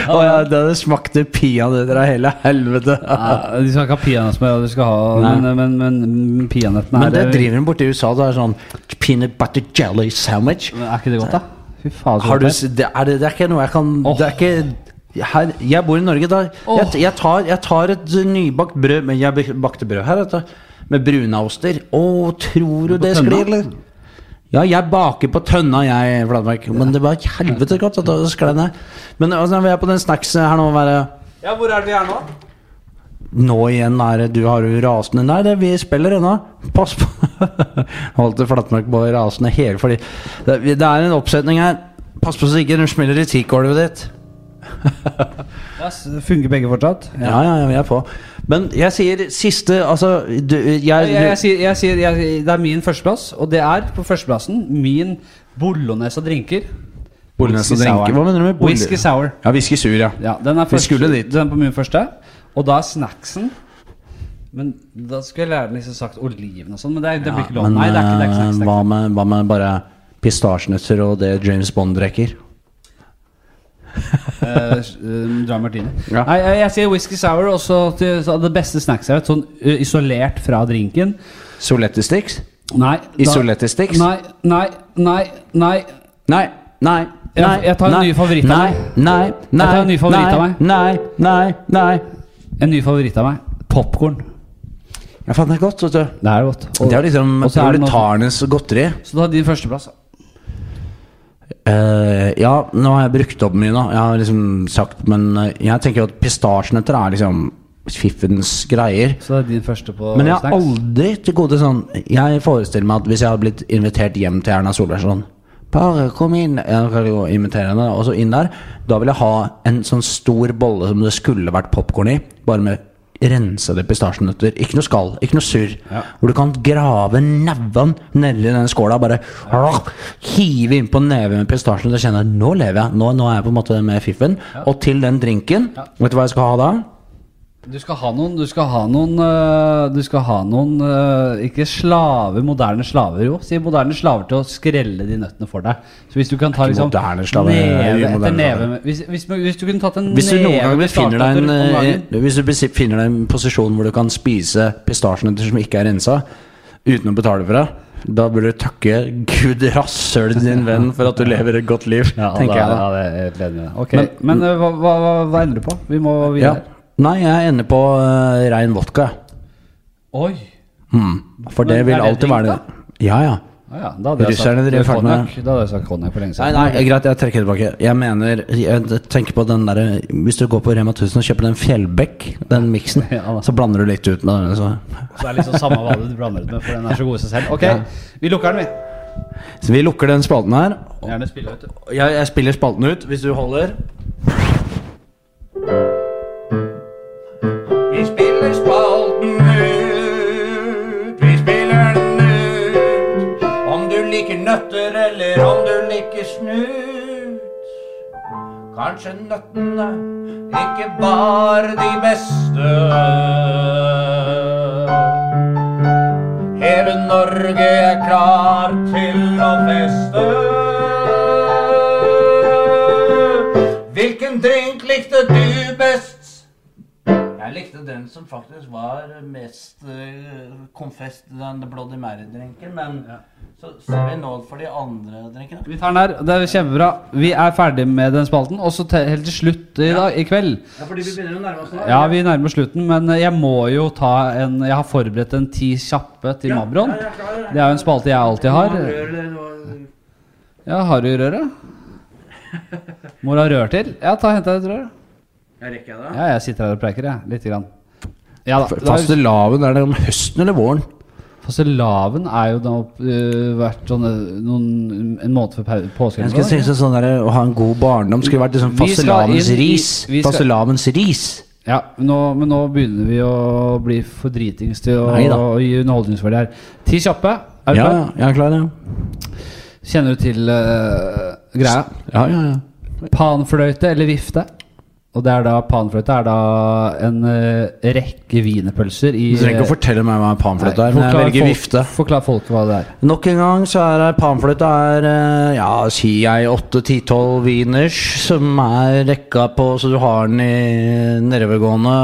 Speaker 3: Og ja, det smakte peanøtter av hele helvete.
Speaker 2: Nei, de skal ikke ha peanøttsmør, de skal ha Men, men, men peanøttene
Speaker 3: Men det
Speaker 2: er
Speaker 3: driver de borti i USA. Det er sånn peanut butter jelly sandwich.
Speaker 2: Er ikke det godt, da? Fy faen, så
Speaker 3: Har du,
Speaker 2: godt det er.
Speaker 3: s- det, er det, det er ikke noe jeg kan
Speaker 2: Åh.
Speaker 3: Det er ikke her, Jeg bor i Norge, da. Jeg, jeg, tar, jeg tar et nybakt brød Men jeg bak- bakte brød her, vet du. Med brunaoster. Å, tror du det
Speaker 2: tønna?
Speaker 3: sklir, eller? Ja, jeg baker på tønna, jeg, Flatmark. Men det var et helvete godt. vet du, Det sklei ned. Men altså, vi er på den snacksen her nå. Være,
Speaker 2: Ja, hvor er det vi er nå?
Speaker 3: nå igjen er det Du har jo rasende Nei, det, vi spiller ennå. Pass på. [LAUGHS] Holdt det flatmark på rasende hele fordi det, det er en oppsetning her. Pass på så ikke du smeller i teakgulvet ditt.
Speaker 2: funker begge fortsatt?
Speaker 3: Ja, ja, ja, vi er på. Men jeg sier siste Altså, du, jeg,
Speaker 2: Jeg, jeg, sier, jeg sier jeg, Det er min førsteplass, og det er på førsteplassen min Bolognese og drinker.
Speaker 3: Bolognese og
Speaker 2: Whisky
Speaker 3: drinker.
Speaker 2: sour.
Speaker 3: Hva mener du med bolo-
Speaker 2: Whisky sour.
Speaker 3: Ja, whisky sur, ja.
Speaker 2: Ja, den er,
Speaker 3: Vi
Speaker 2: første,
Speaker 3: skulle dit.
Speaker 2: den er på min første. Og da er snacksen Men da skulle jeg lære den liksom sagt oliven og sånn, men det, er- det blir ikke lov.
Speaker 3: men,
Speaker 2: Nei, det er ikke, det er ikke snacks.
Speaker 3: eh,
Speaker 2: Det er ikke.
Speaker 3: hva, med, hva med bare pistasjenøtter og det James Bond drikker?
Speaker 2: Uh, Dry martini.
Speaker 3: Ja.
Speaker 2: Nei, jeg, jeg sier whisky sour, og så til- så det beste snacks jeg vet. Sånn ø, isolert fra drinken.
Speaker 3: Solette sticks?
Speaker 2: Nei. da-
Speaker 3: Isolerte sticks?
Speaker 2: Nei, nei, nei, nei.
Speaker 3: Nei, nei,
Speaker 2: Jeg-
Speaker 3: nei
Speaker 2: jeg tar en
Speaker 3: nei,
Speaker 2: ny favoritt av
Speaker 3: nei,
Speaker 2: meg.
Speaker 3: Nei, nei,
Speaker 2: tar en ny favoritt
Speaker 3: nei,
Speaker 2: av meg.
Speaker 3: Nei, nei, nei.
Speaker 2: En ny favoritt av meg. Popkorn.
Speaker 3: Ja, faen, det er godt, vet du.
Speaker 2: Det er godt.
Speaker 3: Det er liksom
Speaker 2: og så er det noe-
Speaker 3: proletarenes godteri.
Speaker 2: Så du har din førsteplass. da.
Speaker 3: Eh, ja, nå har jeg brukt opp mye, da. Jeg har liksom sagt, men eh, jeg tenker jo at pistasjenøtter er liksom fiffens greier.
Speaker 2: Så det er din første på
Speaker 3: Men jeg har
Speaker 2: snacks.
Speaker 3: aldri til gode sånn Jeg forestiller meg at hvis jeg hadde blitt invitert hjem til Erna Solberg sånn Bare kom inn Jeg kan jo invitere henne, og så inn der. Da vil jeg ha en sånn stor bolle som det skulle vært popkorn i, bare med rensede pistasjenøtter. Ikke noe skall, ikke noe surr. Hvor du kan grave neven nedi den skåla. Bare hive innpå neven med pistasjen og kjenne at nå lever jeg. Nå, nå er jeg på en måte med fiffen. Og til den drinken, vet du hva jeg skal ha da?
Speaker 2: Du skal ha noen Du skal ha noen, øh, du skal ha noen øh, Ikke slaver, moderne slaver jo Si moderne slaver til å skrelle de nøttene for deg Så hvis du kan ta
Speaker 3: ikke
Speaker 2: liksom
Speaker 3: moderne slaver, det er
Speaker 2: Neve
Speaker 3: umoderne
Speaker 2: etter
Speaker 3: slaver.
Speaker 2: neve med- hvis, hvis, hvis du kunne tatt en
Speaker 3: Hvis du
Speaker 2: neve
Speaker 3: noen gang
Speaker 2: med
Speaker 3: befinner deg, en,
Speaker 2: startdatter om dagen,
Speaker 3: eh, hvis du besi- finner deg i en posisjon hvor du kan spise pistasjenøtter som ikke er rensa, uten å betale for det, da burde du takke gud rasshøl din venn for at du lever et godt liv,
Speaker 2: [LAUGHS] ja,
Speaker 3: tenker jeg da.
Speaker 2: da, ja, det er helt enig i det. Ok, Men, øh, hva, hva, hva, hva ender du på? Vi må
Speaker 3: Ja.
Speaker 2: videre
Speaker 3: Nei, jeg ender på uh, rein vodka.
Speaker 2: Oi
Speaker 3: Hmm. For det
Speaker 2: Men
Speaker 3: vil
Speaker 2: er det
Speaker 3: alltid
Speaker 2: drink,
Speaker 3: være det. Ja, ja.
Speaker 2: ah, ja, da hadde jeg sagt-
Speaker 3: Russerne drev fart med-
Speaker 2: konjakk. Da hadde jeg sagt konjakk for lenge
Speaker 3: Nei,
Speaker 2: siden
Speaker 3: nei, greit, jeg trekker tilbake. Jeg mener, jeg tenker på den derre Hvis du går på Rema 1000 og kjøper den Fjellbekk, den miksen,
Speaker 2: [LAUGHS] Ja, da.
Speaker 3: så blander du litt ut med den. Så.
Speaker 2: Så det er liksom samme hva du blander ut med For den er så god i seg selv Ok, vi lukker den vi
Speaker 3: så vi lukker den spalten her,
Speaker 2: Gjerne spille ut du.
Speaker 3: Jeg, jeg spiller spalten ut, hvis du holder. Vi spiller spalten ut, vi spiller den ut. Om du liker nøtter eller om du liker snut. Kanskje nøttene ikke var de beste. Hele Norge er klar til å feste. Hvilken drink likte du best? Jeg likte den som faktisk var mest uh, konfest, den Bloody Mary-drinken. Men så ser vi nål for de andre drinkene.
Speaker 2: Vi tar den der. Det er kjempebra. Vi er ferdig med den spalten. Og så te- helt til slutt i dag, i kveld.
Speaker 3: Ja, fordi vi begynner å nærme oss nå.
Speaker 2: Ja, vi nærmer slutten, men jeg må jo ta en Jeg har forberedt en ti kjappe til Mabron. Det er jo en spalte jeg alltid har. Ja, har du [LAUGHS] røret? Må du ha rør til? Ja, ta og hent deg et rør.
Speaker 3: Rekker jeg det?
Speaker 2: Ja, jeg sitter her og preiker, jeg. Lite grann. Ja da. da er-
Speaker 3: Fastelavn, er det om høsten eller våren?
Speaker 2: Fastelavn er jo da øh, vært sånn øh, noen, en måned før pau- påske.
Speaker 3: Jeg
Speaker 2: eller
Speaker 3: skulle
Speaker 2: noe.
Speaker 3: tenke seg sånn der, Å ha en god barndom skulle vært liksom
Speaker 2: Vi skal
Speaker 3: fastelavns
Speaker 2: inn i-
Speaker 3: ris.
Speaker 2: vi skal-
Speaker 3: Fastelavns ris.
Speaker 2: Ja, nå, men nå begynner vi å bli for dritings til å,
Speaker 3: Neida.
Speaker 2: å gi underholdningsverdi her. Ti kjappe. Er du
Speaker 3: Ja,
Speaker 2: klar?
Speaker 3: ja, jeg er klar, ja.
Speaker 2: Kjenner du til eh, greia?
Speaker 3: Ja, ja, ja.
Speaker 2: Panfløyte eller vifte? Og det er da Panfløyte er da en eh, rekke wienerpølser i
Speaker 3: Du trenger ikke å fortelle meg hva en panfløyte er, men jeg
Speaker 2: Forklar
Speaker 3: velger
Speaker 2: folk-
Speaker 3: vifte.
Speaker 2: Forklar folk hva det er.
Speaker 3: Nok en gang så er det- panfløyte er eh, Ja, sier jeg 8-10-12 wieners, som er rekka på Så du har den i nedovergående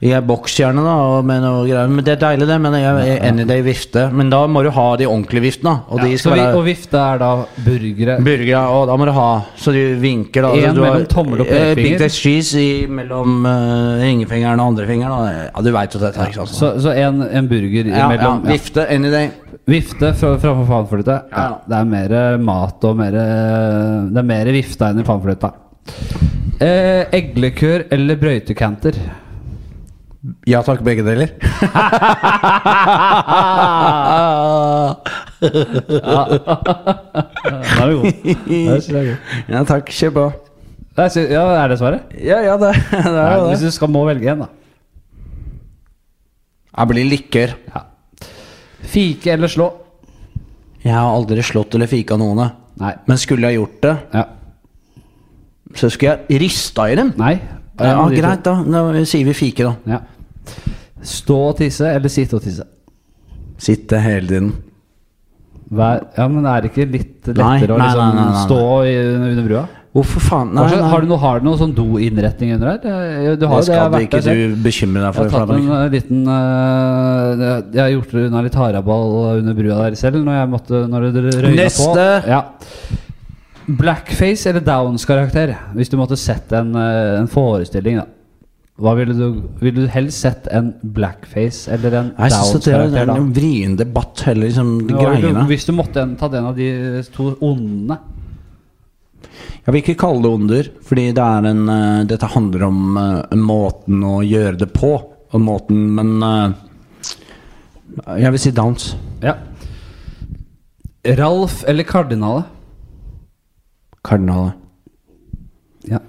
Speaker 3: i ei boks, gjerne, da, og med noe greier. Men det er deilig, det, men jeg jeg er any day vifte. Men da må du ha de ordentlige viftene, da. Og
Speaker 2: Ja,
Speaker 3: de
Speaker 2: så
Speaker 3: skal
Speaker 2: vi, og
Speaker 3: være
Speaker 2: vifte er da burgere.
Speaker 3: burgere, og da må du ha Så de vinker, da.
Speaker 2: En
Speaker 3: så du har,
Speaker 2: mellom tommel og
Speaker 3: eh, Big
Speaker 2: pekefinger.
Speaker 3: Dex cheese i mellom eh, ringefingeren og andrefingeren. da. Ja, du veit jo dette, ikke sant?
Speaker 2: Så, så en, en burger
Speaker 3: ja,
Speaker 2: imellom.
Speaker 3: ja,
Speaker 2: Ja.
Speaker 3: vifte any day.
Speaker 2: Vifte fra- framfor panfløyte? Ja.
Speaker 3: Ja.
Speaker 2: Det er mer mat og mer Det er mer vifte enn i panfløyta. Eh, eggelekør eller brøytekanter?
Speaker 3: Ja takk, begge deler.
Speaker 2: Den er jo [LAUGHS] god.
Speaker 3: [LAUGHS] ja takk, kjør på.
Speaker 2: Det er, sy- ja, er det svaret?
Speaker 3: Ja, ja, det, det er [LAUGHS]
Speaker 2: Nei,
Speaker 3: jo
Speaker 2: hvis
Speaker 3: det.
Speaker 2: du skal må velge en, da.
Speaker 3: Jeg blir likør.
Speaker 2: Fike eller slå?
Speaker 3: Jeg har aldri slått eller fika noen. jeg.
Speaker 2: Nei.
Speaker 3: Men skulle jeg gjort det,
Speaker 2: Ja.
Speaker 3: så skulle jeg rista i dem.
Speaker 2: Nei.
Speaker 3: Ja,
Speaker 2: En av de to.
Speaker 3: greit, da. Da sier vi fike, da.
Speaker 2: Ja. Stå og tisse, eller sitte og tisse?
Speaker 3: Sitte hele tiden.
Speaker 2: Vær, ja, men er det ikke litt
Speaker 3: Nei,
Speaker 2: lettere å
Speaker 3: nei,
Speaker 2: liksom
Speaker 3: nei, nei, nei.
Speaker 2: stå i, under brua?
Speaker 3: Hvorfor faen? Nei,
Speaker 2: Hva slags-
Speaker 3: nei.
Speaker 2: Har, du noe, har du noe sånn doinnretning under her? Du har
Speaker 3: det
Speaker 2: jo det, jeg har
Speaker 3: skal
Speaker 2: vært
Speaker 3: ikke
Speaker 2: der selv.
Speaker 3: du bekymre deg
Speaker 2: Jeg
Speaker 3: for.
Speaker 2: har tatt
Speaker 3: Flamming.
Speaker 2: en eh, liten eh, Jeg har gjort det unna litt haraball under brua der selv når, jeg måtte, når det røyna på.
Speaker 3: Neste!
Speaker 2: Ja. Blackface eller Downs-karakter? Hvis du måtte sett en, eh, en forestilling, da. Hva ville du, ville du helst sett en blackface eller en
Speaker 3: Jeg synes at det er- det
Speaker 2: Downs-karakter?
Speaker 3: er
Speaker 2: da?
Speaker 3: en vrien debatt, heller, liksom, de
Speaker 2: Hva ville du-
Speaker 3: greiene.
Speaker 2: Hvis du måtte en, tatt en av de to onde
Speaker 3: Jeg vil ikke kalle det onder, fordi det er en, eh, dette handler om eh, måten å gjøre det på. Og måten, men eh, Jeg vil si downs.
Speaker 2: Ja. Ralf eller kardinalet?
Speaker 3: Kardinalet.
Speaker 2: Ja.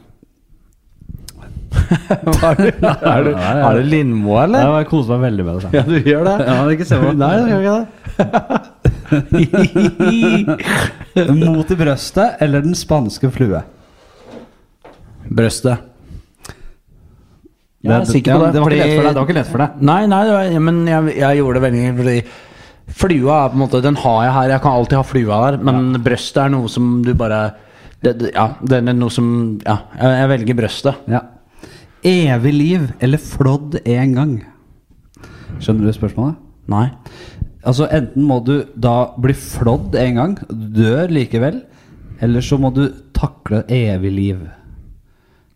Speaker 2: [LAUGHS]
Speaker 3: er du, er du, er du Lindmo, eller?
Speaker 1: Jeg koser meg veldig med det.
Speaker 3: Ja, du gjør det?
Speaker 2: Ja, det er ikke så bra.
Speaker 3: Nei, du gjør ikke det.
Speaker 2: [LAUGHS] Mot i brøstet eller den spanske flue?
Speaker 3: Brøstet. Jeg er sikker på det.
Speaker 2: Det var ikke
Speaker 3: fordi-
Speaker 2: lett for deg. Det var ikke lett for deg.
Speaker 3: Nei, nei, det var, men jeg, jeg gjorde det veldig enkelt, fordi flua er på en måte Den har jeg her, jeg kan alltid ha flua der, men brøstet er noe som du bare det, det, Ja, det er noe som Ja, jeg, jeg velger brøstet.
Speaker 2: Ja. Evig liv eller flådd én gang? Skjønner du spørsmålet?
Speaker 3: Nei.
Speaker 2: Altså Enten må du da bli flådd en gang, dør likevel, eller så må du takle evig liv.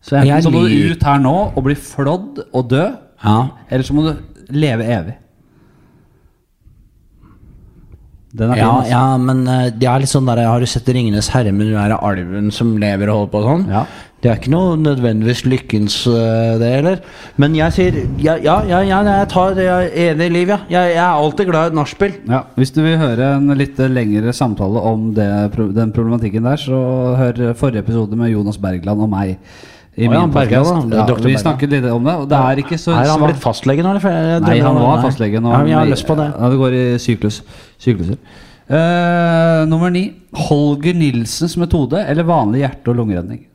Speaker 2: Så enten
Speaker 3: Jeg
Speaker 2: så må du
Speaker 3: lik-
Speaker 2: ut her nå og bli flådd og dø,
Speaker 3: Ja.
Speaker 2: eller så må du leve evig. Den er
Speaker 3: Ja,
Speaker 2: fin. altså.
Speaker 3: ja, men eh, det er litt sånn der, har du sett 'Ringenes herre' med den der alven som lever og holder på og sånn?
Speaker 2: Ja.
Speaker 3: Det er ikke noe nødvendigvis lykkens eh, det, eller? Men jeg sier ja, ja, ja, ja jeg tar jeg er enig i liv, ja. Jeg, jeg er alltid glad i et nachspiel.
Speaker 2: Ja, Hvis du vil høre en litt lengre samtale om det, pro- den problematikken der, så hør forrige episode med Jonas Bergland og meg. I
Speaker 3: Å ja,
Speaker 2: min
Speaker 3: Bergland,
Speaker 2: podcast.
Speaker 3: da. Det er
Speaker 2: ja,
Speaker 3: Dr.
Speaker 2: vi
Speaker 3: Bergland.
Speaker 2: snakket litt om det, og det er ikke så
Speaker 3: Er han
Speaker 2: svart-
Speaker 3: blitt fastlege nå, eller? For jeg- jeg
Speaker 2: Nei,
Speaker 3: drømmer
Speaker 2: han
Speaker 3: om-
Speaker 2: var
Speaker 3: nei.
Speaker 2: fastlege nå.
Speaker 3: Ja, men jeg har lyst på det.
Speaker 2: Ja, det går i syklus. sykluser. Eh, nummer ni. Holger Nilsens metode eller vanlig hjerte- og lungeredning?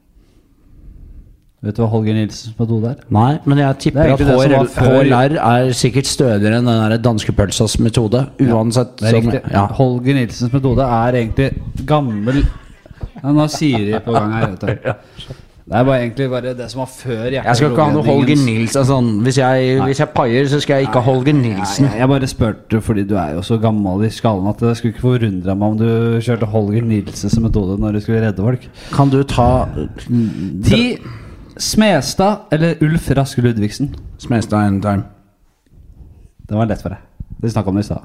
Speaker 2: Vet du hva Holger Nilsens metode er?
Speaker 3: Nei, men jeg tipper
Speaker 2: Det er
Speaker 3: at
Speaker 2: egentlig det som
Speaker 3: HR,
Speaker 2: var før-
Speaker 3: HLR er sikkert stødigere enn den der danskepølsas metode. Uansett.
Speaker 2: Det er
Speaker 3: som-
Speaker 2: riktig.
Speaker 3: ja.
Speaker 2: Holger Nilsens metode er egentlig gammel ja, Nå sier de på gang
Speaker 3: [LAUGHS]
Speaker 2: her, vet du. Det er bare egentlig bare det som var før hjerte-
Speaker 3: Jeg skal ikke ha noe
Speaker 2: og
Speaker 3: Holger
Speaker 2: lungeredningens-
Speaker 3: Nilsen sånn. hvis, jeg, hvis jeg paier, så skal jeg ikke ha Holger Nilsen.
Speaker 2: Nei, jeg bare spurte fordi du er jo så gammel i skallen at jeg skulle ikke forundre meg om du kjørte Holger Nilsen som metode når du skulle redde folk.
Speaker 3: Kan du ta mm,
Speaker 2: Ti Smestad eller Ulf Rask Ludvigsen?
Speaker 3: Smestad en time?
Speaker 2: Det var lett for deg. Vi snakka om det i stad.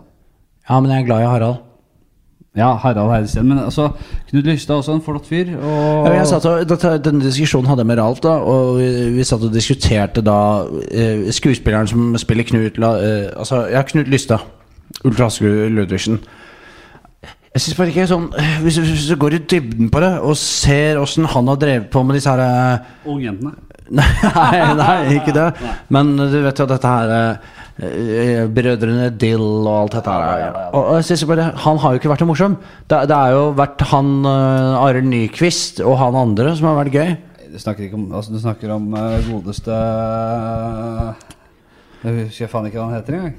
Speaker 3: Ja, men jeg er glad i Harald.
Speaker 2: Ja, Harald Heidesteen. Men altså, Knut Lystad er også en flott fyr. Og
Speaker 3: Ja, men Jeg satt og, dette- denne diskusjonen hadde jeg med Ralf, da, og vi, vi satt og diskuterte da eh, skuespilleren som spiller Knut la, eh, Altså, ja, Knut Lystad. Ulf Raske Ludvigsen. Jeg synes bare ikke sånn eh, hvis, du- hvis du går i dybden på det og ser åssen han har drevet på med disse her eh,
Speaker 2: Ungjentene.
Speaker 3: [LAUGHS] Nei, nei, ikke det. Men du vet jo at dette her eh, eh, Brødrene Dill og alt dette her. Og, og jeg synes jo bare, Han har jo ikke vært noe morsom. Det, det er jo vært han uh, Arild Nyquist og han andre som har vært gøy.
Speaker 2: Du snakker ikke om altså, Du snakker om eh, godeste eh, Jeg husker faen ikke hva han heter engang.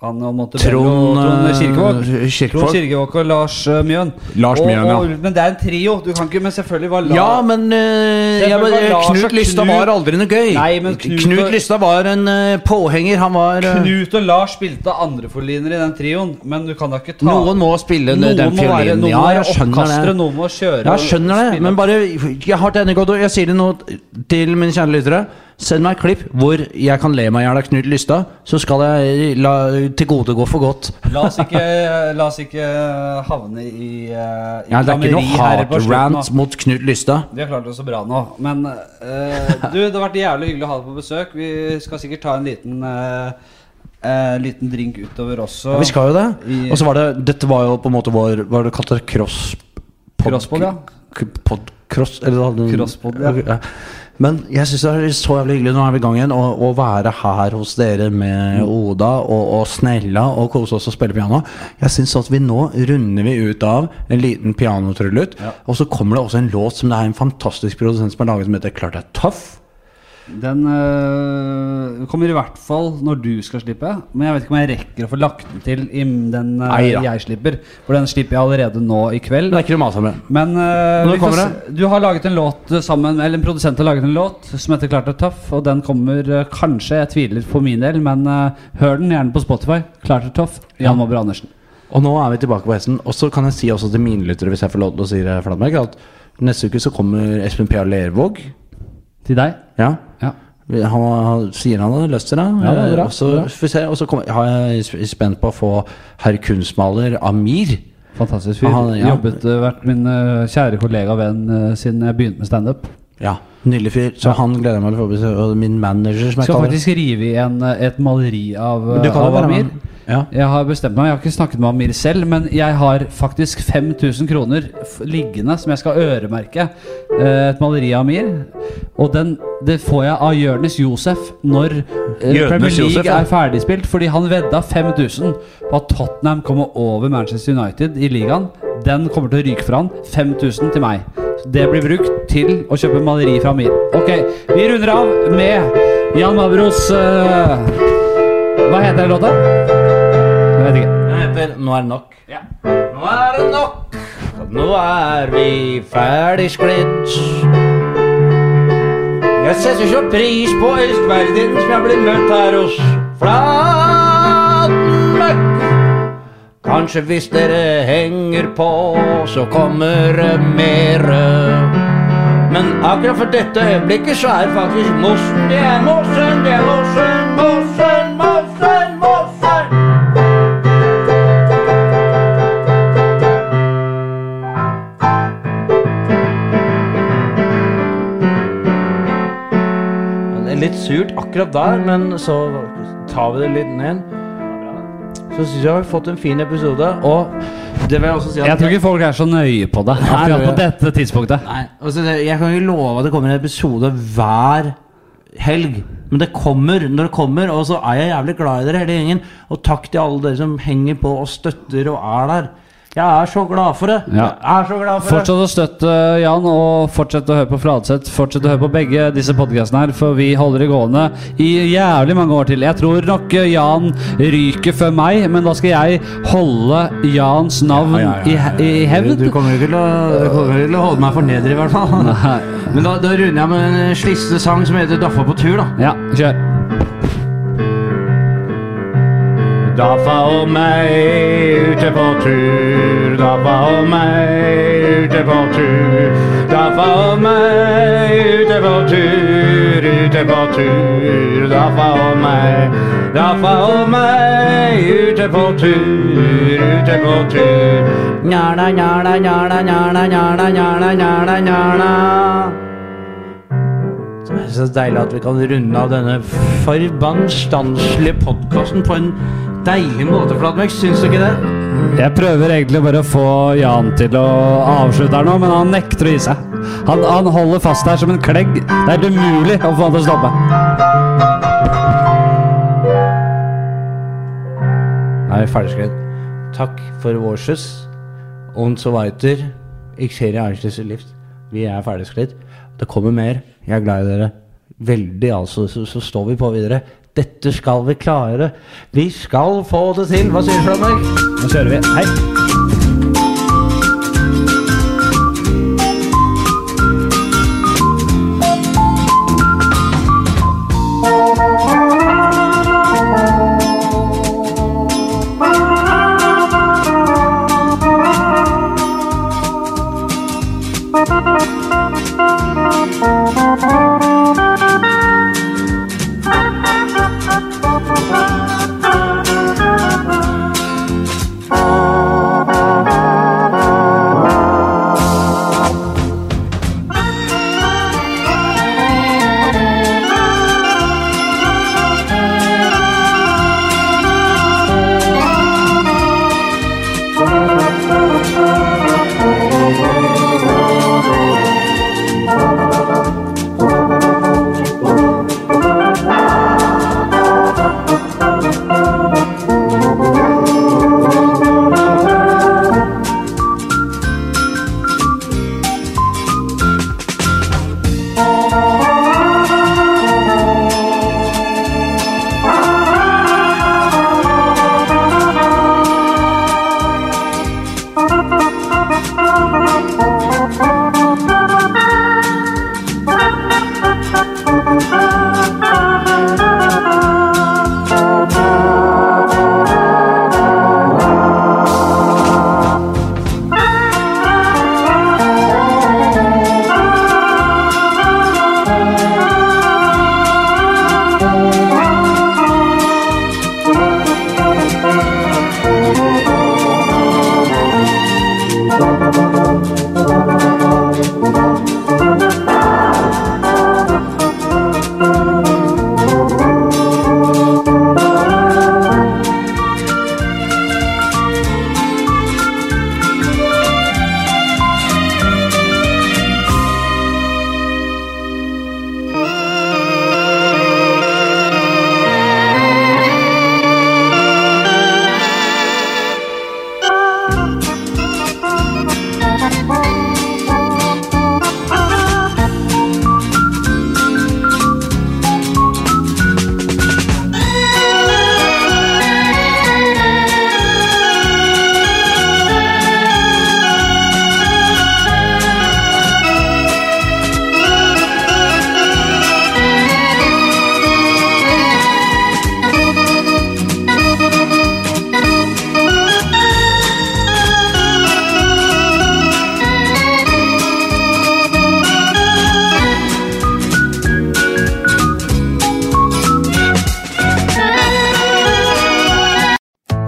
Speaker 2: Han og Montebello
Speaker 3: Trond,
Speaker 2: og Trond Kirkevåg.
Speaker 3: eh, Kirkevåg.
Speaker 2: Trond Kirkevåg og Lars eh, Mjøen.
Speaker 3: Lars
Speaker 2: og,
Speaker 3: Mjøen, ja.
Speaker 2: og, Men det er en trio. Du kan ikke Men selvfølgelig var Lars
Speaker 3: Ja, men eh,
Speaker 2: Det
Speaker 3: jeg,
Speaker 2: var
Speaker 3: bare-
Speaker 2: Lars og
Speaker 3: Knut Lystad
Speaker 2: Knut-
Speaker 3: var aldri noe gøy.
Speaker 2: Nei, men Knut
Speaker 3: Knut,
Speaker 2: og-
Speaker 3: Lystad var en eh, påhenger. Han var eh,
Speaker 2: Knut og Lars spilte andrefioliner i den trioen, men du kan da ikke ta
Speaker 3: Noen må spille den-
Speaker 2: Noen
Speaker 3: den
Speaker 2: må være-
Speaker 3: fiolinen.
Speaker 2: Noen
Speaker 3: Ja,
Speaker 2: må være
Speaker 3: jeg skjønner
Speaker 2: oppkastere,
Speaker 3: det.
Speaker 2: noen må kjøre
Speaker 3: Ja,
Speaker 2: og
Speaker 3: Jeg skjønner det,
Speaker 2: spille.
Speaker 3: men bare Jeg har til godt, og jeg sier det nå til mine kjære lyttere. Send meg et klipp hvor jeg kan le meg i hjel av Knut Lystad, så skal jeg la tilgodegå for godt.
Speaker 2: La oss ikke, eh, la oss ikke havne i, eh, i
Speaker 3: Ja, det er ikke noe
Speaker 2: klammeri her på slutten, da.
Speaker 3: hat-rant mot Knut Lystad.
Speaker 2: Vi har klart oss så bra nå. Men [LAUGHS] eh, du, det har vært jævlig hyggelig å ha deg på besøk. Vi skal sikkert ta en liten eh, eh, Liten drink utover også.
Speaker 3: Ja, vi skal jo det.
Speaker 2: I-
Speaker 3: Og så var det Dette var jo på en måte vår Hva var det du kalte det? Cross... pod-
Speaker 2: Crosspod, ja.
Speaker 3: k- Pod... Cross, eller du hadde en-
Speaker 2: Crosspod, ja.
Speaker 3: Ok, Men jeg syns det er så jævlig hyggelig, nå er vi i gang igjen, å, å være her hos dere med
Speaker 2: Mm.
Speaker 3: Oda og, og Snella og kose oss og spille piano. Jeg syns at vi nå runder vi ut av en liten pianotryllet, og så kommer det også en låt som det er en fantastisk produsent som har laget, som heter Klart det er tøff.
Speaker 2: Den øh, kommer i hvert fall når du skal slippe. Men jeg vet ikke om jeg rekker å få lagt den til i m- den øh,
Speaker 3: Nei da.
Speaker 2: jeg slipper. For den slipper jeg allerede nå i kveld.
Speaker 3: Men det er ikke noe å mase med.
Speaker 2: Men øh,
Speaker 3: Når
Speaker 2: vi får
Speaker 3: kommer
Speaker 2: se. du har laget en låt øh, sammen Eller en produsent har laget en låt som heter 'Klart det er tøff'. Og den kommer øh, kanskje, jeg tviler for min del, men øh, hør den gjerne på Spotify. 'Klart det er tøff', Jan Mobber Andersen.
Speaker 3: Og nå er vi tilbake på hesten. Og så kan jeg si også til mine lyttere, hvis jeg får lov til å si det, Flatmark, at neste uke så kommer Espen Pia Lervåg.
Speaker 2: Til deg.
Speaker 3: Ja.
Speaker 2: Ja.
Speaker 3: Vi- Han, han sier han hadde lyst til det.
Speaker 2: Ja, det er bra.
Speaker 3: Og så får vi se. Og så kommer- har jeg sp- spent på å få herr kunstmaler Amir.
Speaker 2: Fantastisk fyr.
Speaker 3: Han- ja.
Speaker 2: Jobbet øh, vært min øh, kjære kollega og venn øh, siden jeg begynte med standup.
Speaker 3: Ja, Nydelig fyr. Så han gleder jeg meg til å få besøk. Og min manager, som jeg
Speaker 2: Skal
Speaker 3: kaller det.
Speaker 2: faktisk rive i en, eh, et maleri av, eh,
Speaker 3: Men du kan jo
Speaker 2: av
Speaker 3: være
Speaker 2: Amir.
Speaker 3: med. Ja.
Speaker 2: Jeg har bestemt meg, jeg har ikke snakket med Amir selv, men jeg har faktisk 5000 kroner f- liggende som jeg skal øremerke eh, et maleri av Amir. Og den, det får jeg av Jørnis Josef når eh,
Speaker 3: Jørnis
Speaker 2: Premier League
Speaker 3: Josef, ja.
Speaker 2: er ferdigspilt, fordi han vedda 5000 på at Tottenham kommer over Manchester United i ligaen. Den kommer til å ryke fra han. 5000 til meg. Det blir brukt til å kjøpe maleri fra Amir. Ok, vi runder av med Jan Mabros eh, Hva heter den låta? Jeg vet ikke.
Speaker 3: Den heter 'Nå er det nok'. Nå er det nok. Nå er vi ferdig sklidd. Jeg setter så pris på østverdenen som jeg blir møtt her hos Flatmøkk. Kanskje hvis dere henger på, så kommer det mere. Men akkurat for dette øyeblikket så er det faktisk Mossen. Det er Mossen, det er Mossen, Mossen, Mossen, Mossen. Men det er Litt surt akkurat der, men så tar vi det litt ned. Så syns jeg vi har fått en fin episode, og det vil jeg også si at
Speaker 2: Jeg tror ikke folk er så nøye på det akkurat på
Speaker 3: det-
Speaker 2: dette tidspunktet.
Speaker 3: Nei, altså det, Jeg kan ikke love at det kommer en episode hver helg. Men det kommer når det kommer, og så er jeg jævlig glad i dere hele gjengen. Og takk til alle dere som henger på og støtter og er der. Jeg er så glad for det.
Speaker 2: Ja.
Speaker 3: Jeg er så glad for det.
Speaker 2: Fortsett å støtte Jan, og fortsett å høre på Fladseth. Fortsett å høre på begge disse podkastene her, for vi holder det gående i jævlig mange år til. Jeg tror nok eh, Jan ryker før meg, men da skal jeg holde Jans navn
Speaker 3: Ja, ja, ja, ja, ja.
Speaker 2: i, he- i hevd.
Speaker 3: Du kommer jo ikke til å, du kommer jo til å holde meg for nedre, i hvert fall.
Speaker 2: Nei.
Speaker 3: Men da, da runder jeg med en sliste sang som heter 'Daffa på tur'. da
Speaker 2: Ja, kjør.
Speaker 3: Daffa og meg ute på tur. Daffa og meg ute på tur. Daffa og meg ute på tur, ute på tur. Daffa og meg, daffa og meg ute på tur, ute på tur. Njala, njala, njala, njala, njala, njala, njala, njala. Det er så deilig at vi kan runde av denne forbanstanselige podkasten på en deilig måte, Flatmark. Syns du ikke det?
Speaker 2: Jeg prøver egentlig bare å få Jan til å avslutte her nå, men han nekter å gi seg. Han, han holder fast her som en klegg. Det er helt umulig å få han til å stoppe.
Speaker 3: Nei, ferdigskrevet. Takk for vårsys. Und so weiter. Ich sehe Einsteins Lift. Vi er ferdigskrevet. Det kommer mer. Jeg er glad i dere. Veldig, altså. Så, så står vi på videre. Dette skal vi klare. Vi skal få det til. Hva sier du, Flatmark?
Speaker 2: Nå kjører vi. Hei.
Speaker 5: Thank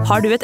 Speaker 5: Har du et